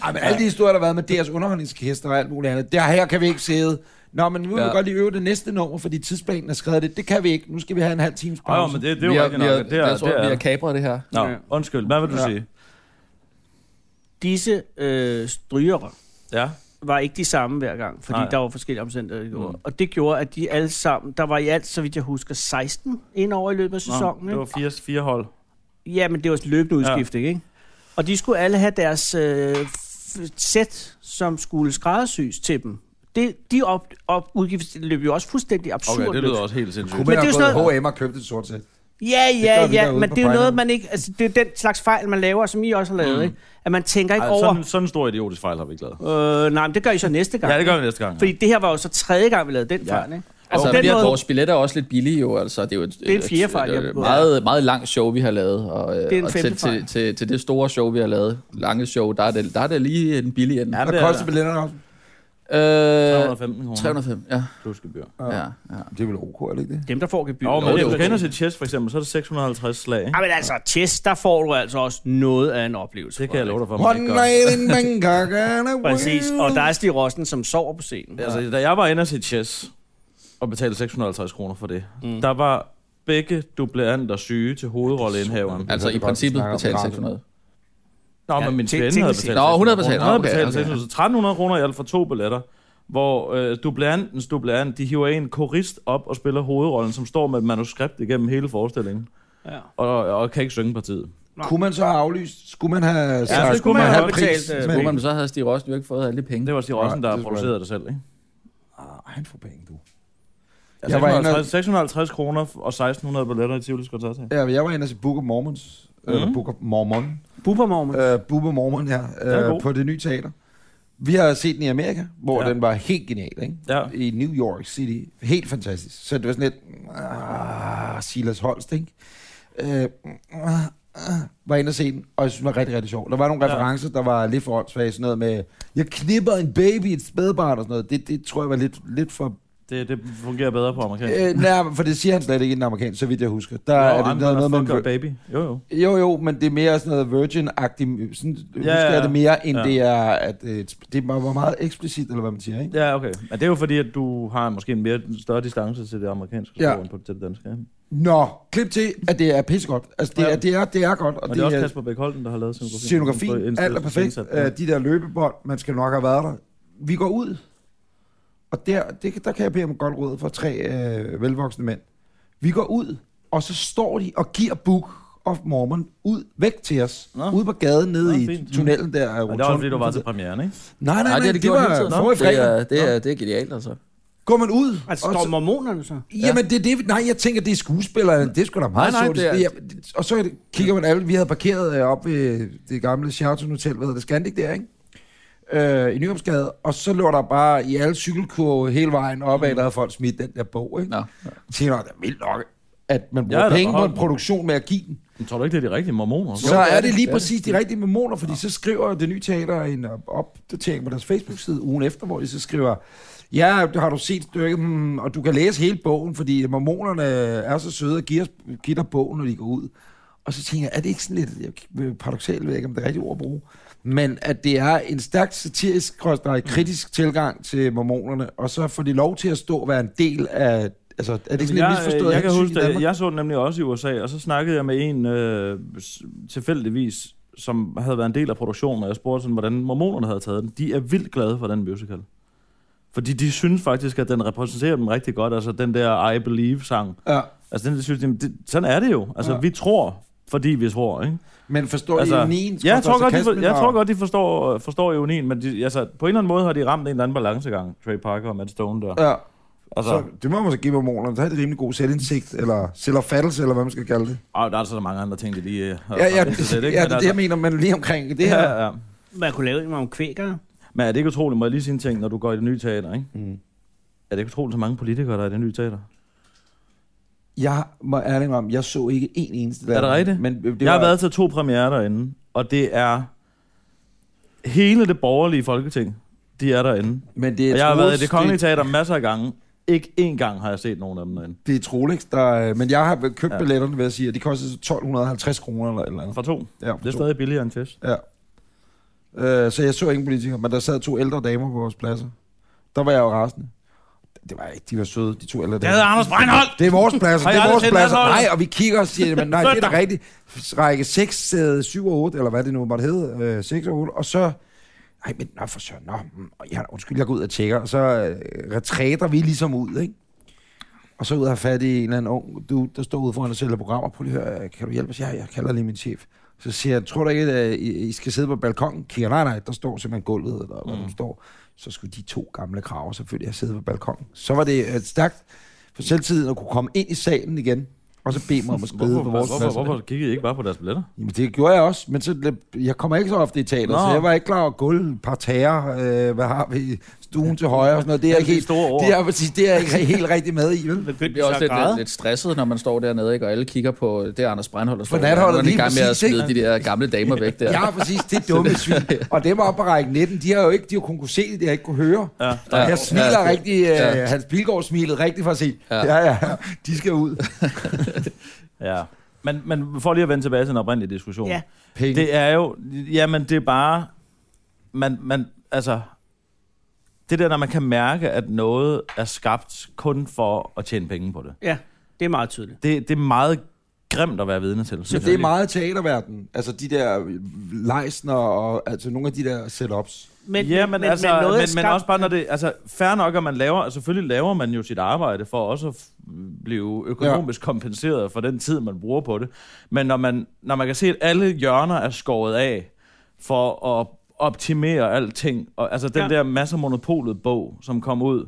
[SPEAKER 2] Ej, men alle de historier, der har været med deres underholdningsorkester og alt muligt andet, der her kan vi ikke sidde. Nå, men nu vil
[SPEAKER 5] Ja.
[SPEAKER 2] vi godt lige øve det næste nummer, fordi tidsplanen er skrevet det. Det kan vi ikke. Nu skal vi have en halv times
[SPEAKER 3] Åh,
[SPEAKER 2] pause.
[SPEAKER 3] jo, men det, det er
[SPEAKER 5] vi
[SPEAKER 3] jo
[SPEAKER 5] har,
[SPEAKER 3] rigtigt
[SPEAKER 5] vi har,
[SPEAKER 3] nok. Det er,
[SPEAKER 5] jeg tror, vi har
[SPEAKER 3] det
[SPEAKER 5] kapret det her.
[SPEAKER 3] er. Nå, undskyld. Hvad vil du
[SPEAKER 2] Ja.
[SPEAKER 3] sige?
[SPEAKER 4] Disse øh, strygere
[SPEAKER 3] Ja.
[SPEAKER 4] var ikke de samme hver gang, fordi
[SPEAKER 3] Nej.
[SPEAKER 4] der var forskellige omstændigheder. der gjorde.
[SPEAKER 3] Mm.
[SPEAKER 4] Og det gjorde, at de alle sammen... Der var i alt, så vidt jeg husker, 16 indover i løbet af sæsonen.
[SPEAKER 3] Nå, det var
[SPEAKER 4] ikke?
[SPEAKER 3] fire, fire hold.
[SPEAKER 4] Ja, men det var løbende udskiftning, ja. ikke? Og de skulle alle have deres øh, f- sæt, som skulle skræddersys til dem. Det, de op, op, udgifter løb jo også fuldstændig absurd. løbsk.
[SPEAKER 3] også helt sindssygt.
[SPEAKER 2] Kunne man
[SPEAKER 4] Men det er
[SPEAKER 2] have
[SPEAKER 4] jo sådan
[SPEAKER 2] gået H&M og købt et sort sæt?
[SPEAKER 4] Ja,
[SPEAKER 2] gør
[SPEAKER 4] ja,
[SPEAKER 2] vi
[SPEAKER 4] ja,
[SPEAKER 2] derude
[SPEAKER 4] men
[SPEAKER 2] på
[SPEAKER 4] det er jo
[SPEAKER 2] Brejning.
[SPEAKER 4] noget, man ikke... Altså, det er jo den slags fejl, man laver, som I også har lavet, mm. ikke? At man tænker ikke
[SPEAKER 3] Ej,
[SPEAKER 4] over...
[SPEAKER 3] sådan, sådan en stor idiotisk fejl har vi ikke lavet.
[SPEAKER 4] Øh, nej, men det gør I så næste gang.
[SPEAKER 3] Ja, det gør vi næste gang.
[SPEAKER 4] Fordi det her var jo så tredje gang, vi lavede den
[SPEAKER 3] Ja.
[SPEAKER 4] fejl, ikke?
[SPEAKER 5] Altså,
[SPEAKER 4] på den
[SPEAKER 5] vi har,
[SPEAKER 4] måde-
[SPEAKER 5] vores billetter er også lidt billige jo, altså. Det er jo et,
[SPEAKER 4] er en fjerde fejl, jeg
[SPEAKER 5] et,
[SPEAKER 4] har
[SPEAKER 5] et
[SPEAKER 4] begået.
[SPEAKER 5] meget, meget langt show, vi har lavet. Og, øh,
[SPEAKER 4] Det er en
[SPEAKER 5] og
[SPEAKER 4] femte
[SPEAKER 5] til, til,
[SPEAKER 4] fejl.
[SPEAKER 5] til, til, det store show, vi har lavet, lange show, der er det, der er det lige en billig ende.
[SPEAKER 3] Ja,
[SPEAKER 2] Hvad
[SPEAKER 3] det er
[SPEAKER 2] koster
[SPEAKER 3] der.
[SPEAKER 2] billetterne også?
[SPEAKER 5] Øh,
[SPEAKER 3] 315 kroner.
[SPEAKER 5] 305, ja.
[SPEAKER 3] plus gebyr.
[SPEAKER 5] ja, ja.
[SPEAKER 2] Det er vel ok, er det ikke det?
[SPEAKER 4] Dem, der får gebyr.
[SPEAKER 3] Jo, men
[SPEAKER 5] det er
[SPEAKER 3] hvis du
[SPEAKER 5] okay.
[SPEAKER 3] kender til chess for eksempel, så er det 650 slag, ikke?
[SPEAKER 4] Ja, men altså, chess, der får du altså også noget af en oplevelse.
[SPEAKER 3] Det kan jeg love dig for, man
[SPEAKER 2] One
[SPEAKER 3] ikke gør.
[SPEAKER 2] night in Bangkok
[SPEAKER 3] <laughs>
[SPEAKER 2] and a
[SPEAKER 4] Præcis, og der er Stig Rossen, som sover på scenen.
[SPEAKER 3] Altså, da jeg var inde og se chess, og betalte 650 kroner for det, der var begge dubleanter syge til hovedrolleindhaveren.
[SPEAKER 5] Altså, i
[SPEAKER 2] godt, vi
[SPEAKER 5] princippet
[SPEAKER 2] snakker om
[SPEAKER 5] betalt
[SPEAKER 2] radio.
[SPEAKER 5] 600.
[SPEAKER 3] Nå,
[SPEAKER 4] Ja,
[SPEAKER 3] men min
[SPEAKER 4] til-
[SPEAKER 3] kvinde
[SPEAKER 4] til-
[SPEAKER 3] havde
[SPEAKER 4] til-
[SPEAKER 3] betalt.
[SPEAKER 5] Nå, hun havde betalt.
[SPEAKER 3] Hun havde
[SPEAKER 5] Okay,
[SPEAKER 3] betalt
[SPEAKER 5] okay.
[SPEAKER 3] 600, så 1300 kroner i alt for to billetter, hvor øh, dubleantens dubleant, de hiver en korist op og spiller hovedrollen, som står med et manuskript igennem hele forestillingen,
[SPEAKER 4] Ja.
[SPEAKER 3] og, og kan ikke synge partiet.
[SPEAKER 2] Kunne man så have aflyst? Skulle man have... sagt-
[SPEAKER 3] skulle man have
[SPEAKER 4] betalt, øh,
[SPEAKER 2] Men-
[SPEAKER 5] Skulle man så havde Stig Rossen jo ikke fået alle de penge.
[SPEAKER 3] Det var Stig Rossen,
[SPEAKER 2] Nej,
[SPEAKER 3] der
[SPEAKER 2] det er
[SPEAKER 3] producerede det selv, ikke?
[SPEAKER 2] Ah, han får penge, du.
[SPEAKER 3] Ja,
[SPEAKER 2] Jeg var inde
[SPEAKER 3] 650,
[SPEAKER 2] og-
[SPEAKER 3] 650 kroner og 1600 billetter i Tivoli Skortat.
[SPEAKER 2] Ja, jeg var inde og se Book of Mormons.
[SPEAKER 3] Mhm.
[SPEAKER 2] Eller Book of Mormon.
[SPEAKER 4] Bubermormen.
[SPEAKER 2] Øh, Bubba Mormon her.
[SPEAKER 3] er
[SPEAKER 2] Øh,
[SPEAKER 3] god.
[SPEAKER 2] på det nye teater. Vi har set den i Amerika, hvor
[SPEAKER 3] Ja.
[SPEAKER 2] den var helt genial, ikke?
[SPEAKER 3] Ja.
[SPEAKER 2] I New York City. Helt fantastisk. Så det var sådan lidt... Ah, Silas Holst, ikke? Øh, ah, ah, var inde og se den, og jeg synes, den var rigtig, rigtig sjov. Der var nogle
[SPEAKER 3] Ja.
[SPEAKER 2] referencer, der var lidt for åndssvage, sådan noget med, jeg knipper en baby i et spædbarn og sådan noget. Det, det tror jeg var lidt, lidt for...
[SPEAKER 3] Det, det fungerer bedre på amerikansk.
[SPEAKER 2] Øh, nej, for det siger han slet ikke i den amerikanske, så vidt jeg husker. Der
[SPEAKER 3] Nå,
[SPEAKER 2] er det
[SPEAKER 3] I'm
[SPEAKER 2] noget,
[SPEAKER 3] gonna
[SPEAKER 2] noget med...
[SPEAKER 3] fuck
[SPEAKER 2] en-
[SPEAKER 3] your baby. Jo, jo.
[SPEAKER 2] Jo, jo, men det er mere sådan noget virgin-agtigt. Sådan ja, husker jeg det mere, end ja.
[SPEAKER 3] ja.
[SPEAKER 2] det er, at øh, det er meget, meget eksplicit, eller hvad man siger, ikke?
[SPEAKER 3] Ja, okay. Men det er jo fordi, at du har måske en mere en større distance til det amerikanske
[SPEAKER 2] Ja.
[SPEAKER 3] sprog, end på til det danske. Ja.
[SPEAKER 2] Nå, klip til, at det er pissegodt. Altså, det,
[SPEAKER 3] Ja.
[SPEAKER 2] er, det, er, det er godt, og,
[SPEAKER 3] Og det er også
[SPEAKER 2] er
[SPEAKER 3] Kasper Bæk Holten, der har lavet scenografien.
[SPEAKER 2] scenografi,
[SPEAKER 3] Som står-
[SPEAKER 2] alt er perfekt.
[SPEAKER 3] indsat.
[SPEAKER 2] Øh, De der løbebånd, man skal nok have været der. Vi går ud, og der, det, der kan jeg bede om et godt råd for tre øh, velvoksne mænd. Vi går ud, og så står de og giver Book of Mormon ud, væk til os.
[SPEAKER 3] Nå.
[SPEAKER 2] Ude på gaden nede
[SPEAKER 3] Nå,
[SPEAKER 2] i
[SPEAKER 3] fint.
[SPEAKER 2] tunnelen der. Ja,
[SPEAKER 3] Men det var også fordi, du var til premieren, ikke?
[SPEAKER 2] Nej, nej, nej,
[SPEAKER 5] Nej, det
[SPEAKER 2] det,
[SPEAKER 5] har det
[SPEAKER 2] det
[SPEAKER 5] gjort hele tiden.
[SPEAKER 2] var forrige
[SPEAKER 5] Det
[SPEAKER 2] fredag.
[SPEAKER 5] er, det, er, det er genialt, altså.
[SPEAKER 2] Går man ud?
[SPEAKER 4] Altså,
[SPEAKER 2] og
[SPEAKER 4] står
[SPEAKER 2] så-
[SPEAKER 4] mormonerne så?
[SPEAKER 2] Jamen, det er det. Nej, jeg tænker, det er skuespillerne. Det er sgu da meget
[SPEAKER 5] Nej, nej,
[SPEAKER 2] sjovt.
[SPEAKER 5] det er-
[SPEAKER 2] Ja, det- og så kigger man alle. Vi havde parkeret øh, op ved det gamle Sheraton Hotel, hvad hedder det, Scandic der, ikke? Øh, i Nyhavnsgade, og så lå der bare i alle cykelkurve hele vejen opad, der havde folk smidt den der bog, ikke?
[SPEAKER 5] Mm. Nå.
[SPEAKER 2] Tænker, jeg, det er vildt nok.
[SPEAKER 5] at man
[SPEAKER 2] bruger
[SPEAKER 3] Jeg er da
[SPEAKER 2] penge på en
[SPEAKER 3] beholden.
[SPEAKER 2] produktion med at give den.
[SPEAKER 3] Men tror du ikke, det er de rigtige mormoner?
[SPEAKER 2] Så er det lige præcis de rigtige memoner, fordi så skriver det nye teater en op- opdatering på deres Facebook-side ugen efter, hvor de så skriver, ja, har du set stykket, hmm, og du kan læse hele bogen, fordi mormonerne er så søde og giver, os- giver dig bogen, når de går ud. Og så tænker jeg, er det ikke sådan lidt jeg- paradoxalt, ved jeg ikke, om det er rigtigt ord at bruge, men at det er en stærkt satirisk, krydstrej,
[SPEAKER 3] Mm.
[SPEAKER 2] kritisk tilgang til mormonerne, og så får de lov til at stå og være en del af, altså er det ikke sådan lidt
[SPEAKER 3] jeg,
[SPEAKER 2] misforstået?
[SPEAKER 3] jeg kan
[SPEAKER 2] hensyn i
[SPEAKER 3] huske,
[SPEAKER 2] Danmark?
[SPEAKER 3] det. jeg så den nemlig også i USA, og så snakkede jeg med en øh, s- tilfældigvis, som havde været en del af produktionen, og jeg spurgte sådan, hvordan mormonerne havde taget den. De er vildt glade for den musical. Fordi de synes faktisk, at den repræsenterer dem rigtig godt. Altså den der I Believe-sang.
[SPEAKER 2] Ja.
[SPEAKER 3] Altså den, de synes, jamen, det, sådan er det jo. Altså
[SPEAKER 2] Ja.
[SPEAKER 3] vi tror, fordi vi tror, ikke?
[SPEAKER 2] Men forstår altså,
[SPEAKER 3] Altså,
[SPEAKER 2] ironien?
[SPEAKER 3] Ja, jeg tror godt, de, for,
[SPEAKER 2] sarkasmen
[SPEAKER 3] jeg
[SPEAKER 2] og-
[SPEAKER 3] tror godt, de forstår, forstår ironien, men de, altså, på en eller anden måde har de ramt en eller anden balancegang, Trey Parker og Matt Stone der.
[SPEAKER 2] Ja.
[SPEAKER 3] Altså,
[SPEAKER 2] Så det må man måske give mormonerne. Der er det rimelig god selvindsigt, eller selvopfattelse, eller hvad man skal kalde det.
[SPEAKER 3] og der er altså så mange andre ting, de lige øh, har
[SPEAKER 2] Ja, ja, ja,
[SPEAKER 3] ramt
[SPEAKER 2] det,
[SPEAKER 3] efter lidt,
[SPEAKER 2] ja, det
[SPEAKER 3] ikke? Men
[SPEAKER 2] er det,
[SPEAKER 3] altså-
[SPEAKER 2] jeg mener, men lige omkring det her. Ja,
[SPEAKER 3] ja.
[SPEAKER 4] Man kunne lave en om kvækere.
[SPEAKER 3] Men er det ikke utroligt, må jeg lige sige en ting, når du går i det nye teater, ikke? Mm. Er det ikke utroligt, så mange politikere, der er i det nye teater?
[SPEAKER 2] Jeg må ærligt om, jeg så ikke en eneste der.
[SPEAKER 3] Er det rigtigt?
[SPEAKER 2] Men øh, det
[SPEAKER 3] Det jeg
[SPEAKER 2] var,
[SPEAKER 3] har været til to premiere derinde, og det er hele det borgerlige folketing, de er derinde.
[SPEAKER 2] Men det er
[SPEAKER 3] Jeg og jeg har
[SPEAKER 2] Troels-
[SPEAKER 3] været i det kongelige
[SPEAKER 2] det,
[SPEAKER 3] teater masser af gange. Ikke én gang har jeg set nogen af dem derinde.
[SPEAKER 2] det er Trolex, der... øh, Men jeg har købt ja.
[SPEAKER 3] Ja.
[SPEAKER 2] billetterne, vil jeg sige, og de kostede så 1250 kroner eller et eller andet.
[SPEAKER 3] For to.
[SPEAKER 2] Ja,
[SPEAKER 3] Det er stadig billigere end Chess.
[SPEAKER 2] Ja. Øh, så jeg så ingen politikere, men der sad to ældre damer på vores pladser. Der var jeg jo rasende. Det var ikke, de var søde, de to ældre damer.
[SPEAKER 3] Anders Breinholt!
[SPEAKER 2] Det er vores pladser,
[SPEAKER 3] Har
[SPEAKER 2] det
[SPEAKER 3] I
[SPEAKER 2] er
[SPEAKER 3] aldrig
[SPEAKER 2] vores
[SPEAKER 3] set
[SPEAKER 2] pladser.
[SPEAKER 3] landsholdet?
[SPEAKER 2] Nej, og vi kigger og siger, men nej, det er da
[SPEAKER 3] Søndag.
[SPEAKER 2] rigtigt. Række 6, 7 og 8, eller hvad det nu måtte hedde, øh, 6 og 8, og så... Ej, men nå for søren, nå, mm, og ja, undskyld, jeg går ud og tjekker, og så øh, retræter vi ligesom ud, ikke? Og så ud og have fat i en eller anden ung du der står ude foran og sælger programmer. Prøv lige at høre, øh, kan du hjælpe os? Ja, jeg kalder lige min chef. Så siger jeg, tror du ikke, at øh, I I skal sidde på balkongen? Kigger, nej, nej, der står simpelthen gulvet, eller hvor mm. du står. Så skulle de to gamle kraver selvfølgelig have siddet på balkongen. Så var det øh, stærkt for selvtiden at kunne komme ind i salen igen, og så bede mig om at skride på
[SPEAKER 3] Hvorfor,
[SPEAKER 2] vores
[SPEAKER 3] hvorfor,
[SPEAKER 2] pladser.
[SPEAKER 3] hvorfor kiggede I ikke bare på deres billetter?
[SPEAKER 2] Jamen, det gjorde jeg også, men så, jeg kommer ikke så ofte i teater,
[SPEAKER 3] Nå.
[SPEAKER 2] så jeg var ikke klar over gulv, parterre, øh, hvad har vi, stuen til højre og sådan noget. Det er jeg ikke
[SPEAKER 3] de
[SPEAKER 2] helt,
[SPEAKER 3] store ord.
[SPEAKER 2] det er, præcis, det er jeg ikke helt rigtig med i, vel?
[SPEAKER 4] Det
[SPEAKER 5] bliver også lidt, lidt, lidt stresset, når man står dernede, ikke? og alle kigger på det er Anders Breinholt, og står
[SPEAKER 2] For
[SPEAKER 5] der,
[SPEAKER 2] natholdet
[SPEAKER 5] og han er i
[SPEAKER 2] lige
[SPEAKER 5] gang med at
[SPEAKER 2] præcis, ikke?
[SPEAKER 5] smide de der gamle damer væk der.
[SPEAKER 2] <laughs> Ja, præcis. Det er dumme svin. Og dem oppe på række 19, de har jo ikke, de har kun kunne se det, de har ikke kunne høre. Ja.
[SPEAKER 5] Ja.
[SPEAKER 2] Jeg smiler ja,
[SPEAKER 5] Ja, det-
[SPEAKER 2] rigtig, ja.
[SPEAKER 5] ja.
[SPEAKER 2] Øh, Hans Pilgaard smilede rigtig for at se.
[SPEAKER 5] Ja.
[SPEAKER 2] Ja. ja, ja, de skal ud.
[SPEAKER 3] Ja. Men, men for lige at vende tilbage til den oprindelige diskussion.
[SPEAKER 4] Ja.
[SPEAKER 2] Penge.
[SPEAKER 3] Det er jo, jamen det er bare, man, man, altså, det der, når man kan mærke, at noget er skabt kun for at tjene penge på det.
[SPEAKER 4] Ja, det er meget tydeligt.
[SPEAKER 3] Det, det er meget grimt at være vidne til.
[SPEAKER 2] Så det er meget teaterverden. Altså de der lejsner og altså nogle af de der setups.
[SPEAKER 3] Men, ja, men, men, altså, men,
[SPEAKER 4] er
[SPEAKER 3] men, men
[SPEAKER 4] skabt-
[SPEAKER 3] også bare, når
[SPEAKER 4] Mm.
[SPEAKER 3] det... Altså, fair nok, at man laver... Altså, selvfølgelig laver man jo sit arbejde for også at f- blive økonomisk ja. kompenseret for den tid, man bruger på det. Men når man, når man kan se, at alle hjørner er skåret af for at optimere alting, og, altså den ja.
[SPEAKER 4] Ja.
[SPEAKER 3] der masser monopolet bog, som kom ud,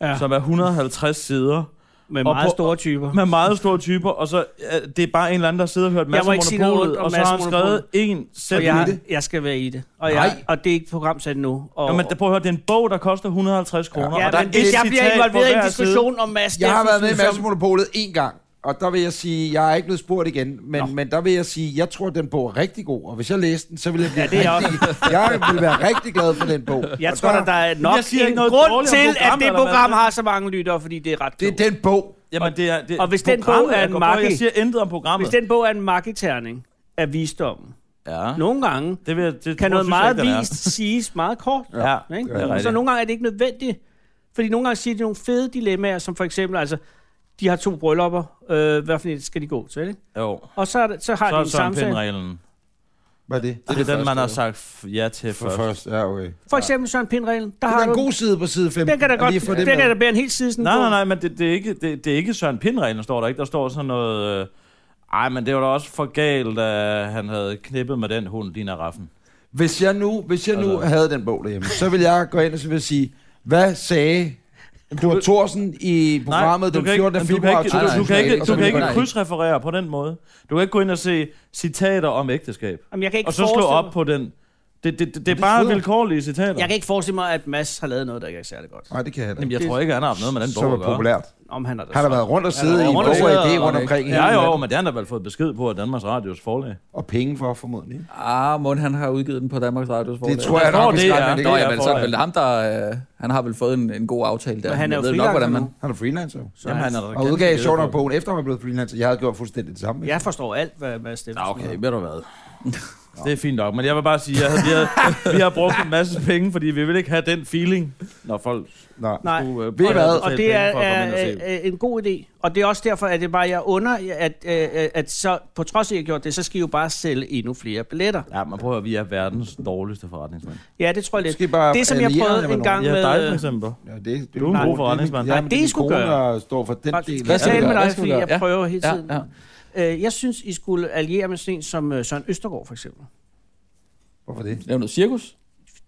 [SPEAKER 4] Ja,
[SPEAKER 3] ja. som er 150 sider
[SPEAKER 4] med
[SPEAKER 3] og
[SPEAKER 4] meget
[SPEAKER 3] på-
[SPEAKER 4] store typer.
[SPEAKER 3] med meget store typer, og så øh, det er bare en eller anden, der sidder og hørt
[SPEAKER 4] Jeg må
[SPEAKER 3] masser
[SPEAKER 4] ikke sige noget
[SPEAKER 3] monopolet,
[SPEAKER 4] ondt om
[SPEAKER 3] og så har han
[SPEAKER 4] Mads
[SPEAKER 3] skrevet en
[SPEAKER 4] Og
[SPEAKER 3] sætning.
[SPEAKER 4] jeg, jeg skal være i det. Og, jeg,
[SPEAKER 2] Nej.
[SPEAKER 4] og det er ikke programsat nu. Og,
[SPEAKER 3] Ja, men der- prøv at høre, det er en bog, der koster 150 kroner,
[SPEAKER 4] ja,
[SPEAKER 3] og der er
[SPEAKER 4] men
[SPEAKER 3] et
[SPEAKER 4] hvis jeg bliver
[SPEAKER 3] citat på
[SPEAKER 4] involveret i en
[SPEAKER 3] hver side.
[SPEAKER 4] diskussion om Mads
[SPEAKER 2] Jeg har været med i
[SPEAKER 4] Steffensen, som-
[SPEAKER 2] Massemonopolet en gang, og der vil jeg sige, jeg er ikke blevet spurgt igen, men, men der vil jeg sige, jeg tror, den bog er rigtig god, og hvis jeg læste den, så ville jeg blive
[SPEAKER 3] <laughs>
[SPEAKER 4] Ja, det er jeg
[SPEAKER 2] rigtig, jeg ville være rigtig glad for den bog.
[SPEAKER 4] Jeg
[SPEAKER 2] Og
[SPEAKER 4] tror, at der er nok
[SPEAKER 3] Jeg siger
[SPEAKER 4] en
[SPEAKER 3] ikke noget
[SPEAKER 4] grund
[SPEAKER 3] dårligt om
[SPEAKER 4] til, at
[SPEAKER 3] programmet,
[SPEAKER 4] det
[SPEAKER 3] eller hvad?
[SPEAKER 4] program har så mange lyttere, fordi det er ret
[SPEAKER 2] Det
[SPEAKER 4] klogt.
[SPEAKER 2] er den bog,
[SPEAKER 3] Jamen, det er, det,
[SPEAKER 4] Og hvis den bog
[SPEAKER 3] programmet,
[SPEAKER 4] er
[SPEAKER 3] jeg
[SPEAKER 4] en
[SPEAKER 3] går på,
[SPEAKER 4] makke-
[SPEAKER 3] Jeg siger intet om programmet.
[SPEAKER 4] Hvis den bog er en makketerning af visdommen,
[SPEAKER 3] ja.
[SPEAKER 4] nogle gange
[SPEAKER 3] det vil, jeg- det
[SPEAKER 4] kan
[SPEAKER 3] tror-
[SPEAKER 4] noget
[SPEAKER 3] synes jeg
[SPEAKER 4] meget
[SPEAKER 3] ikke, den er.
[SPEAKER 4] vist siges meget kort.
[SPEAKER 3] Ja,
[SPEAKER 4] Ikke?
[SPEAKER 3] det er
[SPEAKER 4] Ja, så
[SPEAKER 3] rigtigt.
[SPEAKER 4] nogle gange er det ikke nødvendigt. Fordi nogle gange siger de nogle fede dilemmaer, som for eksempel, altså, de har to bryllupper, øh, hvad for et skal de gå til, ikke?
[SPEAKER 3] Jo,
[SPEAKER 4] Og så, er det, så har
[SPEAKER 3] så
[SPEAKER 4] de
[SPEAKER 3] er
[SPEAKER 4] en
[SPEAKER 3] Søren
[SPEAKER 4] samtale.
[SPEAKER 3] Pind-reglen.
[SPEAKER 2] Hvad er det?
[SPEAKER 3] Det er den, man
[SPEAKER 5] første,
[SPEAKER 3] har
[SPEAKER 5] jo.
[SPEAKER 3] sagt f- ja til
[SPEAKER 2] For
[SPEAKER 3] først.
[SPEAKER 2] først, ja, okay.
[SPEAKER 4] For eksempel Søren Pind-reglen.
[SPEAKER 2] Der
[SPEAKER 4] Der har
[SPEAKER 2] er en
[SPEAKER 4] du,
[SPEAKER 2] god side på side 5.
[SPEAKER 4] den kan da godt, den kan da bære en hel side sådan
[SPEAKER 3] Nej,
[SPEAKER 4] en
[SPEAKER 3] nej,
[SPEAKER 4] bog.
[SPEAKER 3] nej, men det, det, er ikke, det, det er ikke Søren Pind-reglen, står der ikke. Der står sådan noget... Øh, ej, men det var da også for galt, at han havde knippet med den hund, din Raffen.
[SPEAKER 2] Hvis jeg nu, hvis jeg nu altså. havde den bog derhjemme, så ville jeg gå ind og så ville jeg sige, hvad sagde du Thorsen i programmet
[SPEAKER 3] du
[SPEAKER 2] den
[SPEAKER 3] kan ikke-
[SPEAKER 2] 14.
[SPEAKER 3] men
[SPEAKER 2] februar
[SPEAKER 3] Du kan ikke, du, du kan
[SPEAKER 2] 2003?
[SPEAKER 3] ikke,
[SPEAKER 5] og
[SPEAKER 3] du
[SPEAKER 5] så
[SPEAKER 3] kan ikke
[SPEAKER 5] nej.
[SPEAKER 3] krydsreferere på den måde. Du kan ikke gå ind og se citater om ægteskab.
[SPEAKER 4] Jamen, jeg kan ikke
[SPEAKER 3] Og så slå
[SPEAKER 4] forestille
[SPEAKER 3] op
[SPEAKER 4] mig-
[SPEAKER 3] på den Det, det, det, det er bare
[SPEAKER 2] snyder.
[SPEAKER 3] vilkårlige citater.
[SPEAKER 4] Jeg kan ikke forestille mig, at Mads har lavet noget, der ikke er særlig godt.
[SPEAKER 2] Nej, det kan jeg heller
[SPEAKER 3] Jamen,
[SPEAKER 2] ikke.
[SPEAKER 3] jeg
[SPEAKER 4] det-
[SPEAKER 3] tror ikke, han har haft noget med den
[SPEAKER 2] Så
[SPEAKER 3] bog
[SPEAKER 2] var
[SPEAKER 3] at gøre.
[SPEAKER 2] populært.
[SPEAKER 4] Om han er der
[SPEAKER 2] Han har
[SPEAKER 4] så-
[SPEAKER 2] været rundt og sidde i
[SPEAKER 3] rundt
[SPEAKER 2] bog
[SPEAKER 3] og
[SPEAKER 2] og
[SPEAKER 3] sidde
[SPEAKER 2] idé
[SPEAKER 5] og-
[SPEAKER 2] rundt omkring hele
[SPEAKER 3] Ja, jo,
[SPEAKER 2] natten.
[SPEAKER 3] men det har han da vel fået besked på af Danmarks Radios forlag.
[SPEAKER 2] Og penge for formodentlig. ikke?
[SPEAKER 5] Ah, Mund, han har udgivet den på Danmarks Radios forlag.
[SPEAKER 2] Det tror jeg
[SPEAKER 3] Der
[SPEAKER 2] nok,
[SPEAKER 3] står
[SPEAKER 2] vi
[SPEAKER 3] det,
[SPEAKER 2] skal
[SPEAKER 3] ja.
[SPEAKER 2] med det.
[SPEAKER 5] Nå,
[SPEAKER 3] Det
[SPEAKER 5] ja,
[SPEAKER 3] er
[SPEAKER 5] men så er det
[SPEAKER 3] forlag.
[SPEAKER 5] vel ham, der... Øh, han har vel fået en, en god aftale der.
[SPEAKER 4] Men han er jo
[SPEAKER 5] Jeg ved nok,
[SPEAKER 4] freelancer
[SPEAKER 5] hvordan
[SPEAKER 4] nu.
[SPEAKER 5] man...
[SPEAKER 2] Han er freelancer jo. Så.
[SPEAKER 3] Jamen, han er da
[SPEAKER 2] Og
[SPEAKER 3] ganske
[SPEAKER 2] udgav
[SPEAKER 3] glad
[SPEAKER 2] sjovt nok
[SPEAKER 3] for det.
[SPEAKER 2] bogen, efter han var blevet freelancer. Jeg havde gjort fuldstændig det samme.
[SPEAKER 4] Jeg forstår alt, hvad Mads Steffensen
[SPEAKER 3] Nå, okay,
[SPEAKER 4] har.
[SPEAKER 3] ved du hvad. Det er fint nok, men jeg vil bare sige, at vi, havde, vi har brugt en masse penge, fordi vi vil ikke have den feeling, når folk...
[SPEAKER 2] Nej.
[SPEAKER 4] Nej,
[SPEAKER 3] Du, øh,
[SPEAKER 4] og,
[SPEAKER 2] ved I hvad?
[SPEAKER 4] og
[SPEAKER 3] Betale
[SPEAKER 4] det
[SPEAKER 3] penge
[SPEAKER 4] er,
[SPEAKER 3] for at komme ind og
[SPEAKER 4] er,
[SPEAKER 3] se
[SPEAKER 4] er en god idé. Og det er også derfor, at det bare jeg under, at, at, at så, på trods af, at jeg har gjort det, så skal I jo bare sælge endnu flere billetter.
[SPEAKER 3] Ja, man prøver at høre, vi er verdens dårligste forretningsmand.
[SPEAKER 4] Ja, det tror jeg lidt.
[SPEAKER 2] Måske bare
[SPEAKER 4] det, som jeg
[SPEAKER 2] alliere jer
[SPEAKER 4] prøvede
[SPEAKER 2] med
[SPEAKER 4] en gang
[SPEAKER 3] Ja,
[SPEAKER 4] med... øh,
[SPEAKER 3] dig for eksempel.
[SPEAKER 2] Ja, det, det,
[SPEAKER 3] Du er en
[SPEAKER 2] min-
[SPEAKER 3] god forretningsmand.
[SPEAKER 2] Ja,
[SPEAKER 4] Nej,
[SPEAKER 2] men
[SPEAKER 4] det
[SPEAKER 2] er min
[SPEAKER 4] skulle
[SPEAKER 2] kone,
[SPEAKER 4] gøre.
[SPEAKER 2] der står for den del.
[SPEAKER 4] Jeg
[SPEAKER 5] Hvad skal
[SPEAKER 4] taler
[SPEAKER 5] vi
[SPEAKER 4] med
[SPEAKER 5] gøre? Hvad
[SPEAKER 4] dig,
[SPEAKER 5] skal vi
[SPEAKER 4] fordi
[SPEAKER 5] gøre?
[SPEAKER 4] jeg
[SPEAKER 5] Ja.
[SPEAKER 4] prøver hele
[SPEAKER 5] Ja,
[SPEAKER 4] tiden.
[SPEAKER 5] ja.
[SPEAKER 4] Øh, Jeg synes, I skulle alliere med sådan en som øh, Søren Østergaard, for eksempel.
[SPEAKER 2] Hvorfor det?
[SPEAKER 5] Lav noget cirkus?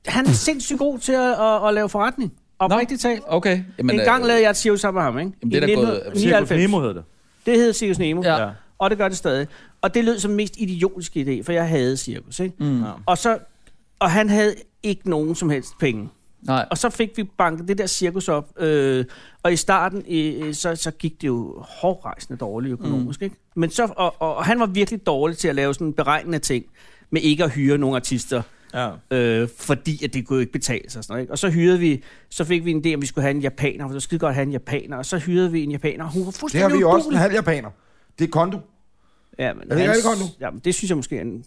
[SPEAKER 4] Han er sindssygt god til at, at, at lave forretning. Oprigtigt talt.
[SPEAKER 5] Okay. Jamen,
[SPEAKER 4] En gang
[SPEAKER 5] øh,
[SPEAKER 4] lavede jeg et cirkus sammen med ham, ikke?
[SPEAKER 5] Jamen, det er da
[SPEAKER 4] I
[SPEAKER 5] gået-
[SPEAKER 3] Cirkus
[SPEAKER 4] 1999.
[SPEAKER 3] Nemo hedder det.
[SPEAKER 4] Det hed Cirkus Nemo.
[SPEAKER 5] Ja.
[SPEAKER 3] Ja.
[SPEAKER 4] Og det gør det stadig. Og det lød som den mest idiotiske idé, for jeg havde cirkus, ikke?
[SPEAKER 5] Mm,
[SPEAKER 3] Ja.
[SPEAKER 4] Og, så, og han havde ikke nogen som helst penge.
[SPEAKER 5] nej.
[SPEAKER 4] Og så fik vi banket det der cirkus op, øh, og i starten, øh, øh, så, så gik det jo hårdrejsende dårligt økonomisk, mm. ikke? Men så, og, og, og han var virkelig dårlig til at lave sådan beregnende ting, med ikke at hyre nogle artister,
[SPEAKER 3] Ja.
[SPEAKER 4] øh, fordi at det kunne jo ikke betale sig. og Sådan noget, ikke? Og så hyrede vi, så fik vi en idé, om vi skulle have en japaner, for det var skide godt at have en japaner, og så hyrede vi en japaner, og hun var
[SPEAKER 2] Det har
[SPEAKER 4] fuldstændig
[SPEAKER 2] vi jo også en
[SPEAKER 4] uduelig.
[SPEAKER 2] halv japaner. Det er kondo.
[SPEAKER 4] Ja, men
[SPEAKER 2] Er det ikke
[SPEAKER 4] hans-
[SPEAKER 2] rigtig godt nu?
[SPEAKER 4] Jamen, det synes jeg måske er en...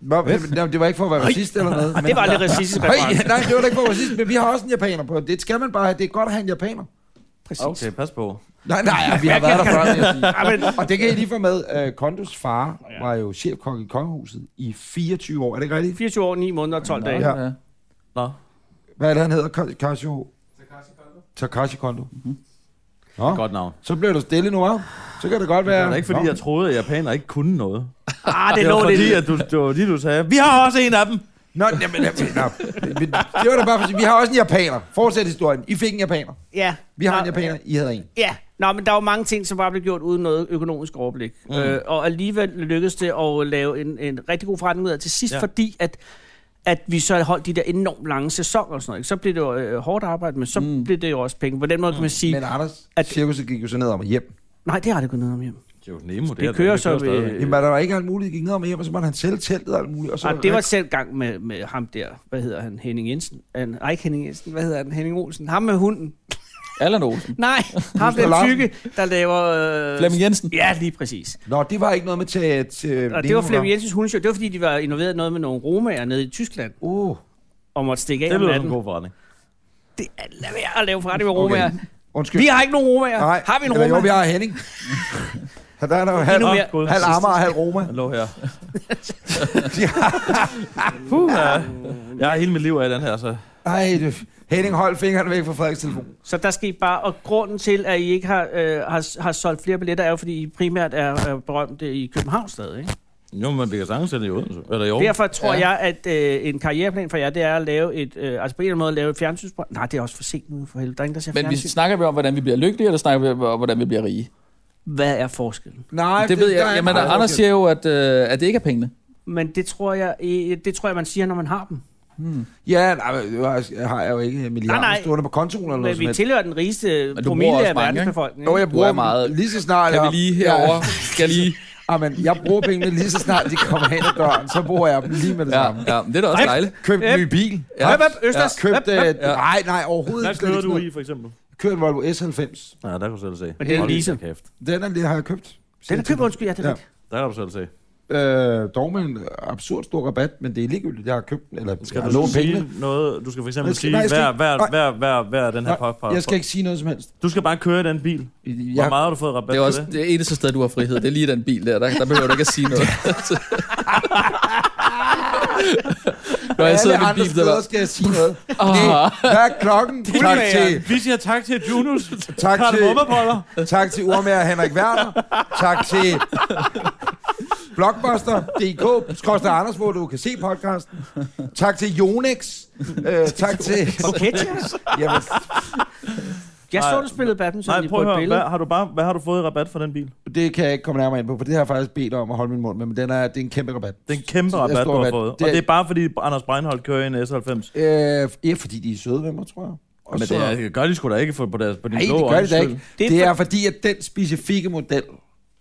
[SPEAKER 2] Nå, men Det var ikke for at være racist eller noget.
[SPEAKER 4] Det var lidt racistisk
[SPEAKER 2] <laughs> Nej,
[SPEAKER 4] reference.
[SPEAKER 2] nej, det var da ikke for at være racist, men vi har også en japaner på. Det skal man bare have. Det er godt at have en japaner.
[SPEAKER 4] Præcis.
[SPEAKER 3] Okay, pas på.
[SPEAKER 2] Nej, nej, ja, vi har været der før, vil jeg sige.
[SPEAKER 4] Ja, men,
[SPEAKER 2] Og det kan I lige få med. Øh, Kondos far var jo chefkok i kongehuset i 24 år. Er det ikke rigtigt?
[SPEAKER 4] 24 år, 9 måneder og 12 dage.
[SPEAKER 2] Ja.
[SPEAKER 5] Ja.
[SPEAKER 3] Nå.
[SPEAKER 2] Hvad er det, han hedder? Ka- Casio? Takashi Kondo. Takashi Kondo. Nå,
[SPEAKER 3] Godt navn.
[SPEAKER 2] så bliver du stille nu, af. Så kan det godt
[SPEAKER 3] Det
[SPEAKER 2] være...
[SPEAKER 3] er da ikke, fordi
[SPEAKER 2] Nå.
[SPEAKER 3] jeg troede, at japanere ikke kunne noget.
[SPEAKER 4] Ah, det,
[SPEAKER 3] Det
[SPEAKER 4] lå
[SPEAKER 3] var
[SPEAKER 4] lidt...
[SPEAKER 3] fordi, at du, det var fordi, du sagde, vi har også en af dem.
[SPEAKER 2] Nå, jamen, jamen, nå. Men Det var da bare for at sige, vi har også en japaner. Fortsæt historien. I fik en japaner.
[SPEAKER 4] Ja.
[SPEAKER 2] Vi har
[SPEAKER 4] Nå,
[SPEAKER 2] en japaner, I havde en.
[SPEAKER 4] Ja, Nå, men der var mange ting, som bare blev gjort uden noget økonomisk overblik. Mm. Øh, og alligevel lykkedes det at lave en, en rigtig god forretning ud af til sidst,
[SPEAKER 3] Ja.
[SPEAKER 4] ja. fordi at, at vi så holdt de der enormt lange sæsoner og sådan noget. ikke? Så blev det jo øh, hårdt arbejde, men så mm. blev det jo også penge. På den måde kan man sige,
[SPEAKER 2] Mm. Men Anders, at
[SPEAKER 4] At-
[SPEAKER 2] cirkuset gik jo så ned om hjem.
[SPEAKER 4] nej, det har det gået ned om hjem.
[SPEAKER 3] Cirkus Nemo, det,
[SPEAKER 4] Det
[SPEAKER 3] er
[SPEAKER 4] kører
[SPEAKER 3] det
[SPEAKER 4] så ved-
[SPEAKER 3] stadigvæk.
[SPEAKER 2] Jamen, der var ikke alt muligt, gik ned om hjem, og så måtte han sælge teltet og alt muligt. Og så
[SPEAKER 4] Så, ah, det var selv gang med, med ham der, hvad hedder han, Henning Jensen? Han, nej, ikke Henning Jensen, hvad hedder han, Henning Olsen? Ham med hunden.
[SPEAKER 5] Allan Olsen.
[SPEAKER 4] Nej, ham
[SPEAKER 2] Buster
[SPEAKER 4] den
[SPEAKER 2] Larsen.
[SPEAKER 4] tykke, der laver... Øh,
[SPEAKER 5] Flemming Jensen.
[SPEAKER 4] Ja, lige præcis.
[SPEAKER 2] Nå, det var ikke noget med til... til
[SPEAKER 4] Og det var Flemming Jensens hundeshow. Det var, fordi de var involveret i noget med nogle romager nede i Tyskland,
[SPEAKER 2] Uh,
[SPEAKER 4] og måtte stikke af
[SPEAKER 3] Det
[SPEAKER 4] om
[SPEAKER 3] lyder som
[SPEAKER 4] natten.
[SPEAKER 3] en god forretning.
[SPEAKER 4] Det er, lad være at lave forretning med romager. Okay.
[SPEAKER 2] undskyld.
[SPEAKER 4] Vi har ikke nogen romager.
[SPEAKER 2] Nej,
[SPEAKER 4] har vi en
[SPEAKER 2] eller
[SPEAKER 4] romager?
[SPEAKER 2] Jo, vi har
[SPEAKER 4] <laughs>
[SPEAKER 2] Henning. Så der er der jo halv,
[SPEAKER 4] Endnu mere.
[SPEAKER 3] Åh, Gud.
[SPEAKER 2] halv Amager, halv Roma.
[SPEAKER 3] Han lå <laughs> her. Puh, ja. Jeg har hele mit liv af den her, så...
[SPEAKER 2] Ej, det, Henning, hold fingrene væk fra Frederiks telefon.
[SPEAKER 4] Så der skal I bare... Og grunden til, at I ikke har, øh, har, har solgt flere billetter, er jo, fordi I primært er, er berømte i København stadig. Ikke?
[SPEAKER 3] Jo, men vi kan sagtens sælge i Odense. Eller i Aarhus.
[SPEAKER 4] Derfor tror
[SPEAKER 5] Ja.
[SPEAKER 4] ja. jeg, at øh, en karriereplan for jer, det er at lave et... Øh, altså på en eller anden måde at lave et fjernsynsprogram. Nej, det er også for sent nu for helvede. Der er ingen, der ser
[SPEAKER 5] Men vi
[SPEAKER 4] fjernsyn.
[SPEAKER 5] snakker vi om, hvordan vi bliver lykkelige, eller snakker vi om, hvordan vi bliver rige?
[SPEAKER 4] Hvad er forskellen?
[SPEAKER 2] Nej,
[SPEAKER 5] Det ved
[SPEAKER 2] der er
[SPEAKER 5] jeg. Jamen,
[SPEAKER 2] meget
[SPEAKER 5] Anders
[SPEAKER 2] forskel.
[SPEAKER 5] siger jo, at, øh, at det ikke er pengene.
[SPEAKER 4] Men det tror, jeg, øh, det tror jeg, man siger, når man har dem.
[SPEAKER 2] Ja, nej, men nu har jeg- har jeg jo ikke milliarder
[SPEAKER 4] Nej, nej.
[SPEAKER 2] stående på kontoen eller noget
[SPEAKER 4] Men
[SPEAKER 2] som
[SPEAKER 4] vi
[SPEAKER 2] helst.
[SPEAKER 4] tilhører den rigeste
[SPEAKER 5] Men du bruger
[SPEAKER 4] promille
[SPEAKER 5] også
[SPEAKER 4] af
[SPEAKER 5] mange, ikke?
[SPEAKER 4] verdensbefolkningen.
[SPEAKER 2] Jo, jeg
[SPEAKER 5] Du
[SPEAKER 2] bruger
[SPEAKER 5] er meget-
[SPEAKER 2] dem lige så snart...
[SPEAKER 5] Kan
[SPEAKER 2] jeg-
[SPEAKER 5] vi lige herover skal lige...
[SPEAKER 2] Ja, <laughs> men jeg bruger pengene lige så snart de kommer hen ad døren, så bruger jeg dem lige med det
[SPEAKER 5] Ja,
[SPEAKER 2] samme.
[SPEAKER 5] ja, men det er da også dejligt.
[SPEAKER 2] Køb en ny bil.
[SPEAKER 5] Ja.
[SPEAKER 4] Høj, hvad? Østers?
[SPEAKER 2] Købt, øh,
[SPEAKER 5] Ja.
[SPEAKER 2] nej, nej, overhovedet
[SPEAKER 3] Hvad
[SPEAKER 2] ikke. slet
[SPEAKER 3] kører
[SPEAKER 2] ikke
[SPEAKER 3] du
[SPEAKER 2] sådan
[SPEAKER 3] i, for eksempel?
[SPEAKER 2] noget. Kører en Volvo S90.
[SPEAKER 3] Ja, der kan du selv se.
[SPEAKER 4] Men det er
[SPEAKER 3] Hold
[SPEAKER 4] en leasing.
[SPEAKER 3] da Kæft.
[SPEAKER 2] Den er, det har jeg købt.
[SPEAKER 4] Den er købt, undskyld, ja, det er
[SPEAKER 2] Ja.
[SPEAKER 4] rigtigt.
[SPEAKER 3] Der kan du selv se.
[SPEAKER 2] Øh, dog med en absurd stor rabat, men det er ligegyldigt, jeg har købt den, eller
[SPEAKER 3] Skal
[SPEAKER 2] jeg har
[SPEAKER 3] du
[SPEAKER 2] lånt pengene.
[SPEAKER 3] sige noget? Du skal for eksempel
[SPEAKER 2] Jeg skal-
[SPEAKER 3] sige,
[SPEAKER 2] nej, jeg skal
[SPEAKER 3] hver,
[SPEAKER 2] ikke-
[SPEAKER 3] hver,
[SPEAKER 2] nej.
[SPEAKER 3] hver, hver, hver den her pop.
[SPEAKER 2] Nej, jeg skal ikke sige noget som helst.
[SPEAKER 3] Du skal bare køre i den bil. Hvor
[SPEAKER 2] Jeg,
[SPEAKER 3] meget har du fået rabat
[SPEAKER 5] Det er også
[SPEAKER 3] på det?
[SPEAKER 5] det eneste sted, du har frihed. Det er lige den bil der. Der, der behøver du ikke at sige noget. Når jeg
[SPEAKER 2] alle
[SPEAKER 5] sidder i min
[SPEAKER 2] andre
[SPEAKER 5] bil, der
[SPEAKER 2] steder
[SPEAKER 5] var...
[SPEAKER 2] skal jeg sige noget.
[SPEAKER 5] Ah,
[SPEAKER 2] Hvad er klokken? Tak til,
[SPEAKER 3] Vi siger tak til Junus.
[SPEAKER 2] tak
[SPEAKER 3] Karl
[SPEAKER 2] til,
[SPEAKER 3] Mummerboller.
[SPEAKER 2] tak til Urmager Henrik Werner. Tak til Blockbuster, DK, Skorster Anders, hvor du kan se podcasten. <laughs> Tak til Yonex. Øh, tak til...
[SPEAKER 4] Ketchup?
[SPEAKER 2] Jamen,
[SPEAKER 4] Jeg
[SPEAKER 3] Nej,
[SPEAKER 4] så, du spillede badminton
[SPEAKER 3] Nej,
[SPEAKER 4] lige
[SPEAKER 3] prøv at
[SPEAKER 4] på et
[SPEAKER 3] høre,
[SPEAKER 4] billede.
[SPEAKER 3] hvad har, du bare, hvad har du fået i rabat for den bil?
[SPEAKER 2] Det kan jeg ikke komme nærmere ind på, for det har jeg faktisk bedt om at holde min mund med, men den er, det er en kæmpe rabat.
[SPEAKER 3] Det er en kæmpe
[SPEAKER 2] Jeg
[SPEAKER 3] rabat,
[SPEAKER 2] står
[SPEAKER 3] du har
[SPEAKER 2] rabat.
[SPEAKER 3] fået.
[SPEAKER 2] Det
[SPEAKER 3] Og
[SPEAKER 2] er-
[SPEAKER 3] det er bare fordi Anders Breinholt kører i en S90.
[SPEAKER 2] Øh, ja, fordi de er søde ved mig, tror jeg. Og
[SPEAKER 3] Men
[SPEAKER 2] så-
[SPEAKER 3] det er, gør de sgu da ikke for, på, deres, på din
[SPEAKER 2] Nej,
[SPEAKER 3] blå
[SPEAKER 2] det gør det da
[SPEAKER 3] øjnes
[SPEAKER 2] ikke.
[SPEAKER 4] Det
[SPEAKER 2] Det
[SPEAKER 4] er
[SPEAKER 2] er,
[SPEAKER 4] for-
[SPEAKER 2] det er fordi, at den specifikke model,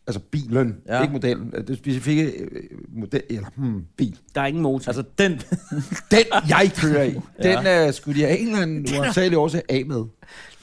[SPEAKER 2] altså bilen,
[SPEAKER 3] Ja.
[SPEAKER 2] ja. ikke modellen, at den specifikke øh, model, eller hmm, bil,
[SPEAKER 4] Der er ingen motor. Altså,
[SPEAKER 3] Altså, den...
[SPEAKER 2] den jeg kører i, den ja. skulle de af en eller anden uansagelig årsag af med.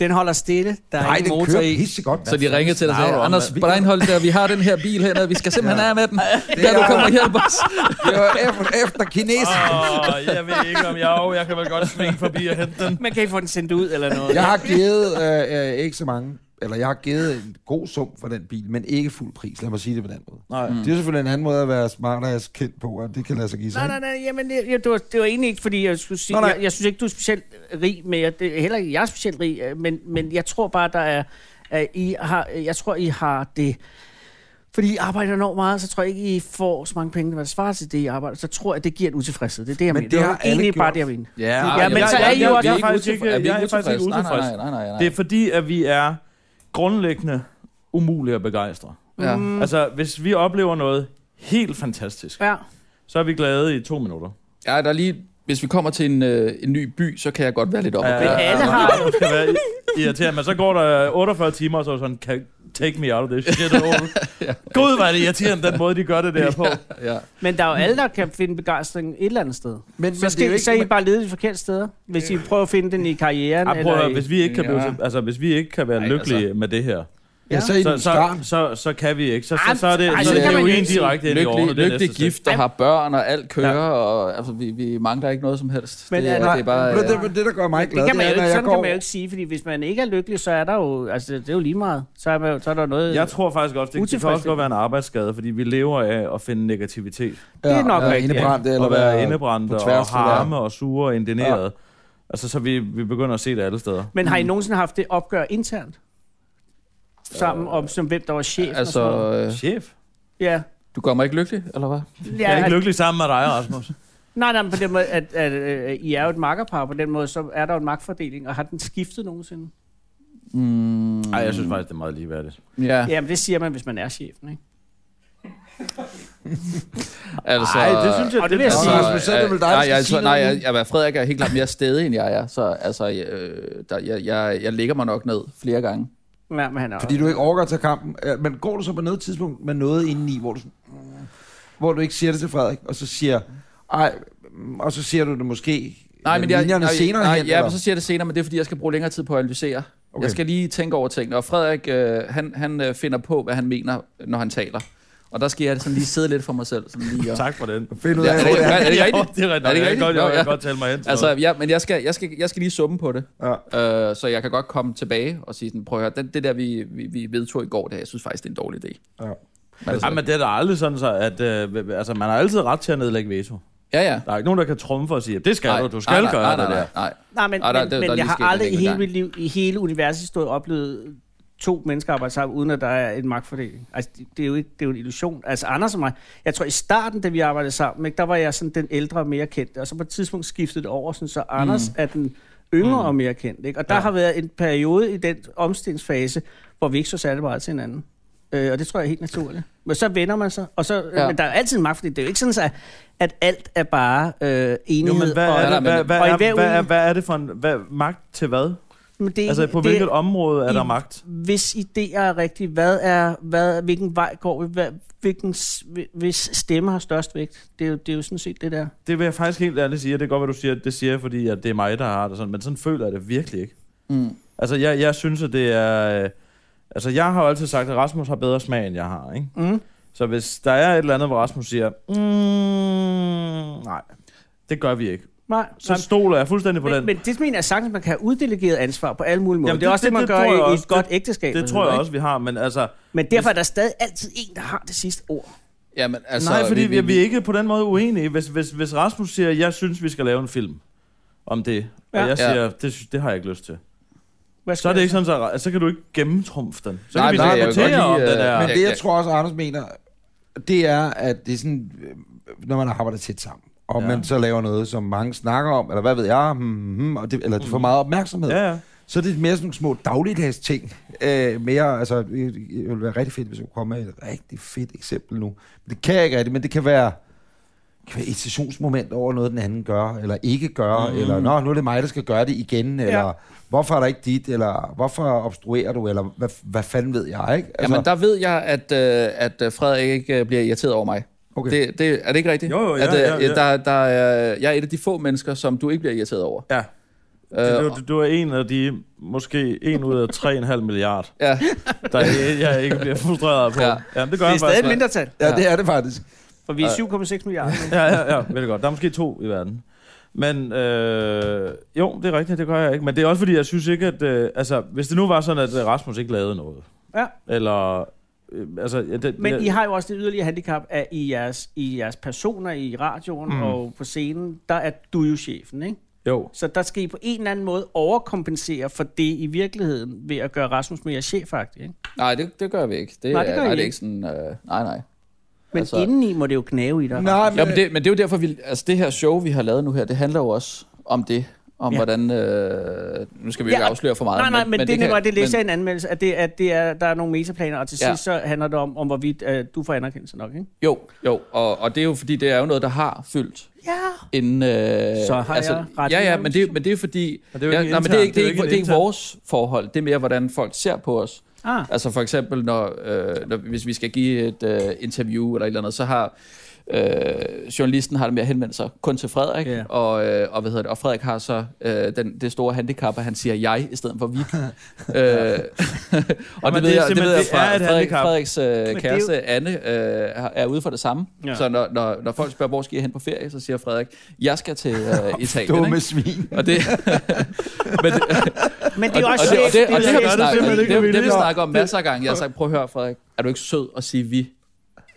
[SPEAKER 4] den holder stille. Der er
[SPEAKER 2] Altså- Nej,
[SPEAKER 4] ingen
[SPEAKER 2] den
[SPEAKER 4] motor
[SPEAKER 2] kører
[SPEAKER 4] i.
[SPEAKER 2] pisse godt.
[SPEAKER 5] Så de ringede til dig og sagde,
[SPEAKER 3] snakker du om,
[SPEAKER 5] Anders Breinholt, der, vi har den her bil hernede, vi skal simpelthen af med den. Kan du
[SPEAKER 2] er-
[SPEAKER 5] komme og hjælpe os?
[SPEAKER 2] Det var efter, efter kineser.
[SPEAKER 3] <laughs> Åh, jeg ved ikke, om jeg er Jeg kan vel godt svinge forbi og hente den.
[SPEAKER 4] Man kan ikke få den sendt ud eller noget.
[SPEAKER 2] Jeg har givet øh, øh, ikke så mange, eller jeg har givet en god sum for den bil, men ikke fuld pris, lad mig sige det på den måde.
[SPEAKER 3] Nej.
[SPEAKER 2] Mm. Det er selvfølgelig en anden måde at være smart ass kendt på, og det kan lade sig give sig.
[SPEAKER 4] Nej, nej, nej, jamen, det, ja, det, var, det var egentlig ikke, fordi jeg skulle sige,
[SPEAKER 2] Nå, nej.
[SPEAKER 4] jeg, jeg synes ikke, du er specielt rig, men jeg, det, heller ikke, jeg er specielt rig, øh, men, men jeg tror bare, der er, at I har, jeg tror, I har det, fordi I arbejder enormt meget, så tror jeg ikke, I får så mange penge, der svarer til det, I arbejder, så tror jeg, det giver et utilfredshed, det er det, jeg
[SPEAKER 2] Men
[SPEAKER 4] mener.
[SPEAKER 2] det
[SPEAKER 4] var
[SPEAKER 2] har alle
[SPEAKER 4] egentlig bare
[SPEAKER 2] gjort.
[SPEAKER 4] det, jeg mener.
[SPEAKER 5] Ja,
[SPEAKER 4] Ja, men så er I jo-
[SPEAKER 5] vi
[SPEAKER 4] jeg er
[SPEAKER 5] ikke
[SPEAKER 3] faktisk ikke-
[SPEAKER 5] utilfredse. Er vi
[SPEAKER 3] jeg er faktisk ikke
[SPEAKER 5] utilfredse? Nej,
[SPEAKER 3] utilfreds.
[SPEAKER 5] Nej, nej, nej, nej.
[SPEAKER 3] Det er fordi, at vi er grundlæggende umulige at begejstre.
[SPEAKER 5] Ja.
[SPEAKER 4] Mm,
[SPEAKER 3] Altså, hvis vi oplever noget helt fantastisk,
[SPEAKER 4] ja.
[SPEAKER 3] så er vi glade i to minutter.
[SPEAKER 5] Ja, der er lige, hvis vi kommer til en, øh, en ny by, så kan jeg godt være lidt op.
[SPEAKER 3] Ja,
[SPEAKER 5] Ja,
[SPEAKER 4] Alle har
[SPEAKER 3] Det skal være irriterende, men så går der 48 timer, og så er sådan, "Can- take me out of this shit
[SPEAKER 2] <laughs>
[SPEAKER 3] hole. Gud, var det irriterende, den måde, de gør det der på.
[SPEAKER 5] ja.
[SPEAKER 4] Men der er jo alle, der kan finde begejstring et eller andet sted.
[SPEAKER 2] Men,
[SPEAKER 4] Så, skal, så er I bare lede de forkerte steder, hvis I prøver at finde den i karrieren.
[SPEAKER 3] Ah, prøv at,
[SPEAKER 4] eller
[SPEAKER 3] høre,
[SPEAKER 4] i-
[SPEAKER 3] hvis vi ikke kan, blive,
[SPEAKER 5] Ja.
[SPEAKER 3] altså, hvis vi ikke kan være
[SPEAKER 5] Ej, altså.
[SPEAKER 3] lykkelige med det her,
[SPEAKER 2] ja, så er I
[SPEAKER 3] så,
[SPEAKER 2] den
[SPEAKER 3] så,
[SPEAKER 2] skarn.
[SPEAKER 3] så, så, kan vi ikke. Så,
[SPEAKER 4] Ej,
[SPEAKER 3] så, så er det,
[SPEAKER 4] ej,
[SPEAKER 3] så
[SPEAKER 5] så
[SPEAKER 3] er det
[SPEAKER 5] kan
[SPEAKER 3] er
[SPEAKER 5] man
[SPEAKER 3] jo
[SPEAKER 4] jo
[SPEAKER 3] en
[SPEAKER 4] ikke sige,
[SPEAKER 3] direkte ind i
[SPEAKER 5] Lykkelig,
[SPEAKER 3] årene. det er
[SPEAKER 5] lykkelig
[SPEAKER 3] næste step.
[SPEAKER 5] gift, der har børn, og alt kører, og altså, vi, vi mangler ikke noget som helst.
[SPEAKER 4] Men
[SPEAKER 5] Men, det,
[SPEAKER 4] er-
[SPEAKER 5] er,
[SPEAKER 2] Nej,
[SPEAKER 5] det er bare...
[SPEAKER 2] det,
[SPEAKER 5] Øh,
[SPEAKER 2] det, det, der gør mig
[SPEAKER 4] Men
[SPEAKER 2] glad,
[SPEAKER 4] det kan man jo
[SPEAKER 2] er,
[SPEAKER 4] ikke,
[SPEAKER 2] når jeg
[SPEAKER 4] sådan
[SPEAKER 2] går...
[SPEAKER 4] kan man jo ikke sige, fordi hvis man ikke er lykkelig, så er der jo, altså det er jo lige meget. Så er, man, jo- så er der noget,
[SPEAKER 3] Jeg tror faktisk også, det, det kan også
[SPEAKER 4] Utilfredsstillende.
[SPEAKER 3] godt være en arbejdsskade, fordi vi lever af at finde negativitet.
[SPEAKER 4] det er nok
[SPEAKER 2] være
[SPEAKER 4] rigtigt, ja.
[SPEAKER 2] indebrændt, eller
[SPEAKER 3] Eller at være indebrændt
[SPEAKER 2] på
[SPEAKER 3] og
[SPEAKER 2] tværs, det der.
[SPEAKER 3] harme og sure og indineret. Altså, så vi, vi begynder at se det alle steder.
[SPEAKER 4] men har I nogensinde haft det opgør internt? Sammen om, som hvem der var chef og
[SPEAKER 5] altså,
[SPEAKER 4] sådan noget?
[SPEAKER 5] øh,
[SPEAKER 3] Chef,
[SPEAKER 4] Ja.
[SPEAKER 5] du gør mig ikke lykkelig, eller hvad?
[SPEAKER 3] jeg er
[SPEAKER 4] ja
[SPEAKER 3] ikke
[SPEAKER 4] at,
[SPEAKER 3] lykkelig sammen med dig, Rasmus.
[SPEAKER 4] nej, nej, men på den måde, at, at, at, I er jo et makkerpar, på den måde, så er der jo en magtfordeling, og har den skiftet nogensinde?
[SPEAKER 5] Mm,
[SPEAKER 3] Nej, jeg synes faktisk, det er meget ligeværdigt.
[SPEAKER 5] ja,
[SPEAKER 4] Jamen det siger man, hvis man er chefen, ikke?
[SPEAKER 5] altså...
[SPEAKER 3] Nej, det synes jeg,
[SPEAKER 4] Og det vil jeg
[SPEAKER 2] Nå,
[SPEAKER 5] Altså,
[SPEAKER 4] sige,
[SPEAKER 2] Rasmus, så er det vel dig, der
[SPEAKER 5] nej,
[SPEAKER 2] skal
[SPEAKER 5] jeg,
[SPEAKER 2] sige
[SPEAKER 5] tror- nej,
[SPEAKER 2] noget nu.
[SPEAKER 5] jeg, jeg, Frederik er helt klart mere stedig, end jeg er. Så altså, jeg, øh, der, jeg, jeg, jeg ligger mig nok ned flere gange.
[SPEAKER 4] Ja, men han er
[SPEAKER 2] Fordi du ikke overgår at tage kampen. Øh, Men går du så på noget tidspunkt med noget indeni, hvor du, sådan, mm, hvor du ikke siger det til Frederik, og så siger, ej, mm, og så siger du det måske
[SPEAKER 5] Nej, men jeg,
[SPEAKER 2] linjerne
[SPEAKER 5] nej,
[SPEAKER 2] senere
[SPEAKER 5] nej,
[SPEAKER 2] hen,
[SPEAKER 5] ja,
[SPEAKER 2] eller?
[SPEAKER 5] men så siger jeg det senere, men det er fordi, jeg skal bruge længere tid på at analysere. Okay.
[SPEAKER 2] Okay.
[SPEAKER 5] Jeg skal lige tænke over tingene, og Frederik, øh, han, han øh, finder på, hvad han mener, når han taler. Og der skal jeg sådan lige sidde lidt for mig selv. Sådan lige, og...
[SPEAKER 3] Tak for den.
[SPEAKER 2] Find ud af,
[SPEAKER 5] Ja,
[SPEAKER 2] hvor
[SPEAKER 5] det-
[SPEAKER 2] det er.
[SPEAKER 5] er
[SPEAKER 3] <laughs>
[SPEAKER 5] det ikke
[SPEAKER 3] Jo,
[SPEAKER 5] rigtigt?
[SPEAKER 3] Det er rigtigt.
[SPEAKER 5] Er det ikke
[SPEAKER 3] Jeg kan godt,
[SPEAKER 5] rigtigt?
[SPEAKER 3] jeg kan
[SPEAKER 5] Nå, ja.
[SPEAKER 3] godt tale mig hen til
[SPEAKER 5] Altså,
[SPEAKER 3] noget.
[SPEAKER 5] ja, men jeg skal, jeg, skal, jeg skal lige summe på det.
[SPEAKER 2] Ja.
[SPEAKER 5] Øh, så jeg kan godt komme tilbage og sige sådan, prøv at høre, den, det der, vi, vi, vi vedtog i går, det her, jeg synes faktisk, det er en dårlig idé.
[SPEAKER 2] Ja.
[SPEAKER 5] Men altså,
[SPEAKER 3] Ja, men det er da aldrig sådan så, at øh, altså, man har altid ret til at nedlægge veto.
[SPEAKER 5] ja, ja.
[SPEAKER 3] Der er ikke nogen, der kan trumfe og sige, det skal
[SPEAKER 5] Nej,
[SPEAKER 3] du, du skal
[SPEAKER 5] nej,
[SPEAKER 3] gøre
[SPEAKER 5] nej,
[SPEAKER 3] det
[SPEAKER 5] nej,
[SPEAKER 3] der.
[SPEAKER 5] Nej, nej.
[SPEAKER 4] Nej, men,
[SPEAKER 5] Ah,
[SPEAKER 4] ah,
[SPEAKER 5] der-
[SPEAKER 4] der,
[SPEAKER 5] det-
[SPEAKER 4] men,
[SPEAKER 5] der er lige
[SPEAKER 4] men jeg har
[SPEAKER 5] sket en
[SPEAKER 4] aldrig i
[SPEAKER 5] enkelt
[SPEAKER 4] hele
[SPEAKER 5] gang.
[SPEAKER 4] mit liv, i hele univershistorien, oplevet to mennesker arbejde sammen, uden at der er en magtfordeling. Altså, det, det er jo ikke, det er jo en illusion. Altså, Anders og mig, jeg tror i starten, da vi arbejdede sammen, ikke, der var jeg sådan den ældre og mere kendte, og så på et tidspunkt skiftede det over, sådan, så Anders mm. er den yngre mm. og mere kendt. Ikke? Og der ja. har været en periode i den omstillingsfase, hvor vi ikke så særlig meget til hinanden. Øh, og det tror jeg er helt naturligt. Men så vender man sig, og så,
[SPEAKER 5] Ja.
[SPEAKER 4] ja. men der er altid en magt, fordi det er jo ikke sådan, at, at alt er bare øh,
[SPEAKER 3] Jo,
[SPEAKER 4] enighed.
[SPEAKER 3] men hvad
[SPEAKER 4] og,
[SPEAKER 3] er
[SPEAKER 5] nej,
[SPEAKER 3] det, hvad,
[SPEAKER 5] men-
[SPEAKER 3] hvad,
[SPEAKER 4] og i
[SPEAKER 3] er,
[SPEAKER 4] hver
[SPEAKER 3] hvad, er,
[SPEAKER 4] uge-
[SPEAKER 3] hvad er det for en hvad, magt til hvad?
[SPEAKER 4] men det,
[SPEAKER 3] Altså, på
[SPEAKER 4] det-
[SPEAKER 3] hvilket område er
[SPEAKER 4] i-
[SPEAKER 3] der magt?
[SPEAKER 4] hvis idéer er rigtige, hvad er, hvad, hvilken vej går vi, hvad, hvilken, s- hvi- hvis stemme har størst vægt, det er, jo, det er jo sådan set det der.
[SPEAKER 3] Det vil jeg faktisk helt ærligt sige, og det er godt, hvad du siger, det siger jeg, fordi at det er mig, der har det sådan, men sådan føler jeg det virkelig ikke.
[SPEAKER 5] Mm.
[SPEAKER 3] Altså, jeg, jeg synes, at det er... Øh, altså, jeg har jo altid sagt, at Rasmus har bedre smag, end jeg har, ikke?
[SPEAKER 4] Mm.
[SPEAKER 3] Så hvis der er et eller andet, hvor Rasmus siger, mm, nej, det gør vi ikke.
[SPEAKER 4] Nej,
[SPEAKER 3] Så stoler jeg fuldstændig på
[SPEAKER 4] men,
[SPEAKER 3] den.
[SPEAKER 4] men det mener jeg sagtens, man kan have uddelegeret ansvar på alle mulige måder.
[SPEAKER 3] Jamen,
[SPEAKER 4] Jamen, det er
[SPEAKER 3] det-
[SPEAKER 4] også det,
[SPEAKER 3] det-
[SPEAKER 4] man
[SPEAKER 3] det tror jeg
[SPEAKER 4] gør i, i
[SPEAKER 3] også.
[SPEAKER 4] et godt ægteskab.
[SPEAKER 3] det
[SPEAKER 4] og
[SPEAKER 3] tror
[SPEAKER 4] sådan
[SPEAKER 3] jeg
[SPEAKER 4] noget,
[SPEAKER 3] også, vi har, men altså...
[SPEAKER 4] ikke? Men derfor er der stadig altid en, der har det sidste ord.
[SPEAKER 5] Jamen, altså,
[SPEAKER 3] Altså, Nej, fordi vi, vi, vi er ikke på den måde uenige. Hvis, hvis, hvis Rasmus siger, jeg synes, vi skal lave en film om det,
[SPEAKER 4] Ja.
[SPEAKER 3] og jeg siger,
[SPEAKER 5] Ja.
[SPEAKER 3] det, sy- det har jeg ikke lyst til,
[SPEAKER 4] Hvad
[SPEAKER 3] så er det ikke sådan, så, altså, så kan du ikke gennemtrumfe den. Så
[SPEAKER 5] Nej,
[SPEAKER 3] kan vi
[SPEAKER 5] men jeg kan
[SPEAKER 3] diskutere om
[SPEAKER 5] godt lide,
[SPEAKER 3] det der.
[SPEAKER 5] øh,
[SPEAKER 2] Men det,
[SPEAKER 5] Ja.
[SPEAKER 2] jeg tror også, Anders mener, det er, at det er sådan, øh, når man arbejder tæt sammen, og
[SPEAKER 3] Ja.
[SPEAKER 2] hmm, man så laver noget, som mange snakker om, eller hvad ved jeg, hmm, hmm, og det, eller det får meget opmærksomhed.
[SPEAKER 3] Mm. Ja, ja.
[SPEAKER 2] Så er det mere sådan nogle små dagligdags ting. Øh, mere, altså, det det ville være rigtig fedt, hvis jeg kunne komme med et rigtig fedt eksempel nu. Men det kan jeg ikke rigtigt, men det kan være, det kan være et stationsmoment over noget, den anden gør, eller ikke gør, mm. eller nå, nu er det mig, der skal gøre det igen, ja. eller hvorfor er der ikke dit, eller hvorfor obstruerer du, eller hvad, hvad fanden ved jeg, ikke?
[SPEAKER 5] Altså, Jamen, der ved jeg, at, øh, at øh, Frederik ikke øh, bliver irriteret over mig.
[SPEAKER 2] Okay.
[SPEAKER 5] Det, det, er det ikke rigtigt?
[SPEAKER 3] Jo, jo, ja,
[SPEAKER 5] at,
[SPEAKER 3] ja, ja.
[SPEAKER 5] Der, der er, jeg er et af de få mennesker, som du ikke bliver irriteret over.
[SPEAKER 3] Ja.
[SPEAKER 5] Øh,
[SPEAKER 3] Du, du, du er en af de, måske en ud af 3,5 milliard,
[SPEAKER 4] <laughs>
[SPEAKER 5] ja.
[SPEAKER 3] der jeg, jeg ikke bliver frustreret på.
[SPEAKER 5] Ja.
[SPEAKER 3] Ja. Jamen, det gør
[SPEAKER 4] Det er
[SPEAKER 3] jeg
[SPEAKER 4] stadig et
[SPEAKER 3] faktisk.
[SPEAKER 4] mindretal,
[SPEAKER 2] ja, det er det faktisk.
[SPEAKER 4] for vi er 7,6 milliarder. nu.
[SPEAKER 3] Ja, ja, ja, veldig godt. Der er måske to i verden. Men øh, jo, det er rigtigt, det gør jeg ikke. Men det er også fordi, jeg synes ikke, at... Øh, altså, hvis det nu var sådan, at øh, Rasmus ikke lavede noget.
[SPEAKER 4] <laughs> Ja.
[SPEAKER 3] Eller... Øh, altså, ja, det,
[SPEAKER 4] Men
[SPEAKER 3] det,
[SPEAKER 4] I har jo også det yderligere handicap, at i jeres, i jeres personer i radioen mm. og på scenen, der er du jo chefen, ikke?
[SPEAKER 3] Jo.
[SPEAKER 4] Så der skal I på en eller anden måde overkompensere for det i virkeligheden, ved at gøre Rasmus mere chef, faktisk. Ikke?
[SPEAKER 5] Nej, det, det gør vi ikke. Det,
[SPEAKER 4] Nej, det gør
[SPEAKER 5] er, nej,
[SPEAKER 4] I
[SPEAKER 5] det er
[SPEAKER 4] ikke.
[SPEAKER 5] ikke sådan... Øh, nej, nej.
[SPEAKER 4] Men
[SPEAKER 5] Altså-
[SPEAKER 4] altså, indeni må det jo gnave i dig.
[SPEAKER 2] Nej, men,
[SPEAKER 5] Ja, men, det, men det er jo derfor, vi, altså det her show, vi har lavet nu her, det handler jo også om det. Om
[SPEAKER 4] Ja.
[SPEAKER 5] ja. hvordan... Øh, nu skal vi jo
[SPEAKER 4] Ja,
[SPEAKER 5] ikke afsløre for meget.
[SPEAKER 4] Nej, nej, men, det, det,
[SPEAKER 5] kan-
[SPEAKER 4] det læser jeg i en anmeldelse, at, det, at det er, der er nogle metaplaner, og til
[SPEAKER 5] Ja.
[SPEAKER 4] ja. sidst så handler det om, om hvorvidt øh, du får anerkendelse nok, ikke?
[SPEAKER 5] Jo, jo, og, og det er jo fordi, det er jo noget, der har fyldt
[SPEAKER 4] Ja.
[SPEAKER 5] inden... Øh, altså,
[SPEAKER 4] Så har jeg ret
[SPEAKER 5] Ja,
[SPEAKER 4] i
[SPEAKER 5] ja,
[SPEAKER 4] noget.
[SPEAKER 5] men det, er jo- men det er jo fordi...
[SPEAKER 3] Og det er jo
[SPEAKER 5] ja,
[SPEAKER 3] ikke
[SPEAKER 5] nej, men det er
[SPEAKER 3] internt,
[SPEAKER 5] ikke, det er
[SPEAKER 3] jo
[SPEAKER 5] ikke,
[SPEAKER 3] en
[SPEAKER 5] det er ikke
[SPEAKER 3] intern-
[SPEAKER 5] vores forhold. Det er mere, hvordan folk ser på os.
[SPEAKER 4] Ah.
[SPEAKER 5] Altså for eksempel, når, øh, når, hvis vi skal give et øh, interview eller et eller andet, så har øh, journalisten har det med at henvende sig kun til Frederik,
[SPEAKER 4] Ja.
[SPEAKER 5] yeah. og, øh, og, hvad hedder det, og Frederik har så øh, den, det store handicap, at han siger jeg i stedet for vi. øh,
[SPEAKER 3] det
[SPEAKER 5] og det, ved
[SPEAKER 3] er
[SPEAKER 5] jeg, det ved
[SPEAKER 3] simpelthen-
[SPEAKER 5] jeg
[SPEAKER 3] det er
[SPEAKER 5] fra
[SPEAKER 3] et
[SPEAKER 5] Frederik,
[SPEAKER 3] handicap.
[SPEAKER 5] Frederiks øh,
[SPEAKER 4] det er
[SPEAKER 5] kæreste, Anne, øh, er ude for det samme.
[SPEAKER 4] Ja.
[SPEAKER 5] Ja. Så når, når, når folk spørger, hvor skal jeg hen på ferie, så siger Frederik, jeg skal til øh, Italien.
[SPEAKER 2] dumme
[SPEAKER 5] ikke?
[SPEAKER 2] svin.
[SPEAKER 5] Og det, <laughs> men, det,
[SPEAKER 4] Men det er jo
[SPEAKER 5] og,
[SPEAKER 4] også
[SPEAKER 5] det, og, det, og det, har vi
[SPEAKER 3] det
[SPEAKER 5] snakket om.
[SPEAKER 3] simpelthen ikke,
[SPEAKER 5] Det, det, det,
[SPEAKER 3] Emilie.
[SPEAKER 5] vi snakker om masser af gange. Jeg har sagt, prøv at høre, Frederik. Er du ikke sød at sige vi,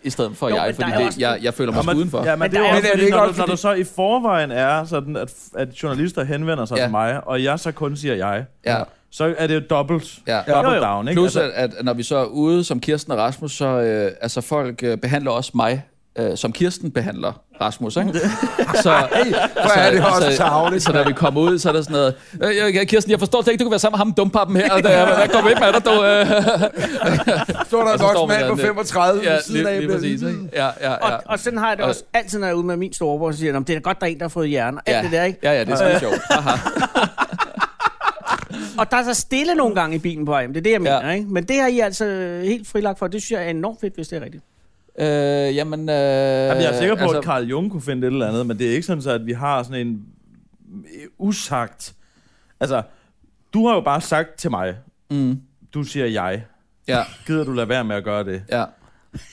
[SPEAKER 5] i stedet for
[SPEAKER 4] Jo, men
[SPEAKER 5] jeg?
[SPEAKER 4] der
[SPEAKER 5] Fordi
[SPEAKER 4] er
[SPEAKER 5] det,
[SPEAKER 4] også-
[SPEAKER 5] jeg, jeg føler mig
[SPEAKER 3] men-
[SPEAKER 5] også udenfor.
[SPEAKER 3] Ja,
[SPEAKER 4] Men
[SPEAKER 3] men det er jo
[SPEAKER 4] der er-
[SPEAKER 3] også,
[SPEAKER 2] Men er det
[SPEAKER 3] fordi,
[SPEAKER 2] ikke
[SPEAKER 3] når,
[SPEAKER 2] også
[SPEAKER 3] du, når
[SPEAKER 2] fordi-
[SPEAKER 3] du så i forvejen er sådan, at, at journalister henvender sig
[SPEAKER 5] Ja.
[SPEAKER 3] ja. til mig, og jeg så kun siger jeg,
[SPEAKER 5] Ja,
[SPEAKER 3] så er det jo dobbelt,
[SPEAKER 5] ja.
[SPEAKER 3] dobbelt
[SPEAKER 4] Jo, jo.
[SPEAKER 3] down, ikke?
[SPEAKER 5] Plus,
[SPEAKER 3] Altså,
[SPEAKER 5] at, at når vi så er ude som Kirsten og Rasmus, så øh, altså folk øh, behandler også mig øh, som Kirsten behandler Rasmus, ikke? Så, altså-
[SPEAKER 2] Hvor er det også tavligt.
[SPEAKER 5] så da vi kom ud, så er der sådan noget, øh, jeg- jeg, Kirsten, jeg forstår slet ikke, du kan være sammen med ham dumpappen her, og der, der kommer ikke med dig, du... Øh.
[SPEAKER 2] Står der en
[SPEAKER 5] Og så står
[SPEAKER 2] voksen
[SPEAKER 5] vi
[SPEAKER 2] mand på
[SPEAKER 5] dernede.
[SPEAKER 2] 35
[SPEAKER 5] Ja,
[SPEAKER 2] ved siden af.
[SPEAKER 5] lige, lige
[SPEAKER 2] bliver-
[SPEAKER 5] præcis, ikke? Ja, ja,
[SPEAKER 4] Og,
[SPEAKER 5] ja.
[SPEAKER 4] og sådan har jeg det
[SPEAKER 5] Og-
[SPEAKER 4] også altid, når jeg er ude med min storebror, så siger jeg, "Nå, men det er da godt, der er en, der har fået hjerne, og alt
[SPEAKER 5] ja.
[SPEAKER 4] det der, ikke?
[SPEAKER 5] Ja, ja, det er skide sjovt. Haha.
[SPEAKER 4] Og der er så stille nogle gange i bilen på vej hjem, det er det, jeg
[SPEAKER 5] Ja.
[SPEAKER 4] mener, ikke? Men det har I altså helt frilagt for, det synes jeg er enormt fedt, hvis det er rigtigt.
[SPEAKER 5] øh, jamen, øh,
[SPEAKER 3] Jamen,
[SPEAKER 5] jamen,
[SPEAKER 3] jeg er sikker på, altså, at Carl Jung kunne finde et eller andet, men det er ikke sådan, så, at vi har sådan en øh, usagt... Altså, du har jo bare sagt til mig,
[SPEAKER 5] Mm,
[SPEAKER 3] du siger jeg.
[SPEAKER 5] ja,
[SPEAKER 3] Gider du lade være med at gøre det?
[SPEAKER 5] ja.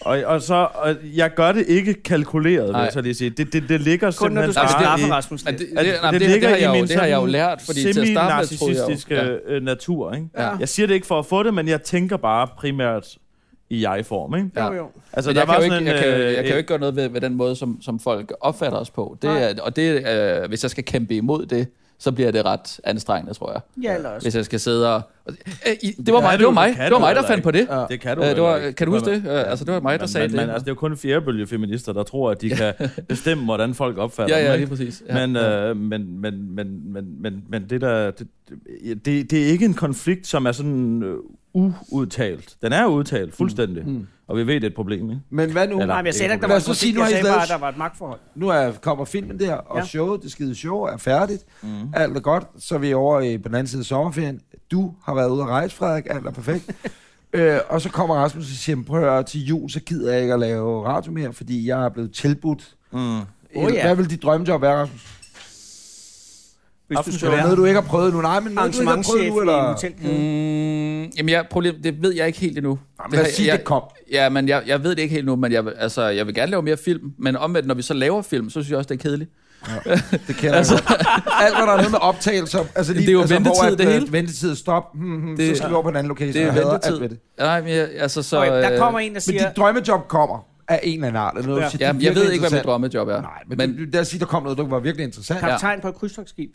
[SPEAKER 3] Og, og så, og jeg gør det ikke kalkuleret, vil
[SPEAKER 5] Nej.
[SPEAKER 3] jeg så lige sige. Det, det, det ligger
[SPEAKER 4] Kun når
[SPEAKER 3] simpelthen
[SPEAKER 4] du skal
[SPEAKER 3] bare i-
[SPEAKER 4] straffe Rasmus
[SPEAKER 5] Men
[SPEAKER 4] lidt.
[SPEAKER 5] det, det,
[SPEAKER 3] at-
[SPEAKER 5] nej, det, det, det,
[SPEAKER 3] ligger
[SPEAKER 5] har jeg
[SPEAKER 3] i
[SPEAKER 5] jo,
[SPEAKER 3] min
[SPEAKER 5] det har jeg jo
[SPEAKER 3] sådan
[SPEAKER 5] lært, fordi til at starte med, troede
[SPEAKER 3] semi-narcissistiske
[SPEAKER 5] jeg jo,
[SPEAKER 3] øh, natur, ikke?
[SPEAKER 5] Ja.
[SPEAKER 3] Ja. Jeg siger det ikke for at få det, men jeg tænker bare primært i jeg-form, ikke?
[SPEAKER 5] ja.
[SPEAKER 4] Jo, jo.
[SPEAKER 3] Altså,
[SPEAKER 5] Men jeg, kan jo ikke,
[SPEAKER 3] sådan
[SPEAKER 5] jeg, kan, jo-
[SPEAKER 3] øh,
[SPEAKER 5] jeg kan jo ikke gøre noget ved, ved den måde, som, som folk opfatter os på. Det,
[SPEAKER 4] Nej.
[SPEAKER 5] er- og det, øh, hvis jeg skal kæmpe imod det, så bliver det ret anstrengende, tror jeg.
[SPEAKER 4] Ja, eller også.
[SPEAKER 5] Hvis jeg skal sidde og... Øh, I- det var mig,
[SPEAKER 3] kan
[SPEAKER 5] det var
[SPEAKER 3] du-
[SPEAKER 5] mig,
[SPEAKER 3] det kan
[SPEAKER 5] det var
[SPEAKER 3] du
[SPEAKER 5] mig der
[SPEAKER 3] heller
[SPEAKER 5] fandt på det.
[SPEAKER 3] Det kan du
[SPEAKER 5] Øh, det
[SPEAKER 3] heller
[SPEAKER 5] var-
[SPEAKER 3] ikke.
[SPEAKER 5] kan du huske
[SPEAKER 3] Men-
[SPEAKER 5] det? Øh, altså, det var mig, der
[SPEAKER 3] men,
[SPEAKER 5] sagde
[SPEAKER 3] men,
[SPEAKER 5] det.
[SPEAKER 3] Men altså, det er jo kun fjerdebølge feminister, der tror, at
[SPEAKER 5] <laughs>
[SPEAKER 3] de kan bestemme, hvordan folk opfatter
[SPEAKER 5] Ja,
[SPEAKER 3] dem.
[SPEAKER 5] ja,
[SPEAKER 3] ikke?
[SPEAKER 5] lige præcis. Ja.
[SPEAKER 3] Men, øh, men, men, men, men, men, men det der, det, det, det er ikke en konflikt, som er sådan øh, uudtalt. Den er udtalt fuldstændig, mm. Mm. og vi ved, det er et problem, ikke?
[SPEAKER 2] Men hvad nu?
[SPEAKER 3] Eller-
[SPEAKER 4] Nej, men jeg sagde da ikke, der var
[SPEAKER 2] Lad
[SPEAKER 4] en
[SPEAKER 2] os så sige,
[SPEAKER 4] konflikt,
[SPEAKER 2] nu har
[SPEAKER 4] jeg
[SPEAKER 2] I
[SPEAKER 4] sagde
[SPEAKER 2] lavet-
[SPEAKER 4] bare, at der var et magtforhold.
[SPEAKER 2] Nu er, kommer filmen der, og
[SPEAKER 4] Ja.
[SPEAKER 2] ja. showet, det skide show, er færdigt.
[SPEAKER 5] Mhm.
[SPEAKER 2] Mm. Alt er godt. Så er vi over i, på den anden side af sommerferien. Du har været ude at rejse, Frederik. Alt er
[SPEAKER 5] <laughs>
[SPEAKER 2] perfekt. øh, og så kommer Rasmus og siger, "Men prøv at høre, til jul, så gider jeg ikke at lave radio mere, fordi jeg er blevet tilbudt.
[SPEAKER 3] Mm.
[SPEAKER 4] Åh, Oh, ja.
[SPEAKER 2] Hvad vil dit drømmejob være, Rasmus?
[SPEAKER 4] Hvis du
[SPEAKER 3] Aften-
[SPEAKER 4] skulle
[SPEAKER 2] Det var
[SPEAKER 4] være
[SPEAKER 2] noget, du ikke har prøvet nu. Nej, men noget, du ikke har prøvet
[SPEAKER 4] arrangementschef
[SPEAKER 2] nu,
[SPEAKER 4] i en
[SPEAKER 2] eller?
[SPEAKER 4] hotelkæde.
[SPEAKER 5] Mm, jamen, jeg, problem, det ved jeg ikke helt endnu.
[SPEAKER 2] Jamen, Lad os
[SPEAKER 5] har-
[SPEAKER 2] sige,
[SPEAKER 5] jeg,
[SPEAKER 2] det kom.
[SPEAKER 5] Altså, Ja, men jeg, jeg ved det ikke helt nu, men jeg, vil- altså, jeg vil gerne lave mere film. Men omvendt, når vi så laver film, så synes jeg også, det er kedeligt.
[SPEAKER 2] Det
[SPEAKER 5] <laughs>
[SPEAKER 2] kender altså, jeg godt. Alt, hvad der er noget med optagelser. Altså, lige,
[SPEAKER 5] Det er jo
[SPEAKER 2] altså, hvor
[SPEAKER 5] ventetid,
[SPEAKER 2] at,
[SPEAKER 5] det
[SPEAKER 2] øh,
[SPEAKER 5] hele.
[SPEAKER 2] Ventetid, stop. Hmm, hmm,
[SPEAKER 5] Det-
[SPEAKER 2] det, så skal vi over på en anden location.
[SPEAKER 5] Det er
[SPEAKER 2] Jeg hader
[SPEAKER 5] ventetid.
[SPEAKER 2] alt ved det.
[SPEAKER 5] Ja, Nej, men jeg, altså, så...
[SPEAKER 4] Okay, der
[SPEAKER 5] øh,
[SPEAKER 4] kommer en, der
[SPEAKER 2] Men
[SPEAKER 4] siger,
[SPEAKER 2] dit drømmejob kommer af en eller anden art. Eller noget,
[SPEAKER 4] Ja.
[SPEAKER 2] du siger, det er
[SPEAKER 5] Ja, øh, jeg ved
[SPEAKER 2] virkelig
[SPEAKER 5] ikke, hvad mit
[SPEAKER 2] interessant.
[SPEAKER 5] drømmejob er.
[SPEAKER 2] Nej, men, men lad os sige, der kom noget, der var virkelig interessant. Ja.
[SPEAKER 4] kaptajn på et krydstogsskib.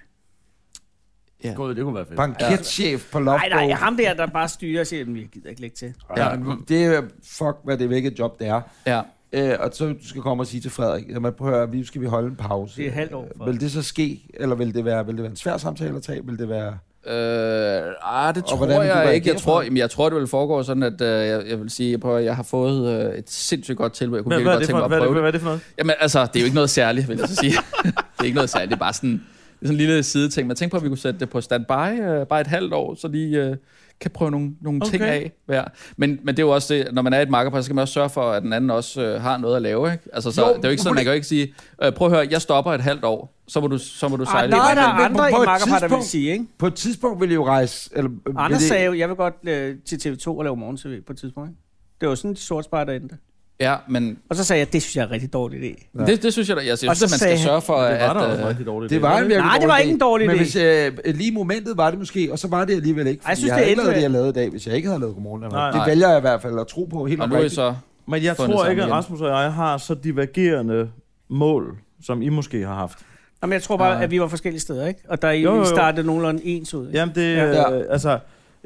[SPEAKER 3] God, det kunne være fedt.
[SPEAKER 2] Banketchef på Lofbo.
[SPEAKER 4] Nej, nej, ham der, der bare styrer og siger, "Men jeg gider ikke lægge til.
[SPEAKER 2] Ja, men det er fuck, hvad det er, hvilket job det er.
[SPEAKER 5] ja.
[SPEAKER 2] Øh, og så du skal komme og sige til Frederik, at man prøver, vi skal vi holde en pause.
[SPEAKER 4] Det er et halvt år, Frederik.
[SPEAKER 2] Vil det så ske, eller vil det være, vil det være en svær samtale at tage? Vil det være...
[SPEAKER 5] Øh, ah, det
[SPEAKER 2] hvordan
[SPEAKER 5] tror
[SPEAKER 2] vil du
[SPEAKER 5] jeg
[SPEAKER 2] reagere
[SPEAKER 5] ikke. Jeg
[SPEAKER 2] på
[SPEAKER 5] tror,
[SPEAKER 2] det?
[SPEAKER 5] jamen, jeg tror, det vil foregå sådan, at øh, jeg, jeg vil sige, prøv, at høre, jeg har fået øh, et sindssygt godt tilbud. Jeg kunne
[SPEAKER 3] Hvad,
[SPEAKER 5] virkelig
[SPEAKER 3] hvad, er
[SPEAKER 5] godt
[SPEAKER 3] det
[SPEAKER 5] tænke mig
[SPEAKER 3] for,
[SPEAKER 5] at
[SPEAKER 3] hvad, er det-
[SPEAKER 5] prøve
[SPEAKER 3] hvad,
[SPEAKER 5] det.
[SPEAKER 3] er det for noget?
[SPEAKER 5] Jamen altså, det er jo ikke noget særligt, vil jeg så sige. <laughs> det er ikke noget særligt, det er bare sådan, det er sådan en lille side ting. Men tænk på, at vi kunne sætte det på standby øh, bare et halvt år, så lige øh, kan prøve nogle, nogle okay. ting
[SPEAKER 4] Okay.
[SPEAKER 5] af. Ja. Men, men det er jo også det, når man er i et markerpar, så skal man også sørge for, at den anden også øh, har noget at lave. Ikke? Altså, så
[SPEAKER 2] Jo,
[SPEAKER 5] jo, det er jo ikke sådan, man
[SPEAKER 2] men-
[SPEAKER 5] kan jo ikke sige, øh, prøv at høre, jeg stopper et halvt år, så må du, så må du
[SPEAKER 4] Ej,
[SPEAKER 5] sejle.
[SPEAKER 4] der
[SPEAKER 5] ind."
[SPEAKER 4] er Ah, der
[SPEAKER 2] men- men
[SPEAKER 4] andre i
[SPEAKER 2] på et
[SPEAKER 4] Makkerpar, der vil
[SPEAKER 2] tidspunkt-
[SPEAKER 4] sige, ikke?
[SPEAKER 2] På et tidspunkt vil I jo rejse... Eller, øh,
[SPEAKER 4] Anders
[SPEAKER 2] vil det-
[SPEAKER 4] sagde jo, jeg vil godt øh, til TV2 og lave morgen-tv på et tidspunkt, ikke? Det var sådan, de sorte spejder endte.
[SPEAKER 5] Ja, men
[SPEAKER 4] Og så sagde jeg, det synes jeg er en rigtig dårlig idé.
[SPEAKER 2] Ja.
[SPEAKER 5] det, det synes jeg da, jeg synes,
[SPEAKER 4] så
[SPEAKER 5] at man skal
[SPEAKER 4] sagde han-
[SPEAKER 5] sørge for,
[SPEAKER 3] Det var
[SPEAKER 5] at...
[SPEAKER 3] der også en
[SPEAKER 5] øh,
[SPEAKER 3] rigtig dårlig
[SPEAKER 2] Det var en virkelig
[SPEAKER 4] Nej, det var
[SPEAKER 2] dårlig
[SPEAKER 4] ikke en
[SPEAKER 2] idé.
[SPEAKER 4] dårlig
[SPEAKER 2] Men
[SPEAKER 4] idé.
[SPEAKER 2] hvis, øh, lige i momentet var det måske, og så var det alligevel ikke. fordi
[SPEAKER 4] Ej, jeg synes,
[SPEAKER 2] jeg
[SPEAKER 4] det
[SPEAKER 2] havde
[SPEAKER 4] er
[SPEAKER 2] ikke lavet det,
[SPEAKER 4] endnu-
[SPEAKER 2] jeg lavede i dag, hvis jeg ikke havde lavet Godmorgen Danmark.
[SPEAKER 3] Nej.
[SPEAKER 2] Det
[SPEAKER 5] Nej.
[SPEAKER 2] vælger jeg i hvert fald at tro på helt
[SPEAKER 5] og nu er I
[SPEAKER 2] oprigtigt.
[SPEAKER 5] så...
[SPEAKER 3] Men jeg
[SPEAKER 5] fundet
[SPEAKER 3] tror
[SPEAKER 5] sammen
[SPEAKER 3] ikke, at
[SPEAKER 5] igen.
[SPEAKER 3] Rasmus og jeg har så divergerende mål, som I måske har haft.
[SPEAKER 4] Nå, men jeg tror bare,
[SPEAKER 5] Nej.
[SPEAKER 4] at vi var forskellige steder, ikke? Og der
[SPEAKER 3] Jo,
[SPEAKER 4] jo,
[SPEAKER 3] jo, jo.
[SPEAKER 4] jo. startede nogenlunde ens ud. Ikke?
[SPEAKER 3] Jamen, det...
[SPEAKER 2] Ja.
[SPEAKER 3] Øh, altså,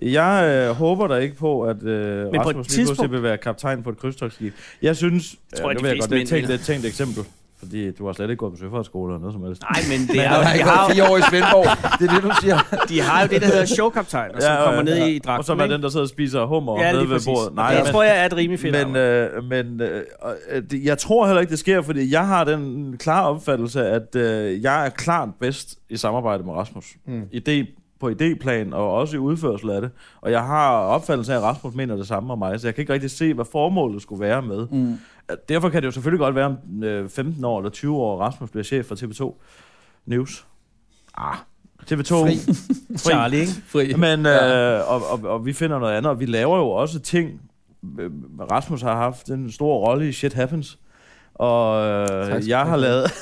[SPEAKER 3] jeg øh, håber da ikke på, at øh,
[SPEAKER 4] på et
[SPEAKER 3] Rasmus lige pludselig
[SPEAKER 4] tidspunkt-
[SPEAKER 3] vil være kaptajn på et krydstogsskib. Jeg synes... Jeg
[SPEAKER 4] tror,
[SPEAKER 3] øh,
[SPEAKER 4] de
[SPEAKER 3] nu vil jeg godt,
[SPEAKER 4] fleste
[SPEAKER 3] det er et tænkt,
[SPEAKER 4] mænd mener.
[SPEAKER 3] det er et tænkt eksempel. Fordi du har slet ikke gået på søfartsskole eller noget som helst.
[SPEAKER 4] Nej, men det
[SPEAKER 2] Jeg har
[SPEAKER 4] er, de,
[SPEAKER 2] ikke været
[SPEAKER 4] har,
[SPEAKER 2] fire år i
[SPEAKER 4] <laughs>
[SPEAKER 2] Svendborg. Det er det, du siger.
[SPEAKER 4] de har jo det, der hedder showkaptajner, som kommer ned i dragten.
[SPEAKER 3] øh, Og så var den, der sidder og spiser hummer
[SPEAKER 4] ja,
[SPEAKER 3] nede
[SPEAKER 4] lige
[SPEAKER 3] ved
[SPEAKER 4] præcis.
[SPEAKER 3] bordet.
[SPEAKER 4] Nej, jeg
[SPEAKER 3] men-
[SPEAKER 4] tror, jeg er et rimelig fedt
[SPEAKER 3] men, øh, men øh, og, øh, det- jeg tror heller ikke, det sker, fordi jeg har den klare opfattelse, at øh, jeg er klart bedst i samarbejde med Rasmus. Mm. Idé, på idéplan og også i udførsel af det. Og jeg har opfattelse af, at Rasmus mener det samme om mig, så jeg kan ikke rigtig se, hvad formålet skulle være med. Mm. Derfor kan det jo selvfølgelig godt være om øh, 15 år eller 20 år, at Rasmus bliver chef for TV2 News. Ah, TV2
[SPEAKER 2] Fri.
[SPEAKER 4] Charlie, ikke?
[SPEAKER 5] <laughs> Fri.
[SPEAKER 3] men,
[SPEAKER 5] Ja.
[SPEAKER 3] øh, og, og, og vi finder noget andet, og vi laver jo også ting. Øh, Rasmus har haft en stor rolle i Shit Happens, og
[SPEAKER 5] Tak skal
[SPEAKER 3] øh,
[SPEAKER 5] du
[SPEAKER 3] jeg har
[SPEAKER 5] have.
[SPEAKER 3] lavet, <laughs>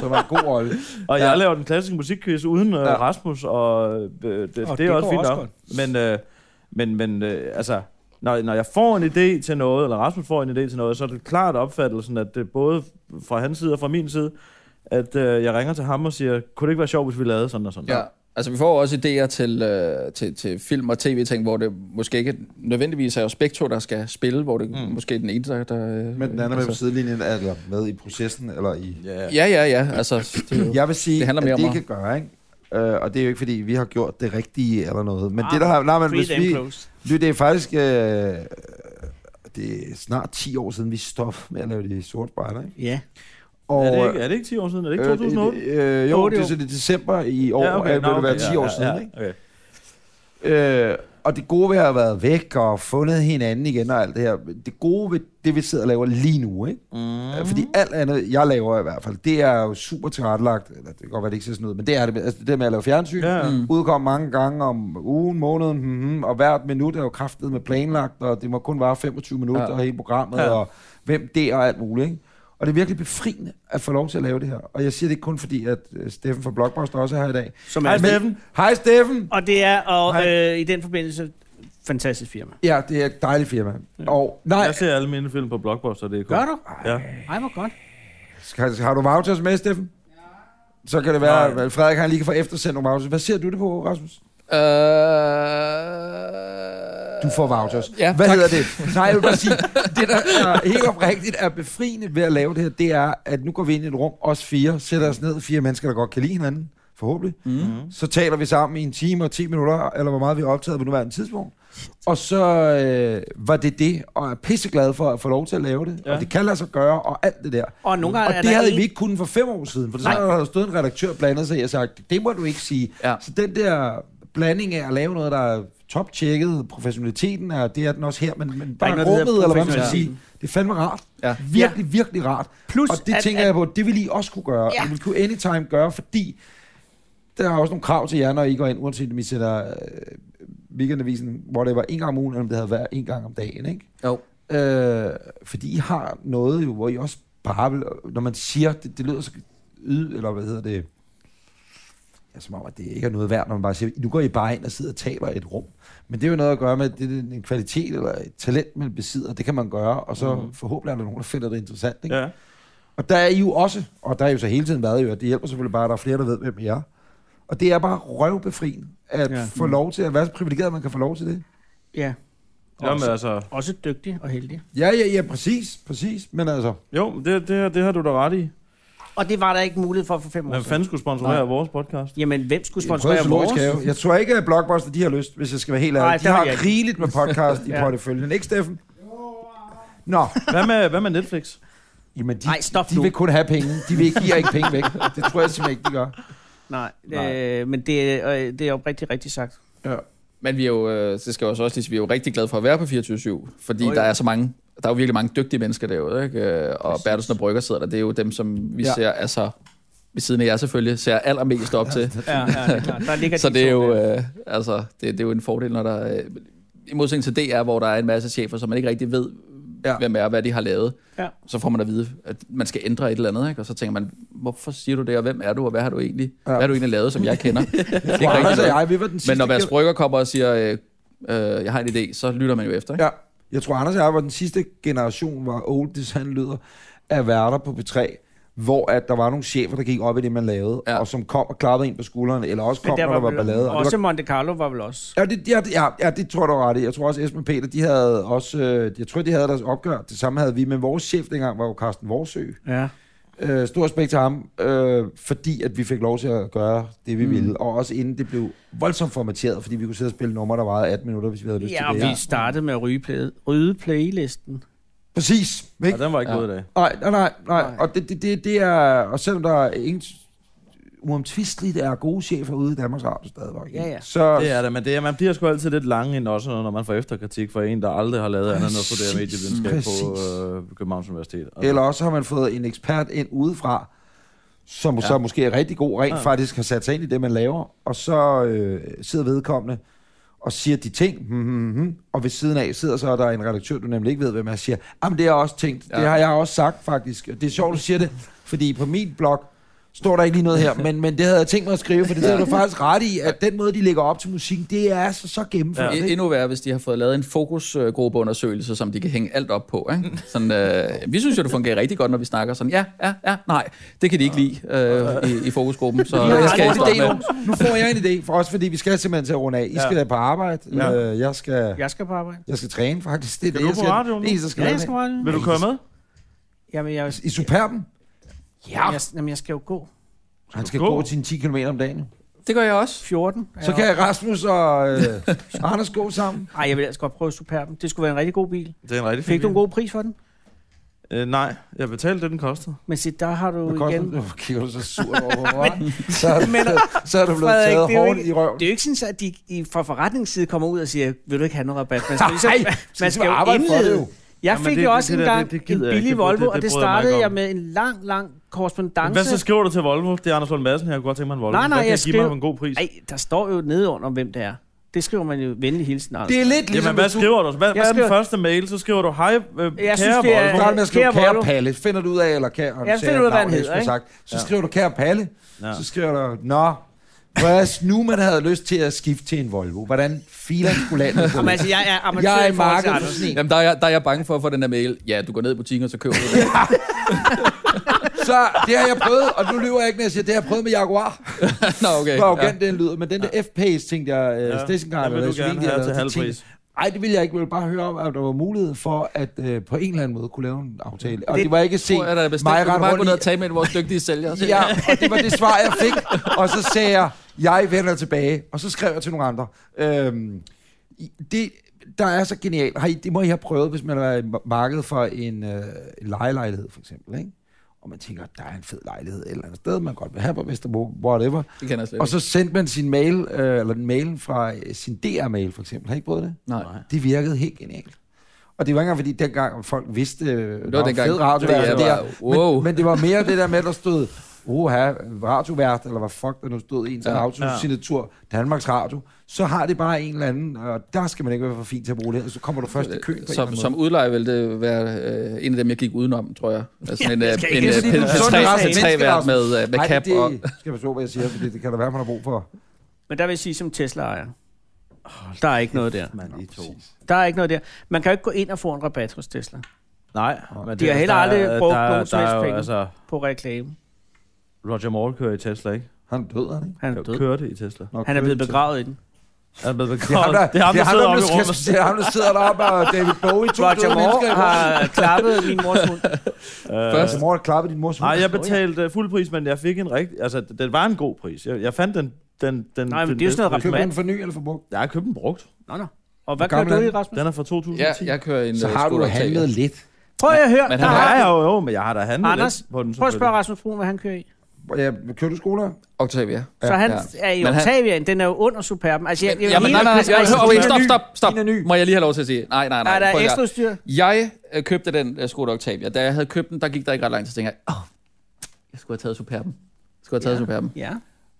[SPEAKER 2] Som er en god rolle.
[SPEAKER 3] og
[SPEAKER 5] Ja.
[SPEAKER 3] jeg laver den klassiske musikquiz uden øh,
[SPEAKER 2] Ja.
[SPEAKER 3] Rasmus, og øh, det, det,
[SPEAKER 4] Og
[SPEAKER 3] det
[SPEAKER 4] det
[SPEAKER 3] er også
[SPEAKER 4] går
[SPEAKER 3] fint
[SPEAKER 4] også
[SPEAKER 3] nok. Men, øh, men, men øh, altså, når, når jeg får en idé til noget, eller Rasmus får en idé til noget, så er det klart opfattelsen, at det både fra hans side og fra min side, at øh, jeg ringer til ham og siger, kunne det ikke være sjovt, hvis vi lavede sådan og sådan?
[SPEAKER 5] Ja, altså vi får jo også idéer til, øh, til, til film og tv-ting, hvor det måske ikke nødvendigvis er Spektro, der skal spille, hvor det mm. måske er den ene, der... der øh,
[SPEAKER 2] Men den anden med på
[SPEAKER 5] altså,
[SPEAKER 2] sidelinjen, eller med i processen, eller i...
[SPEAKER 3] Yeah.
[SPEAKER 5] Ja, ja, ja, altså... Det, er jo-
[SPEAKER 2] Jeg vil sige,
[SPEAKER 5] Det handler mere
[SPEAKER 2] at det
[SPEAKER 5] om
[SPEAKER 2] I kan gøre, ikke? Øh, og det er jo ikke, fordi vi har gjort det rigtige eller noget.
[SPEAKER 4] Ah,
[SPEAKER 2] Men det, der har... Nej, men hvis vi... Nu, det er faktisk... Øh, det er snart 10 år siden, vi stoppede med at lave de sorte spejder, ikke?
[SPEAKER 4] Ja.
[SPEAKER 2] Og,
[SPEAKER 3] Er, det ikke, er det ikke 10 år siden? Er det ikke
[SPEAKER 2] øh,
[SPEAKER 3] 2008?
[SPEAKER 2] Øh, øh, jo,
[SPEAKER 4] Otte
[SPEAKER 2] det er
[SPEAKER 4] år.
[SPEAKER 2] så det er december i år, ja, okay, det
[SPEAKER 3] nå,
[SPEAKER 2] vil være 10
[SPEAKER 3] ja,
[SPEAKER 2] år
[SPEAKER 3] ja,
[SPEAKER 2] siden,
[SPEAKER 3] ja,
[SPEAKER 2] ikke?
[SPEAKER 3] Okay.
[SPEAKER 2] Øh, og det gode ved at have været væk og fundet hinanden igen og alt det her, det gode ved det, vi sidder og laver lige nu, ikke? Mm. Fordi alt andet, jeg laver i hvert fald, det er jo super tilrettelagt. Eller det kan godt være, det ikke ser sådan ud, men det er det. med- Altså, det med at lave fjernsyn,
[SPEAKER 3] Ja, ja.
[SPEAKER 2] mm. udkom mange gange om ugen, måneden, mm-hmm, og hvert minut er jo kraftet med planlagt, og det må kun vare 25 minutter
[SPEAKER 5] Ja.
[SPEAKER 2] ja. hele programmet,
[SPEAKER 3] Ja.
[SPEAKER 2] ja. og hvem det er og alt muligt, ikke? Og det er virkelig befriende at få lov til at lave det her. Og jeg siger det ikke kun fordi, at øh, Steffen fra Blockbuster også er her i dag.
[SPEAKER 4] Som
[SPEAKER 3] Hej,
[SPEAKER 4] er,
[SPEAKER 3] Steffen.
[SPEAKER 2] Hej Steffen!
[SPEAKER 4] og det er, og
[SPEAKER 2] Hej.
[SPEAKER 4] øh, i den forbindelse, fantastisk firma.
[SPEAKER 2] Ja, det er et dejligt firma. Ja. Og nej,
[SPEAKER 3] Jeg ser alle mine film på Blockbuster. Det er
[SPEAKER 4] Gør du?
[SPEAKER 3] Ja.
[SPEAKER 4] Ej, hvor godt.
[SPEAKER 2] skal, har du vouchers med, Steffen? Så kan det være, at Frederik han lige kan få eftersendt nogle vouchers. Hvad ser du det på, Rasmus?
[SPEAKER 5] Øh,
[SPEAKER 2] Du får vouchers.
[SPEAKER 5] Ja,
[SPEAKER 2] Hvad
[SPEAKER 5] tak.
[SPEAKER 2] hedder det? Nej, jeg vil bare sige,
[SPEAKER 5] <laughs>
[SPEAKER 2] det der er helt oprigtigt er befriende ved at lave det her, det er, at nu går vi ind i et rum, os fire, sætter os ned, fire mennesker, der godt kan lide hinanden, forhåbentlig. Mm. Så taler vi sammen i en time og 10 minutter, eller hvor meget vi har optaget på nuværende tidspunkt. Og så øh, var det det, og er pisseglad for at få lov til at lave det.
[SPEAKER 3] Ja.
[SPEAKER 2] Ja. Og det kan lade sig gøre, og alt det der.
[SPEAKER 4] Og nogle gange
[SPEAKER 2] Mm. Og
[SPEAKER 4] er
[SPEAKER 2] det
[SPEAKER 4] der
[SPEAKER 2] havde
[SPEAKER 4] en-
[SPEAKER 2] vi ikke kunnet for fem år siden, for så
[SPEAKER 4] Nej.
[SPEAKER 2] havde der stået en redaktør blandet sig i og sagt, det må du ikke sige.
[SPEAKER 5] Ja.
[SPEAKER 2] Så den der blanding af at lave noget, der er toptjekket, professionaliteten er, det er den også her, men, men bare
[SPEAKER 4] ikke noget, der
[SPEAKER 2] rummet,
[SPEAKER 4] hedder
[SPEAKER 2] eller hvad man skal sige,
[SPEAKER 4] professionaliteten.
[SPEAKER 2] det er fandme rart.
[SPEAKER 5] Ja.
[SPEAKER 2] Virkelig, virkelig rart.
[SPEAKER 4] Plus,
[SPEAKER 2] og det
[SPEAKER 4] at-
[SPEAKER 2] tænker
[SPEAKER 4] at-
[SPEAKER 2] jeg på, det ville I også kunne gøre,
[SPEAKER 4] Ja.
[SPEAKER 2] ja. og vi kunne anytime gøre, fordi der er også nogle krav til jer, når I går ind, uanset om I sætter øh, weekendavisen, hvor det var en gang om ugen, eller om det havde været en gang om dagen, ikke?
[SPEAKER 5] jo.
[SPEAKER 2] Øh, fordi I har noget jo, hvor I også bare vil, når man siger, det, det lyder så yd, eller hvad hedder det, ja, som om, at det ikke er noget værd, når man bare siger, nu går I bare ind og sidder og taler i et rum. Men det er jo noget at gøre med, at det er en kvalitet eller et talent, man besidder, det kan man gøre, og så mm. forhåbentlig er der nogen, der finder det interessant. Ikke? Ja.
[SPEAKER 3] Ja.
[SPEAKER 2] Og der er I jo også, og der er jo så hele tiden været jo, at det hjælper selvfølgelig bare, at der er flere, der ved, hvem I er. Og det er bare røvbefriende at
[SPEAKER 4] Ja.
[SPEAKER 2] ja. få lov til, at være så privilegeret, at man kan få lov til det.
[SPEAKER 4] Ja,
[SPEAKER 3] Jamen, altså,
[SPEAKER 4] også dygtig og heldig.
[SPEAKER 2] Ja, ja, ja, præcis, præcis, men altså...
[SPEAKER 3] jo, det, det, det har du da ret i.
[SPEAKER 4] Og det var der ikke mulighed for for fem år
[SPEAKER 3] Hvem
[SPEAKER 4] siden.
[SPEAKER 3] fanden skulle sponsorere vores podcast?
[SPEAKER 4] Jamen, hvem skulle
[SPEAKER 2] Jeg, prøvede
[SPEAKER 4] sponsorere vores?
[SPEAKER 2] zoologisk have. jeg tror ikke, at Blockbuster de har lyst, hvis jeg skal være helt ærlig.
[SPEAKER 4] Nej,
[SPEAKER 2] de
[SPEAKER 4] det har
[SPEAKER 2] har
[SPEAKER 4] jeg ikke.
[SPEAKER 2] rigeligt med podcast i
[SPEAKER 4] <laughs> Ja.
[SPEAKER 2] porteføljen. Ikke, Steffen? Nå,
[SPEAKER 3] Hvad med, hvad med Netflix?
[SPEAKER 2] jamen de,
[SPEAKER 4] Nej, stop
[SPEAKER 2] de
[SPEAKER 4] nu.
[SPEAKER 2] vil kun have penge. De vil ikke give ikke penge væk. Det tror jeg simpelthen ikke, de gør.
[SPEAKER 4] Nej,
[SPEAKER 2] Nej.
[SPEAKER 4] Øh, men det, øh, det er jo rigtig, rigtig sagt.
[SPEAKER 5] Men vi er jo, øh, det skal jeg også også lige sige, vi er jo rigtig glade for at være på 24-7, fordi
[SPEAKER 4] Nå,
[SPEAKER 5] oh,
[SPEAKER 4] ja.
[SPEAKER 5] der er så mange, der er jo virkelig mange dygtige mennesker derude, ikke? Øh, Og
[SPEAKER 4] Præcis.
[SPEAKER 5] Bertelsen og Brygger sidder der, det er jo dem, som vi
[SPEAKER 2] Ja.
[SPEAKER 5] ja. ser, altså ved siden af jer selvfølgelig, ser allermest op til.
[SPEAKER 4] Ja, ja, det er klart. Der ligger
[SPEAKER 5] Så
[SPEAKER 4] de
[SPEAKER 5] det er
[SPEAKER 4] to
[SPEAKER 5] jo,
[SPEAKER 4] der.
[SPEAKER 5] øh, altså, det, det er jo en fordel, når der øh, i modsætning til DR, hvor der er en masse chefer, som man ikke rigtig ved,
[SPEAKER 2] Ja.
[SPEAKER 5] ja. hvem er og hvad de har lavet.
[SPEAKER 4] Ja.
[SPEAKER 5] Så får man at vide, at man skal ændre et eller andet, ikke? og så tænker man, hvorfor siger du det, og hvem er du, og hvad har du egentlig,
[SPEAKER 2] Ja.
[SPEAKER 5] ja. hvad har du egentlig lavet, som jeg kender? det er
[SPEAKER 2] Det
[SPEAKER 5] ikke
[SPEAKER 2] er Anders og
[SPEAKER 5] rigtigt.
[SPEAKER 2] jeg, vi var den sidste
[SPEAKER 5] Men når Mads
[SPEAKER 2] gener-
[SPEAKER 5] Brygger kommer og siger, øh, øh, jeg har en idé, så lytter man jo efter. Ikke?
[SPEAKER 2] Ja, jeg tror, Anders og jeg var den sidste generation, var old design lyder, af værter på P3, hvor at der var nogle chefer, der gik op i det, man lavede, ja.
[SPEAKER 5] Ja.
[SPEAKER 2] og som kom og klappede ind på skuldrene, eller også kom,
[SPEAKER 4] Men der
[SPEAKER 2] når der var
[SPEAKER 4] vel
[SPEAKER 2] ballade. Og det var
[SPEAKER 4] Også Monte Carlo var vel også.
[SPEAKER 2] Ja, det, ja, det- ja, ja, det tror jeg, du har ret i. Jeg tror også, Esben og Peter, de havde også, øh, jeg tror, de havde deres opgør. Det samme havde vi, men vores chef dengang var jo Carsten Vorsø.
[SPEAKER 4] Ja.
[SPEAKER 2] Øh, stor respekt til ham, øh, fordi at vi fik lov til at gøre det, vi mm. ville. Og også inden det blev voldsomt formateret, fordi vi kunne sidde og spille numre, der varede 18 minutter, hvis vi havde lyst
[SPEAKER 4] Ja, og
[SPEAKER 2] til det.
[SPEAKER 4] vi startede med at ryge, play, ryge playlisten.
[SPEAKER 2] Præcis. Ikke?
[SPEAKER 3] Ja, den var ikke
[SPEAKER 5] Ja.
[SPEAKER 3] god i dag.
[SPEAKER 2] Nej, nej, nej. nej.
[SPEAKER 4] Nej.
[SPEAKER 2] Og, det, det, det, det er, og selvom der er ingen uomtvisteligt er gode chefer ude i Danmarks Radio stadigvæk. ikke?
[SPEAKER 4] Ja, ja.
[SPEAKER 2] Så,
[SPEAKER 3] Det er det, men det er, man bliver sgu altid lidt lange ind også, når man får efterkritik for en, der aldrig har lavet andet end at studere
[SPEAKER 2] Præcis,
[SPEAKER 3] medievidenskab på
[SPEAKER 2] præcis.
[SPEAKER 3] øh, Københavns Universitet. Altså,
[SPEAKER 2] Eller også har man fået en ekspert ind udefra, som ja. så måske er rigtig god, rent ja.
[SPEAKER 3] Ja.
[SPEAKER 2] faktisk har sat sig ind i det, man laver, og så øh, sidder vedkommende og siger de ting, hmm, hmm, hmm, og ved siden af sidder så der en redaktør, du nemlig ikke ved, hvem er, siger, jamen det har jeg også tænkt, ja. det
[SPEAKER 5] Ja.
[SPEAKER 2] har jeg også sagt faktisk. Det er sjovt, du siger det, fordi på min blog står der ikke lige noget her, men, men det havde jeg tænkt mig at skrive, for det er du faktisk ret i, at den måde, de lægger op til musikken, det er så, så gennemført.
[SPEAKER 3] Ja.
[SPEAKER 2] Ja.
[SPEAKER 5] E- endnu værre, hvis de har fået lavet en fokusgruppeundersøgelse, som de kan hænge alt op på. Ikke? Sådan, øh, vi synes jo, det fungerer rigtig godt, når vi snakker sådan, ja, ja, ja, nej, det kan de ikke lide øh, i, i
[SPEAKER 2] <laughs>
[SPEAKER 5] fokusgruppen. Så
[SPEAKER 4] har
[SPEAKER 5] jeg skal
[SPEAKER 4] aldrig
[SPEAKER 5] ikke
[SPEAKER 4] fået
[SPEAKER 5] stå med.
[SPEAKER 4] nogen.
[SPEAKER 2] Nu får jeg en idé, for også fordi vi skal simpelthen til at runde af. I
[SPEAKER 3] Ja.
[SPEAKER 2] skal da på arbejde,
[SPEAKER 3] Ja.
[SPEAKER 2] øh, jeg skal...
[SPEAKER 4] Jeg skal på arbejde.
[SPEAKER 2] Jeg skal træne, faktisk. Det er
[SPEAKER 3] Skal
[SPEAKER 2] det,
[SPEAKER 3] du
[SPEAKER 2] jeg
[SPEAKER 3] på
[SPEAKER 2] skal,
[SPEAKER 3] radioen nu?
[SPEAKER 2] det, er, jeg skal
[SPEAKER 4] Ja,
[SPEAKER 2] ja,
[SPEAKER 4] jeg skal på arbejde.
[SPEAKER 3] Vil du køre med?
[SPEAKER 4] Jamen, jeg,
[SPEAKER 2] I Superben.
[SPEAKER 4] ja. jeg, jamen, jeg skal jo gå.
[SPEAKER 2] Han skal
[SPEAKER 3] gå?
[SPEAKER 2] gå sine 10 km om dagen.
[SPEAKER 5] Det gør jeg også.
[SPEAKER 4] 14. er
[SPEAKER 2] Så
[SPEAKER 4] jeg
[SPEAKER 2] kan
[SPEAKER 4] oppe.
[SPEAKER 2] Rasmus og øh,
[SPEAKER 4] <laughs>
[SPEAKER 2] Anders gå sammen.
[SPEAKER 4] Ej, jeg vil altså godt prøve Superben. Det skulle være en rigtig god bil.
[SPEAKER 3] Det er en rigtig
[SPEAKER 4] Fik
[SPEAKER 3] fin
[SPEAKER 4] du en
[SPEAKER 3] bil.
[SPEAKER 4] god pris for den?
[SPEAKER 3] Øh, nej, jeg betalte det, den kostede.
[SPEAKER 4] Men se, der har du
[SPEAKER 2] Hvad
[SPEAKER 4] igen...
[SPEAKER 2] koster det? Hvorfor kigger du så sur over på
[SPEAKER 4] <laughs>
[SPEAKER 2] mig? Så, er du- så er du blevet
[SPEAKER 4] Frederik,
[SPEAKER 2] taget
[SPEAKER 4] det er jo
[SPEAKER 2] hårdt
[SPEAKER 4] ikke-
[SPEAKER 2] i røven.
[SPEAKER 4] Det er jo ikke sådan, at de i, fra forretningens side kommer ud og siger, vil du ikke have noget rabat? Man skal, ligesom-
[SPEAKER 2] Nej,
[SPEAKER 4] man
[SPEAKER 2] skal
[SPEAKER 4] skal jo
[SPEAKER 2] arbejde for det
[SPEAKER 4] indlede.
[SPEAKER 2] jo.
[SPEAKER 4] Jeg
[SPEAKER 3] Jamen,
[SPEAKER 4] fik
[SPEAKER 3] det-
[SPEAKER 4] jo
[SPEAKER 3] det-
[SPEAKER 4] også
[SPEAKER 3] det der,
[SPEAKER 4] engang
[SPEAKER 3] det- det
[SPEAKER 4] en
[SPEAKER 3] gider jeg ikke.
[SPEAKER 4] billig
[SPEAKER 3] Det- det-
[SPEAKER 4] Volvo,
[SPEAKER 3] det
[SPEAKER 4] og det
[SPEAKER 3] bryder jeg mig
[SPEAKER 4] startede
[SPEAKER 3] ikke om.
[SPEAKER 4] jeg med en lang, lang korrespondence.
[SPEAKER 3] Hvad så skriver du til Volvo? Det er Anders Lund Madsen her. Jeg kunne godt tænke mig en Volvo.
[SPEAKER 4] Nej, nej,
[SPEAKER 3] Hvad kan
[SPEAKER 4] jeg
[SPEAKER 3] jeg give mig
[SPEAKER 4] skriver-
[SPEAKER 3] for en god pris?
[SPEAKER 4] Ej, der står jo nede under, hvem det er. Det skriver man jo venlig hilsen, Anders.
[SPEAKER 2] Det er lidt ligesom,
[SPEAKER 3] Jamen, hvad
[SPEAKER 2] hvis du
[SPEAKER 3] skriver du? Hvad, hvad er den
[SPEAKER 4] skriver-
[SPEAKER 3] første mail? Så skriver du, hej, øh, kære
[SPEAKER 4] Jeg synes, det er-
[SPEAKER 3] Volvo.
[SPEAKER 2] starter med at skrive
[SPEAKER 4] Kære
[SPEAKER 2] kære
[SPEAKER 4] Volvo.
[SPEAKER 2] Palle. Finder du ud af, eller kære...
[SPEAKER 4] Ja,
[SPEAKER 2] sagde
[SPEAKER 4] finder du ud af, hvad han
[SPEAKER 2] navnet, jeg skulle
[SPEAKER 4] hedder, ikke?
[SPEAKER 2] have Sagt. Så
[SPEAKER 3] Ja.
[SPEAKER 2] skriver du kære Palle.
[SPEAKER 3] Ja.
[SPEAKER 2] Så skriver du, nå, hvis nu man havde lyst til at skifte til en Volvo, hvordan filer skulle landet på
[SPEAKER 4] Jamen,
[SPEAKER 2] det?
[SPEAKER 4] altså, jeg er amatør
[SPEAKER 2] Jeg er i
[SPEAKER 4] i forhold til
[SPEAKER 2] markedet for
[SPEAKER 4] Anders.
[SPEAKER 2] sådan en.
[SPEAKER 5] Jamen, der er, jeg, der er jeg bange for at få den der mail. Ja, du går ned i butikken, og så køber du det.
[SPEAKER 2] Så det har jeg prøvet, og nu løber jeg ikke, når jeg siger, det har jeg prøvet med Jaguar.
[SPEAKER 5] Nå, okay.
[SPEAKER 2] Hvor
[SPEAKER 5] Ja.
[SPEAKER 2] arrogant ja. den lyder, men den der F-Pace, tænkte jeg, øh,
[SPEAKER 3] Ja,
[SPEAKER 2] stationcar,
[SPEAKER 3] den vil
[SPEAKER 2] eller
[SPEAKER 3] du gerne
[SPEAKER 2] Slovenia,
[SPEAKER 3] have til
[SPEAKER 2] eller
[SPEAKER 3] halv
[SPEAKER 2] Tjetjenien.
[SPEAKER 3] pris.
[SPEAKER 2] Ej, det ville jeg ikke. Jeg ville bare høre om, at der var mulighed for, at øh, på en eller anden måde kunne lave en aftale. Og det,
[SPEAKER 4] Det
[SPEAKER 2] det var ikke
[SPEAKER 5] Se,
[SPEAKER 2] set
[SPEAKER 5] tror jeg, der er bestemt.
[SPEAKER 2] mig
[SPEAKER 5] Du kan
[SPEAKER 2] ret
[SPEAKER 5] bare gå ned og
[SPEAKER 2] rundt
[SPEAKER 5] tale med en af vores dygtige sælgere.
[SPEAKER 2] i. Ja, og det var det svar, jeg fik. Og så sagde jeg, jeg vender tilbage. Og så skrev jeg til nogle andre. Øhm, i- det, der er så genialt. Har I, det må I have prøvet, hvis man er i ma- markedet for en, øh, en lejelejlighed, for eksempel. Ikke? Og man tænker, der er en fed lejlighed et eller andet sted, man godt vil have på Vesterbro, whatever.
[SPEAKER 5] Det kender jeg slet
[SPEAKER 2] Og
[SPEAKER 5] ikke.
[SPEAKER 2] så sendte man sin mail, øh, eller den mail fra øh, sin DR-mail for eksempel. Har I ikke prøvet det?
[SPEAKER 5] Nej.
[SPEAKER 2] Det virkede helt genialt. Og det var ikke engang, fordi dengang folk vidste, øh, det
[SPEAKER 5] var dengang
[SPEAKER 2] fed radio
[SPEAKER 5] DR
[SPEAKER 2] altså,
[SPEAKER 5] var-
[SPEAKER 2] DR.
[SPEAKER 5] wow.
[SPEAKER 2] men, men det var mere det der med, at der stod, oha, radiovært, eller hvad fuck der nu stod ens ja,
[SPEAKER 5] Ja,
[SPEAKER 2] autosignatur, Danmarks Radio, så har det bare en eller anden, og der skal man ikke være for fin til at bruge det, her, så kommer du først i køen. på en eller
[SPEAKER 5] Som,
[SPEAKER 2] anden
[SPEAKER 5] som
[SPEAKER 2] måde.
[SPEAKER 5] udlejer ville det være øh, en af dem, jeg gik udenom, tror jeg. Altså sådan en, øh,
[SPEAKER 4] jeg skal
[SPEAKER 5] en
[SPEAKER 4] ikke
[SPEAKER 5] øh,
[SPEAKER 4] sige,
[SPEAKER 5] p
[SPEAKER 4] du er sund og rask
[SPEAKER 5] p 3
[SPEAKER 2] menneske,
[SPEAKER 5] vært
[SPEAKER 2] Rasmus.
[SPEAKER 5] med, øh, med
[SPEAKER 2] altså. Ej,
[SPEAKER 5] cap
[SPEAKER 2] det
[SPEAKER 5] og...
[SPEAKER 2] skal man så, hvad jeg siger, for det, det kan der være, man har brug for.
[SPEAKER 4] Men der vil jeg sige, som Tesla-ejer, der er ikke noget der.
[SPEAKER 3] Man, I to.
[SPEAKER 4] Der er ikke noget der. Man kan jo ikke gå ind og få en rabat hos Tesla
[SPEAKER 3] Nej, men det
[SPEAKER 4] De har
[SPEAKER 3] er-
[SPEAKER 4] heller
[SPEAKER 3] der
[SPEAKER 4] aldrig
[SPEAKER 3] er-
[SPEAKER 4] brugt
[SPEAKER 3] der er-
[SPEAKER 4] nogen som
[SPEAKER 3] der er
[SPEAKER 4] helst
[SPEAKER 3] jo,
[SPEAKER 4] penge.
[SPEAKER 3] Altså,
[SPEAKER 4] på reklame.
[SPEAKER 3] Roger Moore kører i Tesla, ikke?
[SPEAKER 2] Han døde, han ikke?
[SPEAKER 4] Han er
[SPEAKER 3] Jeg
[SPEAKER 4] død.
[SPEAKER 3] kørte i Tesla.
[SPEAKER 2] Nå,
[SPEAKER 4] Han er
[SPEAKER 2] køen
[SPEAKER 4] blevet
[SPEAKER 2] til-
[SPEAKER 4] begravet i den.
[SPEAKER 3] Er blevet
[SPEAKER 2] Det er ham,
[SPEAKER 3] begravet.
[SPEAKER 2] der, det er ham, der,
[SPEAKER 3] sidder oppe i
[SPEAKER 2] sidder
[SPEAKER 3] rummet.
[SPEAKER 2] Det er ham, der sidder deroppe, og David Bowie, to
[SPEAKER 4] Roger
[SPEAKER 2] døde mennesker
[SPEAKER 4] Moore
[SPEAKER 2] i rummet.
[SPEAKER 4] har klappet min mors mund.
[SPEAKER 5] Først,
[SPEAKER 2] Roger Moore har klappet din mors hund.
[SPEAKER 3] Nej, jeg betalte øh, fuld pris, men jeg fik en rigtig... Altså, d- den var en god pris. Jeg, jeg fandt den... den, den
[SPEAKER 4] Nej, men
[SPEAKER 3] den
[SPEAKER 4] det er jo
[SPEAKER 3] bedste
[SPEAKER 4] sådan noget
[SPEAKER 3] pris.
[SPEAKER 2] Køber den for ny eller for brugt?
[SPEAKER 3] Jeg har købt den brugt.
[SPEAKER 4] Nå, nå. Og hvad
[SPEAKER 2] Hvor
[SPEAKER 4] gør
[SPEAKER 2] gammel
[SPEAKER 4] du
[SPEAKER 2] er
[SPEAKER 4] i,
[SPEAKER 2] han?
[SPEAKER 4] Rasmus?
[SPEAKER 3] Den er fra 2010.
[SPEAKER 5] ja, jeg kører en øh,
[SPEAKER 2] Så har du handlet lidt.
[SPEAKER 4] Prøv at høre.
[SPEAKER 5] Men
[SPEAKER 4] der
[SPEAKER 5] han
[SPEAKER 4] har-
[SPEAKER 3] Nej, jo, jo, men jeg har da handlet
[SPEAKER 4] Anders,
[SPEAKER 3] lidt på den.
[SPEAKER 4] Prøv at spørge
[SPEAKER 3] selvfølgelig.
[SPEAKER 4] Rasmus Brun, hvad han kører i.
[SPEAKER 2] Ja, kører du skoler?
[SPEAKER 5] Octavia.
[SPEAKER 4] Så han
[SPEAKER 5] ja.
[SPEAKER 4] er i
[SPEAKER 5] Men han-
[SPEAKER 4] Octaviaen, den er jo under Superben. Altså, jeg, jeg,
[SPEAKER 5] Ja, men nej, nej, nej,
[SPEAKER 4] jeg,
[SPEAKER 5] jeg, hør, okay, stop,
[SPEAKER 2] ny.
[SPEAKER 5] stop, stop.
[SPEAKER 2] Din er ny.
[SPEAKER 5] Må jeg lige have lov til at sige? Nej, nej, nej.
[SPEAKER 4] er der
[SPEAKER 5] prøv at
[SPEAKER 4] ekstra
[SPEAKER 5] høre.
[SPEAKER 4] udstyr?
[SPEAKER 5] Jeg øh, købte den uh, Skoda Octavia. Da jeg havde købt den, der gik der ikke ret lang tid. Så tænkte jeg, åh, jeg skulle have taget Superben. Jeg skulle have taget Superben.
[SPEAKER 4] Ja.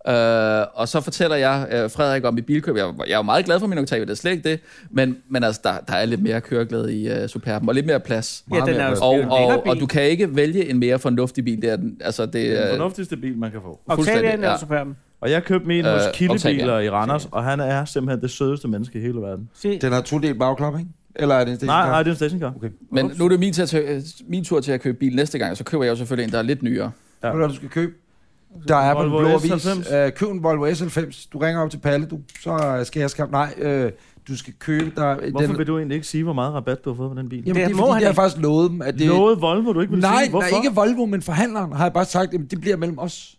[SPEAKER 5] Øh, og så fortæller jeg øh, Frederik om mit bilkøb. Jeg, jeg er jo meget glad for min Octavia, det er slet ikke det. Men, men altså, der, der er lidt mere køreglæde i øh, Superben, og lidt mere plads.
[SPEAKER 4] Ja, den er
[SPEAKER 5] Og,
[SPEAKER 4] jo det er jo en lækker
[SPEAKER 5] og,
[SPEAKER 4] bil.
[SPEAKER 5] og du kan ikke vælge en mere fornuftig bil. Det er, den, altså, det,
[SPEAKER 3] Det er den
[SPEAKER 5] er-
[SPEAKER 3] fornuftigste bil, man kan få.
[SPEAKER 5] fuldstændig,
[SPEAKER 4] Octaviaen eller
[SPEAKER 5] ja.
[SPEAKER 4] Superben?
[SPEAKER 3] Og jeg købte min
[SPEAKER 5] Øh,
[SPEAKER 3] hos Kildebiler
[SPEAKER 5] Octavia.
[SPEAKER 3] i Randers, og han er simpelthen det sødeste menneske i hele verden.
[SPEAKER 4] Se.
[SPEAKER 2] Den har to del bagklap, ikke? Eller er det en
[SPEAKER 3] Nej,
[SPEAKER 2] stationcar?
[SPEAKER 3] nej, det er en stationcar. Okay.
[SPEAKER 5] men nu er det min, til at tage, min tur til at købe bil næste gang, og så køber jeg jo selvfølgelig en, der er lidt nyere.
[SPEAKER 2] Ved du, hvad du skal købe? Der er på den
[SPEAKER 3] Volvo
[SPEAKER 2] blå
[SPEAKER 3] S90.
[SPEAKER 2] avis. Øh, køb en Volvo S90. Du ringer op til Palle, du. Så øh, skal jeg skaffe... Nej, øh, du skal købe... Der,
[SPEAKER 3] Hvorfor
[SPEAKER 2] den,
[SPEAKER 3] vil du egentlig ikke sige, hvor meget rabat du har fået på den bil?
[SPEAKER 2] Jamen, det, er
[SPEAKER 4] Det må
[SPEAKER 2] fordi,
[SPEAKER 4] han
[SPEAKER 2] jeg har
[SPEAKER 4] ikke.
[SPEAKER 2] faktisk lovet dem, at det...
[SPEAKER 3] Det... Noget Volvo, du ikke vil
[SPEAKER 2] nej,
[SPEAKER 3] sige? Hvorfor?
[SPEAKER 2] nej, ikke Volvo, men forhandleren har jeg bare sagt, at det bliver mellem os.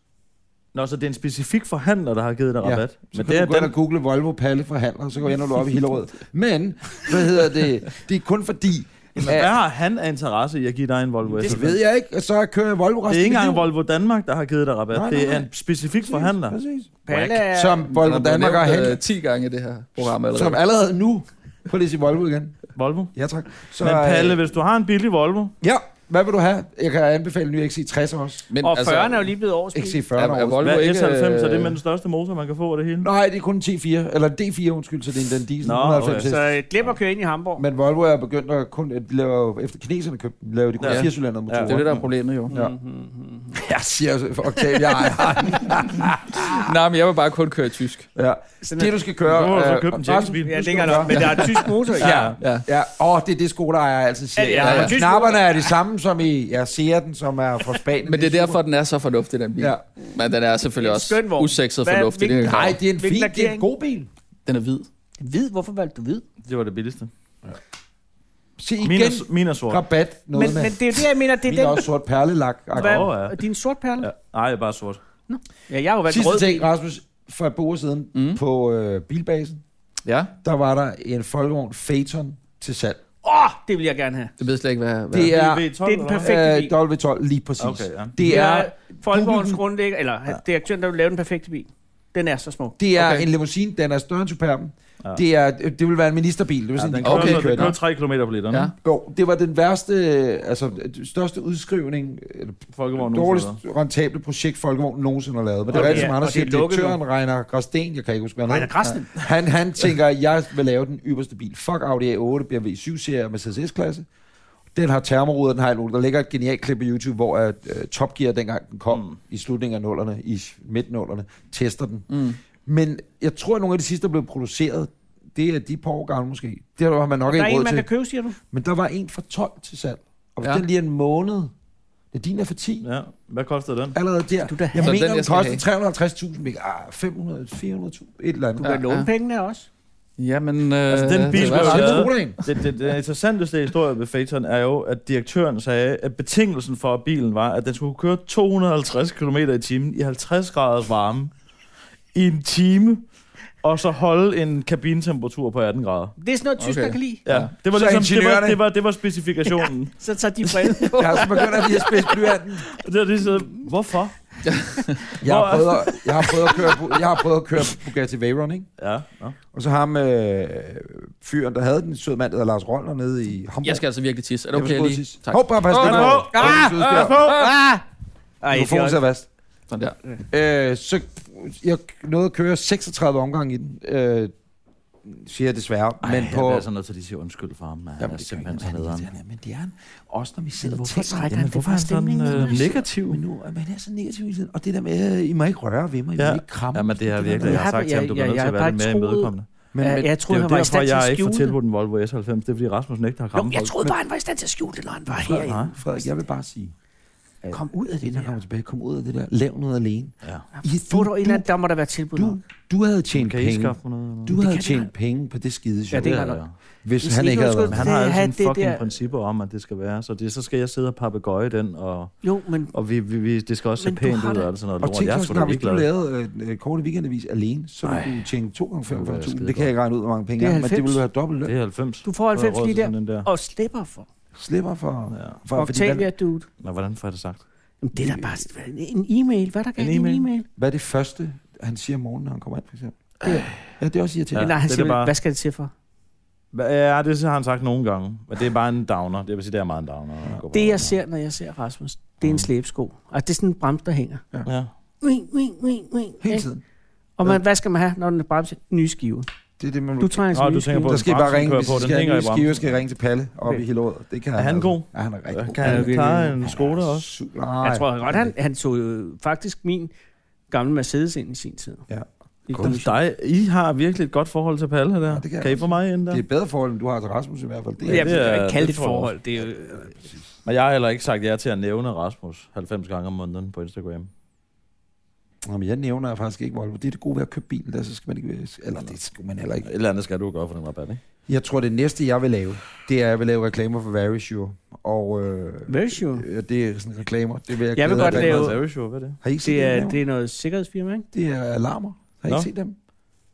[SPEAKER 3] Nå, så det er en specifik forhandler, der har givet dig
[SPEAKER 2] Ja.
[SPEAKER 3] rabat.
[SPEAKER 2] Så
[SPEAKER 3] Men
[SPEAKER 2] kan
[SPEAKER 3] det er
[SPEAKER 2] du gå ind
[SPEAKER 3] den...
[SPEAKER 2] og google Volvo Palle forhandler, så går jeg, når du op i
[SPEAKER 3] <laughs>
[SPEAKER 2] Hillerød. Men, hvad hedder det? Det er kun fordi...
[SPEAKER 3] Jamen, hvad har han af interesse i at give dig en Volvo
[SPEAKER 2] Det
[SPEAKER 3] S90?
[SPEAKER 2] ved jeg ikke, og så kører jeg Volvo resten
[SPEAKER 3] Det er
[SPEAKER 2] af
[SPEAKER 3] ikke
[SPEAKER 2] mit
[SPEAKER 3] engang
[SPEAKER 2] liv.
[SPEAKER 3] Volvo Danmark, der har givet dig rabat.
[SPEAKER 2] Nej,
[SPEAKER 3] Nej, nej, det
[SPEAKER 2] nej,
[SPEAKER 3] er
[SPEAKER 2] nej.
[SPEAKER 3] en specifik
[SPEAKER 2] Præcis,
[SPEAKER 3] forhandler.
[SPEAKER 2] Præcis.
[SPEAKER 4] Palle er...
[SPEAKER 2] Som
[SPEAKER 5] Den
[SPEAKER 2] Volvo
[SPEAKER 5] er blevet
[SPEAKER 2] Danmark har
[SPEAKER 5] nævnt, øh,
[SPEAKER 2] hentet,
[SPEAKER 5] 10 gange i det her program allerede.
[SPEAKER 2] som allerede nu... Prøv lige at sige Volvo igen.
[SPEAKER 3] Volvo.
[SPEAKER 2] Ja, tak. Så,
[SPEAKER 3] Men Palle,
[SPEAKER 2] øh,
[SPEAKER 3] hvis du har en billig Volvo,
[SPEAKER 2] Ja, hvad vil du have? Jeg kan anbefale en ny XC60 også.
[SPEAKER 5] Men, altså,
[SPEAKER 4] Og 40'erne er jo lige blevet overspillet.
[SPEAKER 2] XC40
[SPEAKER 5] er, er
[SPEAKER 2] år.
[SPEAKER 5] Volvo
[SPEAKER 3] hvad er
[SPEAKER 5] ikke...
[SPEAKER 3] S90, er
[SPEAKER 5] øh,
[SPEAKER 3] det med den største motor, man kan få af det hele?
[SPEAKER 2] Nej, det er kun en T4, eller en D4, undskyld, så det er en den diesel.
[SPEAKER 3] Nå,
[SPEAKER 2] 190
[SPEAKER 3] okay.
[SPEAKER 4] Så
[SPEAKER 2] hest.
[SPEAKER 4] øh, glem at køre ind i Hamburg.
[SPEAKER 2] Men Volvo er begyndt at kun, at de laver, efter kineserne købte, den, laver de kun
[SPEAKER 5] Ja.
[SPEAKER 2] ja. 4 motorer.
[SPEAKER 5] Det er jo det, der er problemet, jo.
[SPEAKER 2] Ja.
[SPEAKER 4] Mm-hmm.
[SPEAKER 2] <laughs> Jeg siger jo, for Octavia ejer.
[SPEAKER 5] Nej, men jeg vil bare kun køre i tysk.
[SPEAKER 2] ja. Det, du skal køre...
[SPEAKER 3] Du må så
[SPEAKER 2] øh,
[SPEAKER 3] købe en
[SPEAKER 2] Rasmus,
[SPEAKER 3] James-bil.
[SPEAKER 2] du
[SPEAKER 4] Ja,
[SPEAKER 2] skal
[SPEAKER 4] længere
[SPEAKER 2] gøre-
[SPEAKER 4] nok, men der er en tysk motor i.
[SPEAKER 5] Ja, ja.
[SPEAKER 2] Ja, åh, det er det sko, der ejer altid siger.
[SPEAKER 4] Ja, ja,
[SPEAKER 2] Ja,
[SPEAKER 4] ja.
[SPEAKER 2] ja. Knapperne er de samme som i, jeg ser den, som er fra Spanien.
[SPEAKER 5] Men det er
[SPEAKER 2] super.
[SPEAKER 5] derfor, den er så fornuftig, den bil.
[SPEAKER 2] Ja.
[SPEAKER 5] Men den er
[SPEAKER 4] Det
[SPEAKER 5] selvfølgelig
[SPEAKER 4] er en
[SPEAKER 5] også
[SPEAKER 4] skøn vogn.
[SPEAKER 5] usekset
[SPEAKER 4] Hvad-
[SPEAKER 5] fornuftig. Det er,
[SPEAKER 2] Nej, det er en
[SPEAKER 4] Hvilken
[SPEAKER 2] fin, det er en
[SPEAKER 4] lakering?
[SPEAKER 2] god bil.
[SPEAKER 5] den er hvid.
[SPEAKER 4] Hvid, hvorfor valgte du hvid?
[SPEAKER 3] Det var det billigste.
[SPEAKER 2] Se
[SPEAKER 3] Min
[SPEAKER 2] igen,
[SPEAKER 3] er, min er sort.
[SPEAKER 2] rabat
[SPEAKER 4] Men,
[SPEAKER 2] noget
[SPEAKER 4] men
[SPEAKER 2] med.
[SPEAKER 4] det er jo det, jeg mener, det er
[SPEAKER 2] Min er
[SPEAKER 4] den...
[SPEAKER 2] også sort perlelak.
[SPEAKER 4] Hvad,
[SPEAKER 3] Åh, ja.
[SPEAKER 4] Din sort perle?
[SPEAKER 3] Ja. Nej, jeg er bare sort.
[SPEAKER 4] Ja, jeg har jo valgt
[SPEAKER 2] Sidste
[SPEAKER 4] rød.
[SPEAKER 2] ting, Rasmus, for et par uger siden mm. på øh, Bilbasen,
[SPEAKER 5] Ja,
[SPEAKER 2] der var der en folkevogn Phaeton til salg.
[SPEAKER 4] Åh, oh, det vil jeg gerne have.
[SPEAKER 5] det ved jeg slet ikke, hvad... hvad.
[SPEAKER 2] Det er
[SPEAKER 3] V12,
[SPEAKER 4] det er den
[SPEAKER 3] E eller hvad?
[SPEAKER 4] perfekte bil.
[SPEAKER 2] øh, W12, lige præcis.
[SPEAKER 3] Okay, ja.
[SPEAKER 2] Det
[SPEAKER 4] Det
[SPEAKER 2] er,
[SPEAKER 4] er Folkevogns
[SPEAKER 2] Google-
[SPEAKER 4] grundlægger, eller ja. direktøren, der vil lave den perfekte bil. Den er så smuk.
[SPEAKER 2] det er
[SPEAKER 5] Okay.
[SPEAKER 2] okay. en limousine, den er større end Superben.
[SPEAKER 3] Ja.
[SPEAKER 2] Ja. Det, er, det vil være en ministerbil. Det vil
[SPEAKER 3] Ja,
[SPEAKER 2] sådan,
[SPEAKER 3] den
[SPEAKER 2] de
[SPEAKER 3] kører,
[SPEAKER 5] Okay,
[SPEAKER 3] okay,
[SPEAKER 2] kører
[SPEAKER 3] den
[SPEAKER 2] den.
[SPEAKER 3] kører 3 km på literen.
[SPEAKER 5] Ja.
[SPEAKER 3] Ja.
[SPEAKER 2] Jo, det var den værste, øh, altså den største udskrivning, øh,
[SPEAKER 3] Folkevogn
[SPEAKER 2] dårligst
[SPEAKER 3] nogensinde.
[SPEAKER 2] rentable projekt Folkevogn nogensinde har lavet. Men det er
[SPEAKER 4] Og det
[SPEAKER 2] rigtigt,
[SPEAKER 4] er-
[SPEAKER 2] som
[SPEAKER 4] og
[SPEAKER 2] Anders
[SPEAKER 4] det er
[SPEAKER 2] siger,
[SPEAKER 4] lukket nu.
[SPEAKER 2] direktøren Reiner Græsten, jeg kan ikke huske, hvad han
[SPEAKER 4] Reiner Grasten.
[SPEAKER 2] hedder. han, han tænker, jeg vil lave den ypperste bil. Fuck Audi A8, BMW 7-serie og Mercedes S-klasse. Den har termoruder, den har alt muligt. Der ligger et genialt klip på YouTube, hvor at, uh, Top Gear, dengang den kom mm. i slutningen af nullerne, i midtnullerne, tester den. Mm. Men jeg tror, at nogle af de sidste, der blev produceret, det er de par år gamle måske. Det har man nok
[SPEAKER 4] Der er
[SPEAKER 2] ikke
[SPEAKER 4] en,
[SPEAKER 2] råd
[SPEAKER 4] man
[SPEAKER 2] til.
[SPEAKER 4] kan købe, siger du?
[SPEAKER 2] Men der var en for 12 til salg. Og hvis
[SPEAKER 5] Ja.
[SPEAKER 2] ja. den lige er en måned, ja, din er for 10. Ja.
[SPEAKER 3] Ja. Hvad kostede den?
[SPEAKER 2] Allerede der.
[SPEAKER 4] Du da-
[SPEAKER 2] jeg
[SPEAKER 5] Så
[SPEAKER 2] mener,
[SPEAKER 5] den,
[SPEAKER 2] den,
[SPEAKER 5] jeg skal
[SPEAKER 2] koster 350.000. men, Ah, 500, 400.000. Et eller
[SPEAKER 4] Du
[SPEAKER 2] andet.
[SPEAKER 4] kan
[SPEAKER 5] Ja,
[SPEAKER 4] låne
[SPEAKER 5] ja.
[SPEAKER 4] pengene også.
[SPEAKER 5] Jamen... Øh,
[SPEAKER 3] Altså, den bil
[SPEAKER 5] det
[SPEAKER 3] blev
[SPEAKER 5] var-
[SPEAKER 3] lavet-
[SPEAKER 2] Ja. Skolen.
[SPEAKER 3] Det, det, den interessanteste historie ved Phaeton er jo, at direktøren sagde, at betingelsen for at bilen var, at den skulle køre 250 km i timen i 50 graders varme i en time, og så holde en kabinetemperatur på 18 grader.
[SPEAKER 4] Det er sådan noget, tysker
[SPEAKER 5] Okay.
[SPEAKER 4] kan lide.
[SPEAKER 3] Ja,
[SPEAKER 5] Ja.
[SPEAKER 3] det var
[SPEAKER 2] Så
[SPEAKER 3] ligesom, det var,
[SPEAKER 2] ingeniørerne-
[SPEAKER 3] det var, det var specifikationen.
[SPEAKER 4] Så tager de brillen på.
[SPEAKER 2] Jeg har så begyndt at blive spidse blyanten.
[SPEAKER 3] Og det var lige så, hvorfor?
[SPEAKER 2] Jeg har,
[SPEAKER 3] Hvor-
[SPEAKER 2] prøvet at, jeg, har prøvet at køre, jeg har prøvet at køre Bugatti Veyron, ikke?
[SPEAKER 3] Ja, nå.
[SPEAKER 2] Og så ham øh, fyren, der havde den søde mand, der hedder Lars Roller, nede i Hamburg.
[SPEAKER 5] Jeg skal altså virkelig tisse. Er det
[SPEAKER 2] Jeg
[SPEAKER 5] okay, jeg
[SPEAKER 2] skulle
[SPEAKER 5] lige...
[SPEAKER 2] sige-
[SPEAKER 5] Tak.
[SPEAKER 2] Hov, bare pas
[SPEAKER 3] Pas
[SPEAKER 2] lidt
[SPEAKER 3] på!
[SPEAKER 2] på.
[SPEAKER 3] Ah, pas på!
[SPEAKER 4] Ah! Ej, det er
[SPEAKER 2] Mikrofonen sidder fast.
[SPEAKER 5] Sådan der.
[SPEAKER 2] Øh, så jeg nåede at køre 36 omgange i den. Øh, siger jeg desværre. Ej, men på,
[SPEAKER 3] nødt til at sige undskyld for ham. Han
[SPEAKER 2] Jamen, det simpelthen sådan noget. Men det er han. Også når vi sidder og
[SPEAKER 4] hvorfor
[SPEAKER 2] tænker,
[SPEAKER 4] trækker
[SPEAKER 2] jamen,
[SPEAKER 4] han
[SPEAKER 2] hvorfor
[SPEAKER 4] det
[SPEAKER 2] er
[SPEAKER 4] fra
[SPEAKER 2] stemningen
[SPEAKER 3] stemningen,
[SPEAKER 2] sådan, øh,
[SPEAKER 3] når man
[SPEAKER 2] negativ? Men nu, man er så negativ hele tiden. Og det der med, øh, I må ikke røre ved mig, I
[SPEAKER 3] Ja.
[SPEAKER 2] må ikke kramme.
[SPEAKER 3] Jamen, det er
[SPEAKER 2] der
[SPEAKER 3] virkelig, jeg har
[SPEAKER 4] Jeg-
[SPEAKER 3] sagt til ham, du
[SPEAKER 4] jeg-
[SPEAKER 3] bliver nødt til
[SPEAKER 4] jeg-
[SPEAKER 3] at
[SPEAKER 4] jeg
[SPEAKER 3] være
[SPEAKER 4] har
[SPEAKER 3] lidt mere
[SPEAKER 4] bare troet-
[SPEAKER 3] imødekommende.
[SPEAKER 2] Men,
[SPEAKER 4] Ja,
[SPEAKER 2] men,
[SPEAKER 4] jeg
[SPEAKER 3] Det
[SPEAKER 4] troede,
[SPEAKER 3] er jo
[SPEAKER 4] han var i
[SPEAKER 3] derfor,
[SPEAKER 4] stand til
[SPEAKER 3] jeg
[SPEAKER 4] at
[SPEAKER 3] ikke får
[SPEAKER 4] skjule det.
[SPEAKER 3] tilbudt en Volvo S90. Det er fordi Rasmussen ikke har
[SPEAKER 4] Jo,
[SPEAKER 3] krammet
[SPEAKER 4] jeg
[SPEAKER 3] folk.
[SPEAKER 4] troede bare, han var i stand til at skjule det, når han var
[SPEAKER 3] Nej.
[SPEAKER 4] herinde.
[SPEAKER 2] Frederik, jeg vil bare sige, Kom ud af det der, kom tilbage, kom ud af det der. Lav noget alene.
[SPEAKER 3] Ja.
[SPEAKER 2] I,
[SPEAKER 4] Få du en eller anden, der må der være tilbud.
[SPEAKER 2] du, du havde tjent
[SPEAKER 3] Kan I
[SPEAKER 2] penge.
[SPEAKER 3] skaffe mig noget? eller
[SPEAKER 2] Du havde
[SPEAKER 4] kan de
[SPEAKER 2] tjent penge på det skide show,
[SPEAKER 4] Ja, det
[SPEAKER 3] noget?
[SPEAKER 4] er godt nok.
[SPEAKER 2] hvis
[SPEAKER 4] Hvis
[SPEAKER 2] han
[SPEAKER 4] ikke
[SPEAKER 2] ikke havde
[SPEAKER 4] nogen
[SPEAKER 2] været
[SPEAKER 3] Men
[SPEAKER 2] med.
[SPEAKER 3] han
[SPEAKER 4] skulle-
[SPEAKER 3] har
[SPEAKER 4] Det
[SPEAKER 3] jo
[SPEAKER 4] er
[SPEAKER 3] sine
[SPEAKER 4] det
[SPEAKER 3] fucking
[SPEAKER 4] der-
[SPEAKER 3] principper om, at det skal være. Så, det, så skal jeg sidde og papegøje den, og,
[SPEAKER 4] Jo, men
[SPEAKER 3] og vi, vi, vi, det skal også se
[SPEAKER 4] Men du
[SPEAKER 3] pænt
[SPEAKER 4] har
[SPEAKER 3] ud
[SPEAKER 4] da-
[SPEAKER 3] og alt sådan noget.
[SPEAKER 2] Og
[SPEAKER 3] lort.
[SPEAKER 2] tænk
[SPEAKER 3] jeg er
[SPEAKER 2] så
[SPEAKER 3] sgu
[SPEAKER 2] snart,
[SPEAKER 3] da
[SPEAKER 2] hvis du
[SPEAKER 3] ligegenade.
[SPEAKER 2] lavede øh, øh, korte weekendavis alene, så ville du tjene 2.500.000.
[SPEAKER 3] skide
[SPEAKER 2] Det kan jeg ikke regne ud, hvor mange penge
[SPEAKER 4] Det
[SPEAKER 2] det
[SPEAKER 4] er
[SPEAKER 2] er, men det
[SPEAKER 4] 90.
[SPEAKER 2] ville være dobbelt løn.
[SPEAKER 3] Det er 90.
[SPEAKER 4] du får 90
[SPEAKER 3] råd
[SPEAKER 4] lige
[SPEAKER 3] til
[SPEAKER 4] der,
[SPEAKER 3] sådan en der.
[SPEAKER 4] og slipper for.
[SPEAKER 2] Slipper for...
[SPEAKER 3] Ja.
[SPEAKER 2] for fordi
[SPEAKER 4] Octavia,
[SPEAKER 2] hvad,
[SPEAKER 4] dude.
[SPEAKER 3] Men hvordan får jeg det sagt?
[SPEAKER 4] Jamen, det er da bare en e-mail. Hvad er der galt i en
[SPEAKER 3] e-mail?
[SPEAKER 4] e-mail?
[SPEAKER 2] hvad er det første, han siger om morgenen, når han kommer ind, for eksempel? Ja, det er også
[SPEAKER 4] Ja,
[SPEAKER 2] irriterende.
[SPEAKER 4] Eller han
[SPEAKER 3] det er
[SPEAKER 4] siger,
[SPEAKER 3] det bare.
[SPEAKER 4] hvad skal det til for?
[SPEAKER 3] Ja, det har han sagt nogle gange. Men det er bare en downer. Det vil sige, det er meget en downer. når man går på
[SPEAKER 4] Det, jeg
[SPEAKER 3] arbejde.
[SPEAKER 4] ser, når jeg ser Rasmus, det er en slæbesko. Altså, det er sådan en brems, der hænger.
[SPEAKER 3] Ja.
[SPEAKER 4] Wing, wing, wing, wing.
[SPEAKER 2] Hele
[SPEAKER 4] ikke?
[SPEAKER 2] tiden.
[SPEAKER 4] Og man, hvad skal man have, når den er bremse? Nye skiver.
[SPEAKER 2] Det er det, man
[SPEAKER 4] Du trænger til
[SPEAKER 3] Nå, Ah,
[SPEAKER 4] nye
[SPEAKER 3] du tænker
[SPEAKER 4] skiver.
[SPEAKER 3] på-
[SPEAKER 2] Der skal I bare
[SPEAKER 3] Bremsen
[SPEAKER 2] ringe,
[SPEAKER 3] kører
[SPEAKER 2] hvis
[SPEAKER 3] på,
[SPEAKER 2] I
[SPEAKER 3] den
[SPEAKER 2] skal have
[SPEAKER 3] hænger
[SPEAKER 2] en
[SPEAKER 3] i
[SPEAKER 2] ny
[SPEAKER 3] bremsen.
[SPEAKER 2] skive, skal I ringe til Palle oppe
[SPEAKER 4] Okay.
[SPEAKER 2] i Hillerød. Det kan
[SPEAKER 3] Er han
[SPEAKER 2] altså.
[SPEAKER 3] god?
[SPEAKER 2] Ja, han er rigtig god.
[SPEAKER 3] Kan han klare en Skoda også?
[SPEAKER 2] Su- Nej,
[SPEAKER 4] Jeg tror godt, han, han tog øh, faktisk min gamle Mercedes ind i sin tid.
[SPEAKER 2] Ja.
[SPEAKER 4] I
[SPEAKER 3] Dem,
[SPEAKER 4] kommission.
[SPEAKER 3] dig, I har virkelig et godt forhold til Palle der.
[SPEAKER 2] Ja, det kan
[SPEAKER 3] kan,
[SPEAKER 2] jeg
[SPEAKER 3] I
[SPEAKER 2] også.
[SPEAKER 3] få mig ind der?
[SPEAKER 2] det er et bedre forhold, end du har til Rasmus i hvert fald. Det
[SPEAKER 4] Ja,
[SPEAKER 2] er,
[SPEAKER 4] det er,
[SPEAKER 3] det
[SPEAKER 4] ikke kalde det et
[SPEAKER 3] tror jeg
[SPEAKER 4] forhold. Det er jo,
[SPEAKER 3] Men jeg har heller ikke sagt ja til at nævne Rasmus 90 gange om måneden på Instagram.
[SPEAKER 2] Jamen, jeg nævner faktisk ikke Volvo. Det er det gode ved at købe bilen, der, så skal man ikke... Eller det skal man heller ikke.
[SPEAKER 3] Et eller andet skal du gøre for den rabat, ikke?
[SPEAKER 2] Jeg tror, det næste, jeg vil lave, det er, at jeg vil lave reklamer for Verisure. Og øh,
[SPEAKER 4] very sure.
[SPEAKER 2] øh, det er sådan reklamer. Det vil jeg,
[SPEAKER 4] Jeg vil
[SPEAKER 2] glæde
[SPEAKER 4] godt
[SPEAKER 2] mig rigtig
[SPEAKER 4] lave-
[SPEAKER 2] meget til.
[SPEAKER 3] Seriøs, hvad er det?
[SPEAKER 2] Har I ikke set
[SPEAKER 4] Det
[SPEAKER 2] det,
[SPEAKER 4] er,
[SPEAKER 2] det,
[SPEAKER 4] det er noget sikkerhedsfirma, ikke?
[SPEAKER 2] det er alarmer. Har I ikke
[SPEAKER 3] Nå.
[SPEAKER 2] set dem?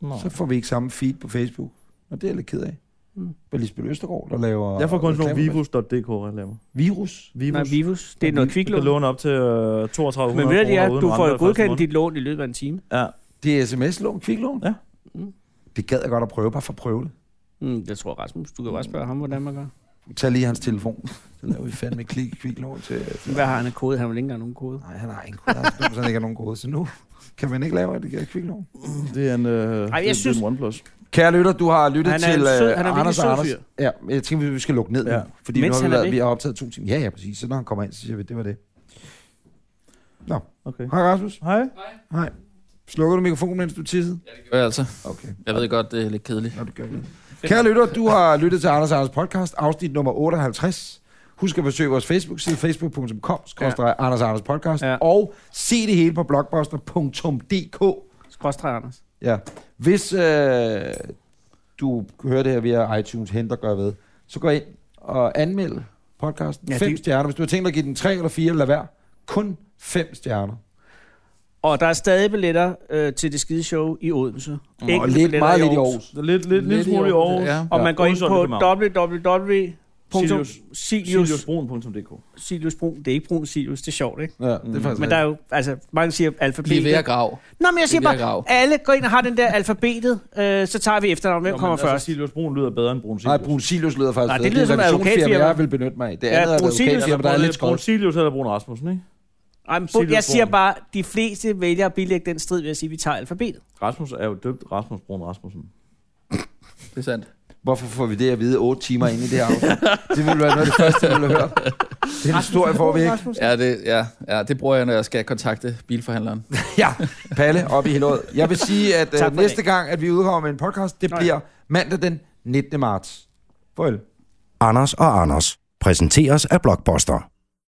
[SPEAKER 3] Nå.
[SPEAKER 2] Så får vi ikke samme feed på Facebook. Og det er jeg lidt ked af.
[SPEAKER 4] Mm.
[SPEAKER 2] Mm. Men Lisbeth Østergaard, der laver...
[SPEAKER 3] Jeg får kun sådan nogle
[SPEAKER 2] reklamer-
[SPEAKER 3] vivus.dk-reklamer.
[SPEAKER 2] Virus.
[SPEAKER 3] Vivus.
[SPEAKER 4] Nej, Vivus. Det er
[SPEAKER 3] Du
[SPEAKER 4] noget
[SPEAKER 3] kan
[SPEAKER 4] kviklån.
[SPEAKER 3] låne op til øh, 3200
[SPEAKER 4] Men ved du,
[SPEAKER 3] kroner
[SPEAKER 4] at
[SPEAKER 3] uden
[SPEAKER 4] du får
[SPEAKER 3] renter
[SPEAKER 4] jo
[SPEAKER 3] i første
[SPEAKER 4] godkendt
[SPEAKER 3] måned.
[SPEAKER 4] dit lån i løbet af en time.
[SPEAKER 3] Ja,
[SPEAKER 2] Det er sms-lån, kviklån.
[SPEAKER 3] Ja.
[SPEAKER 4] Mm.
[SPEAKER 2] Det gad jeg godt at prøve, bare for at prøve det.
[SPEAKER 4] Mm, jeg tror, Rasmus, du kan bare spørge ham, hvordan man gør.
[SPEAKER 2] Tag lige hans telefon. Så laver vi fandme klik, kviklån til... til
[SPEAKER 4] Hvad har han af kode? Han vil ikke engang nogen kode.
[SPEAKER 2] Nej, han har ingen kode. Han har 100% ikke har nogen kode. Så nu kan man ikke lave et øh, kviklån.
[SPEAKER 3] det er en, øh,
[SPEAKER 4] jeg
[SPEAKER 3] det er
[SPEAKER 4] synes-
[SPEAKER 3] en OnePlus.
[SPEAKER 2] Kære lytter, du har lyttet
[SPEAKER 4] Han er en
[SPEAKER 2] til
[SPEAKER 4] sød-
[SPEAKER 2] øh,
[SPEAKER 4] han er
[SPEAKER 3] Ah,
[SPEAKER 4] virkelig
[SPEAKER 2] Anders
[SPEAKER 4] sød
[SPEAKER 2] og Anders.
[SPEAKER 4] fyr.
[SPEAKER 2] Ja, men jeg tænker, vi skal lukke ned ja.
[SPEAKER 3] Ja.
[SPEAKER 2] nu, fordi
[SPEAKER 4] Mens
[SPEAKER 2] Mens nu har
[SPEAKER 4] han
[SPEAKER 2] vi,
[SPEAKER 4] er
[SPEAKER 2] været,
[SPEAKER 4] væk.
[SPEAKER 2] vi har optaget to timer. Ja, ja, præcis. Så når han kommer ind, så siger vi, det var det. Nå,
[SPEAKER 3] Okay.
[SPEAKER 2] hej Rasmus.
[SPEAKER 3] Hej.
[SPEAKER 2] Hej. Slukker du mikrofonen, mens du tissede?
[SPEAKER 5] Ja, altså.
[SPEAKER 2] Okay.
[SPEAKER 5] Jeg ved godt, det er lidt kedeligt.
[SPEAKER 2] Nå, det gør vi. Kære lytter, du har <laughs> lyttet til Anders og Anders podcast, afsnit nummer 58. Husk at besøge vores Facebook-side, facebook.com, ja. Anders og Anders podcast,
[SPEAKER 4] Ja.
[SPEAKER 2] ja. og se det hele på blogbuster.dk.
[SPEAKER 4] Skråstrej, Anders.
[SPEAKER 2] Ja. Hvis øh, du hører det her via iTunes, hent og gør ved, så gå ind og anmeld podcasten.
[SPEAKER 4] Ja,
[SPEAKER 2] Ja, fem
[SPEAKER 4] det-
[SPEAKER 2] stjerner. Hvis du har tænkt dig at give den tre eller fire, lad være. Kun fem stjerner.
[SPEAKER 4] Og der er stadig billetter øh, til det skide show i Odense. Enkelte
[SPEAKER 2] og lidt,
[SPEAKER 4] billetter
[SPEAKER 2] meget lidt i Aarhus.
[SPEAKER 3] Så lidt, lidt, lidt
[SPEAKER 5] Lidt i
[SPEAKER 3] smule i
[SPEAKER 5] Aarhus,
[SPEAKER 3] Aarhus.
[SPEAKER 5] ja.
[SPEAKER 4] Og man går ind
[SPEAKER 3] Udsolgt i
[SPEAKER 4] på
[SPEAKER 3] København.
[SPEAKER 4] www.silius. Silius.
[SPEAKER 3] Siliusbrun.dk.
[SPEAKER 4] Silius Brun. Det er ikke Brun Silius, det er sjovt, ikke?
[SPEAKER 2] Ja, det er faktisk
[SPEAKER 4] Men der er jo, altså, mange siger
[SPEAKER 5] Bliv ved
[SPEAKER 4] alfabetet.
[SPEAKER 5] at grave.
[SPEAKER 4] Nå, men jeg siger
[SPEAKER 5] Bliv ved at
[SPEAKER 4] bare,
[SPEAKER 5] grave.
[SPEAKER 4] alle går ind og har den der alfabetet, øh, så tager vi efternavn. Hvem kommer først?
[SPEAKER 3] altså, Silius Brun lyder bedre end Brun
[SPEAKER 2] Nej,
[SPEAKER 3] Silius.
[SPEAKER 2] Brun Silius lyder faktisk
[SPEAKER 4] Nej, det
[SPEAKER 2] bedre.
[SPEAKER 4] lyder som et
[SPEAKER 2] et advokatfirma,
[SPEAKER 4] advokatfirma.
[SPEAKER 2] jeg vil benytte mig af. Det
[SPEAKER 4] Ja,
[SPEAKER 2] andet er et
[SPEAKER 4] Brun Silius.
[SPEAKER 2] advokatfirma, der er lidt
[SPEAKER 3] Brun
[SPEAKER 2] skåret.
[SPEAKER 3] Silius eller Brun Rasmussen, ikke?
[SPEAKER 4] Ej, men
[SPEAKER 3] Silius
[SPEAKER 4] jeg siger
[SPEAKER 3] Brun.
[SPEAKER 4] bare, de fleste vælger at bilægge den strid ved at sige, at vi tager alfabetet.
[SPEAKER 3] Rasmus er jo døbt Rasmus Brun Rasmussen.
[SPEAKER 5] Det er sandt.
[SPEAKER 2] Hvorfor får vi det at vide 8 timer inde i det her afsnit? Det ville være noget af det første, jeg ville høre. Den historie får vi ikke.
[SPEAKER 5] Ja det, ja, ja, det bruger jeg, når jeg skal kontakte bilforhandleren.
[SPEAKER 2] Ja, Palle op i Hillerød. Jeg vil sige, at
[SPEAKER 4] Tak
[SPEAKER 2] øh,
[SPEAKER 4] for
[SPEAKER 2] næste
[SPEAKER 4] det.
[SPEAKER 2] gang, at vi udkommer med en podcast, det
[SPEAKER 4] Nå ja.
[SPEAKER 2] bliver mandag den 19. marts. Farvel.
[SPEAKER 1] Anders og Anders præsenteres af Blockbuster.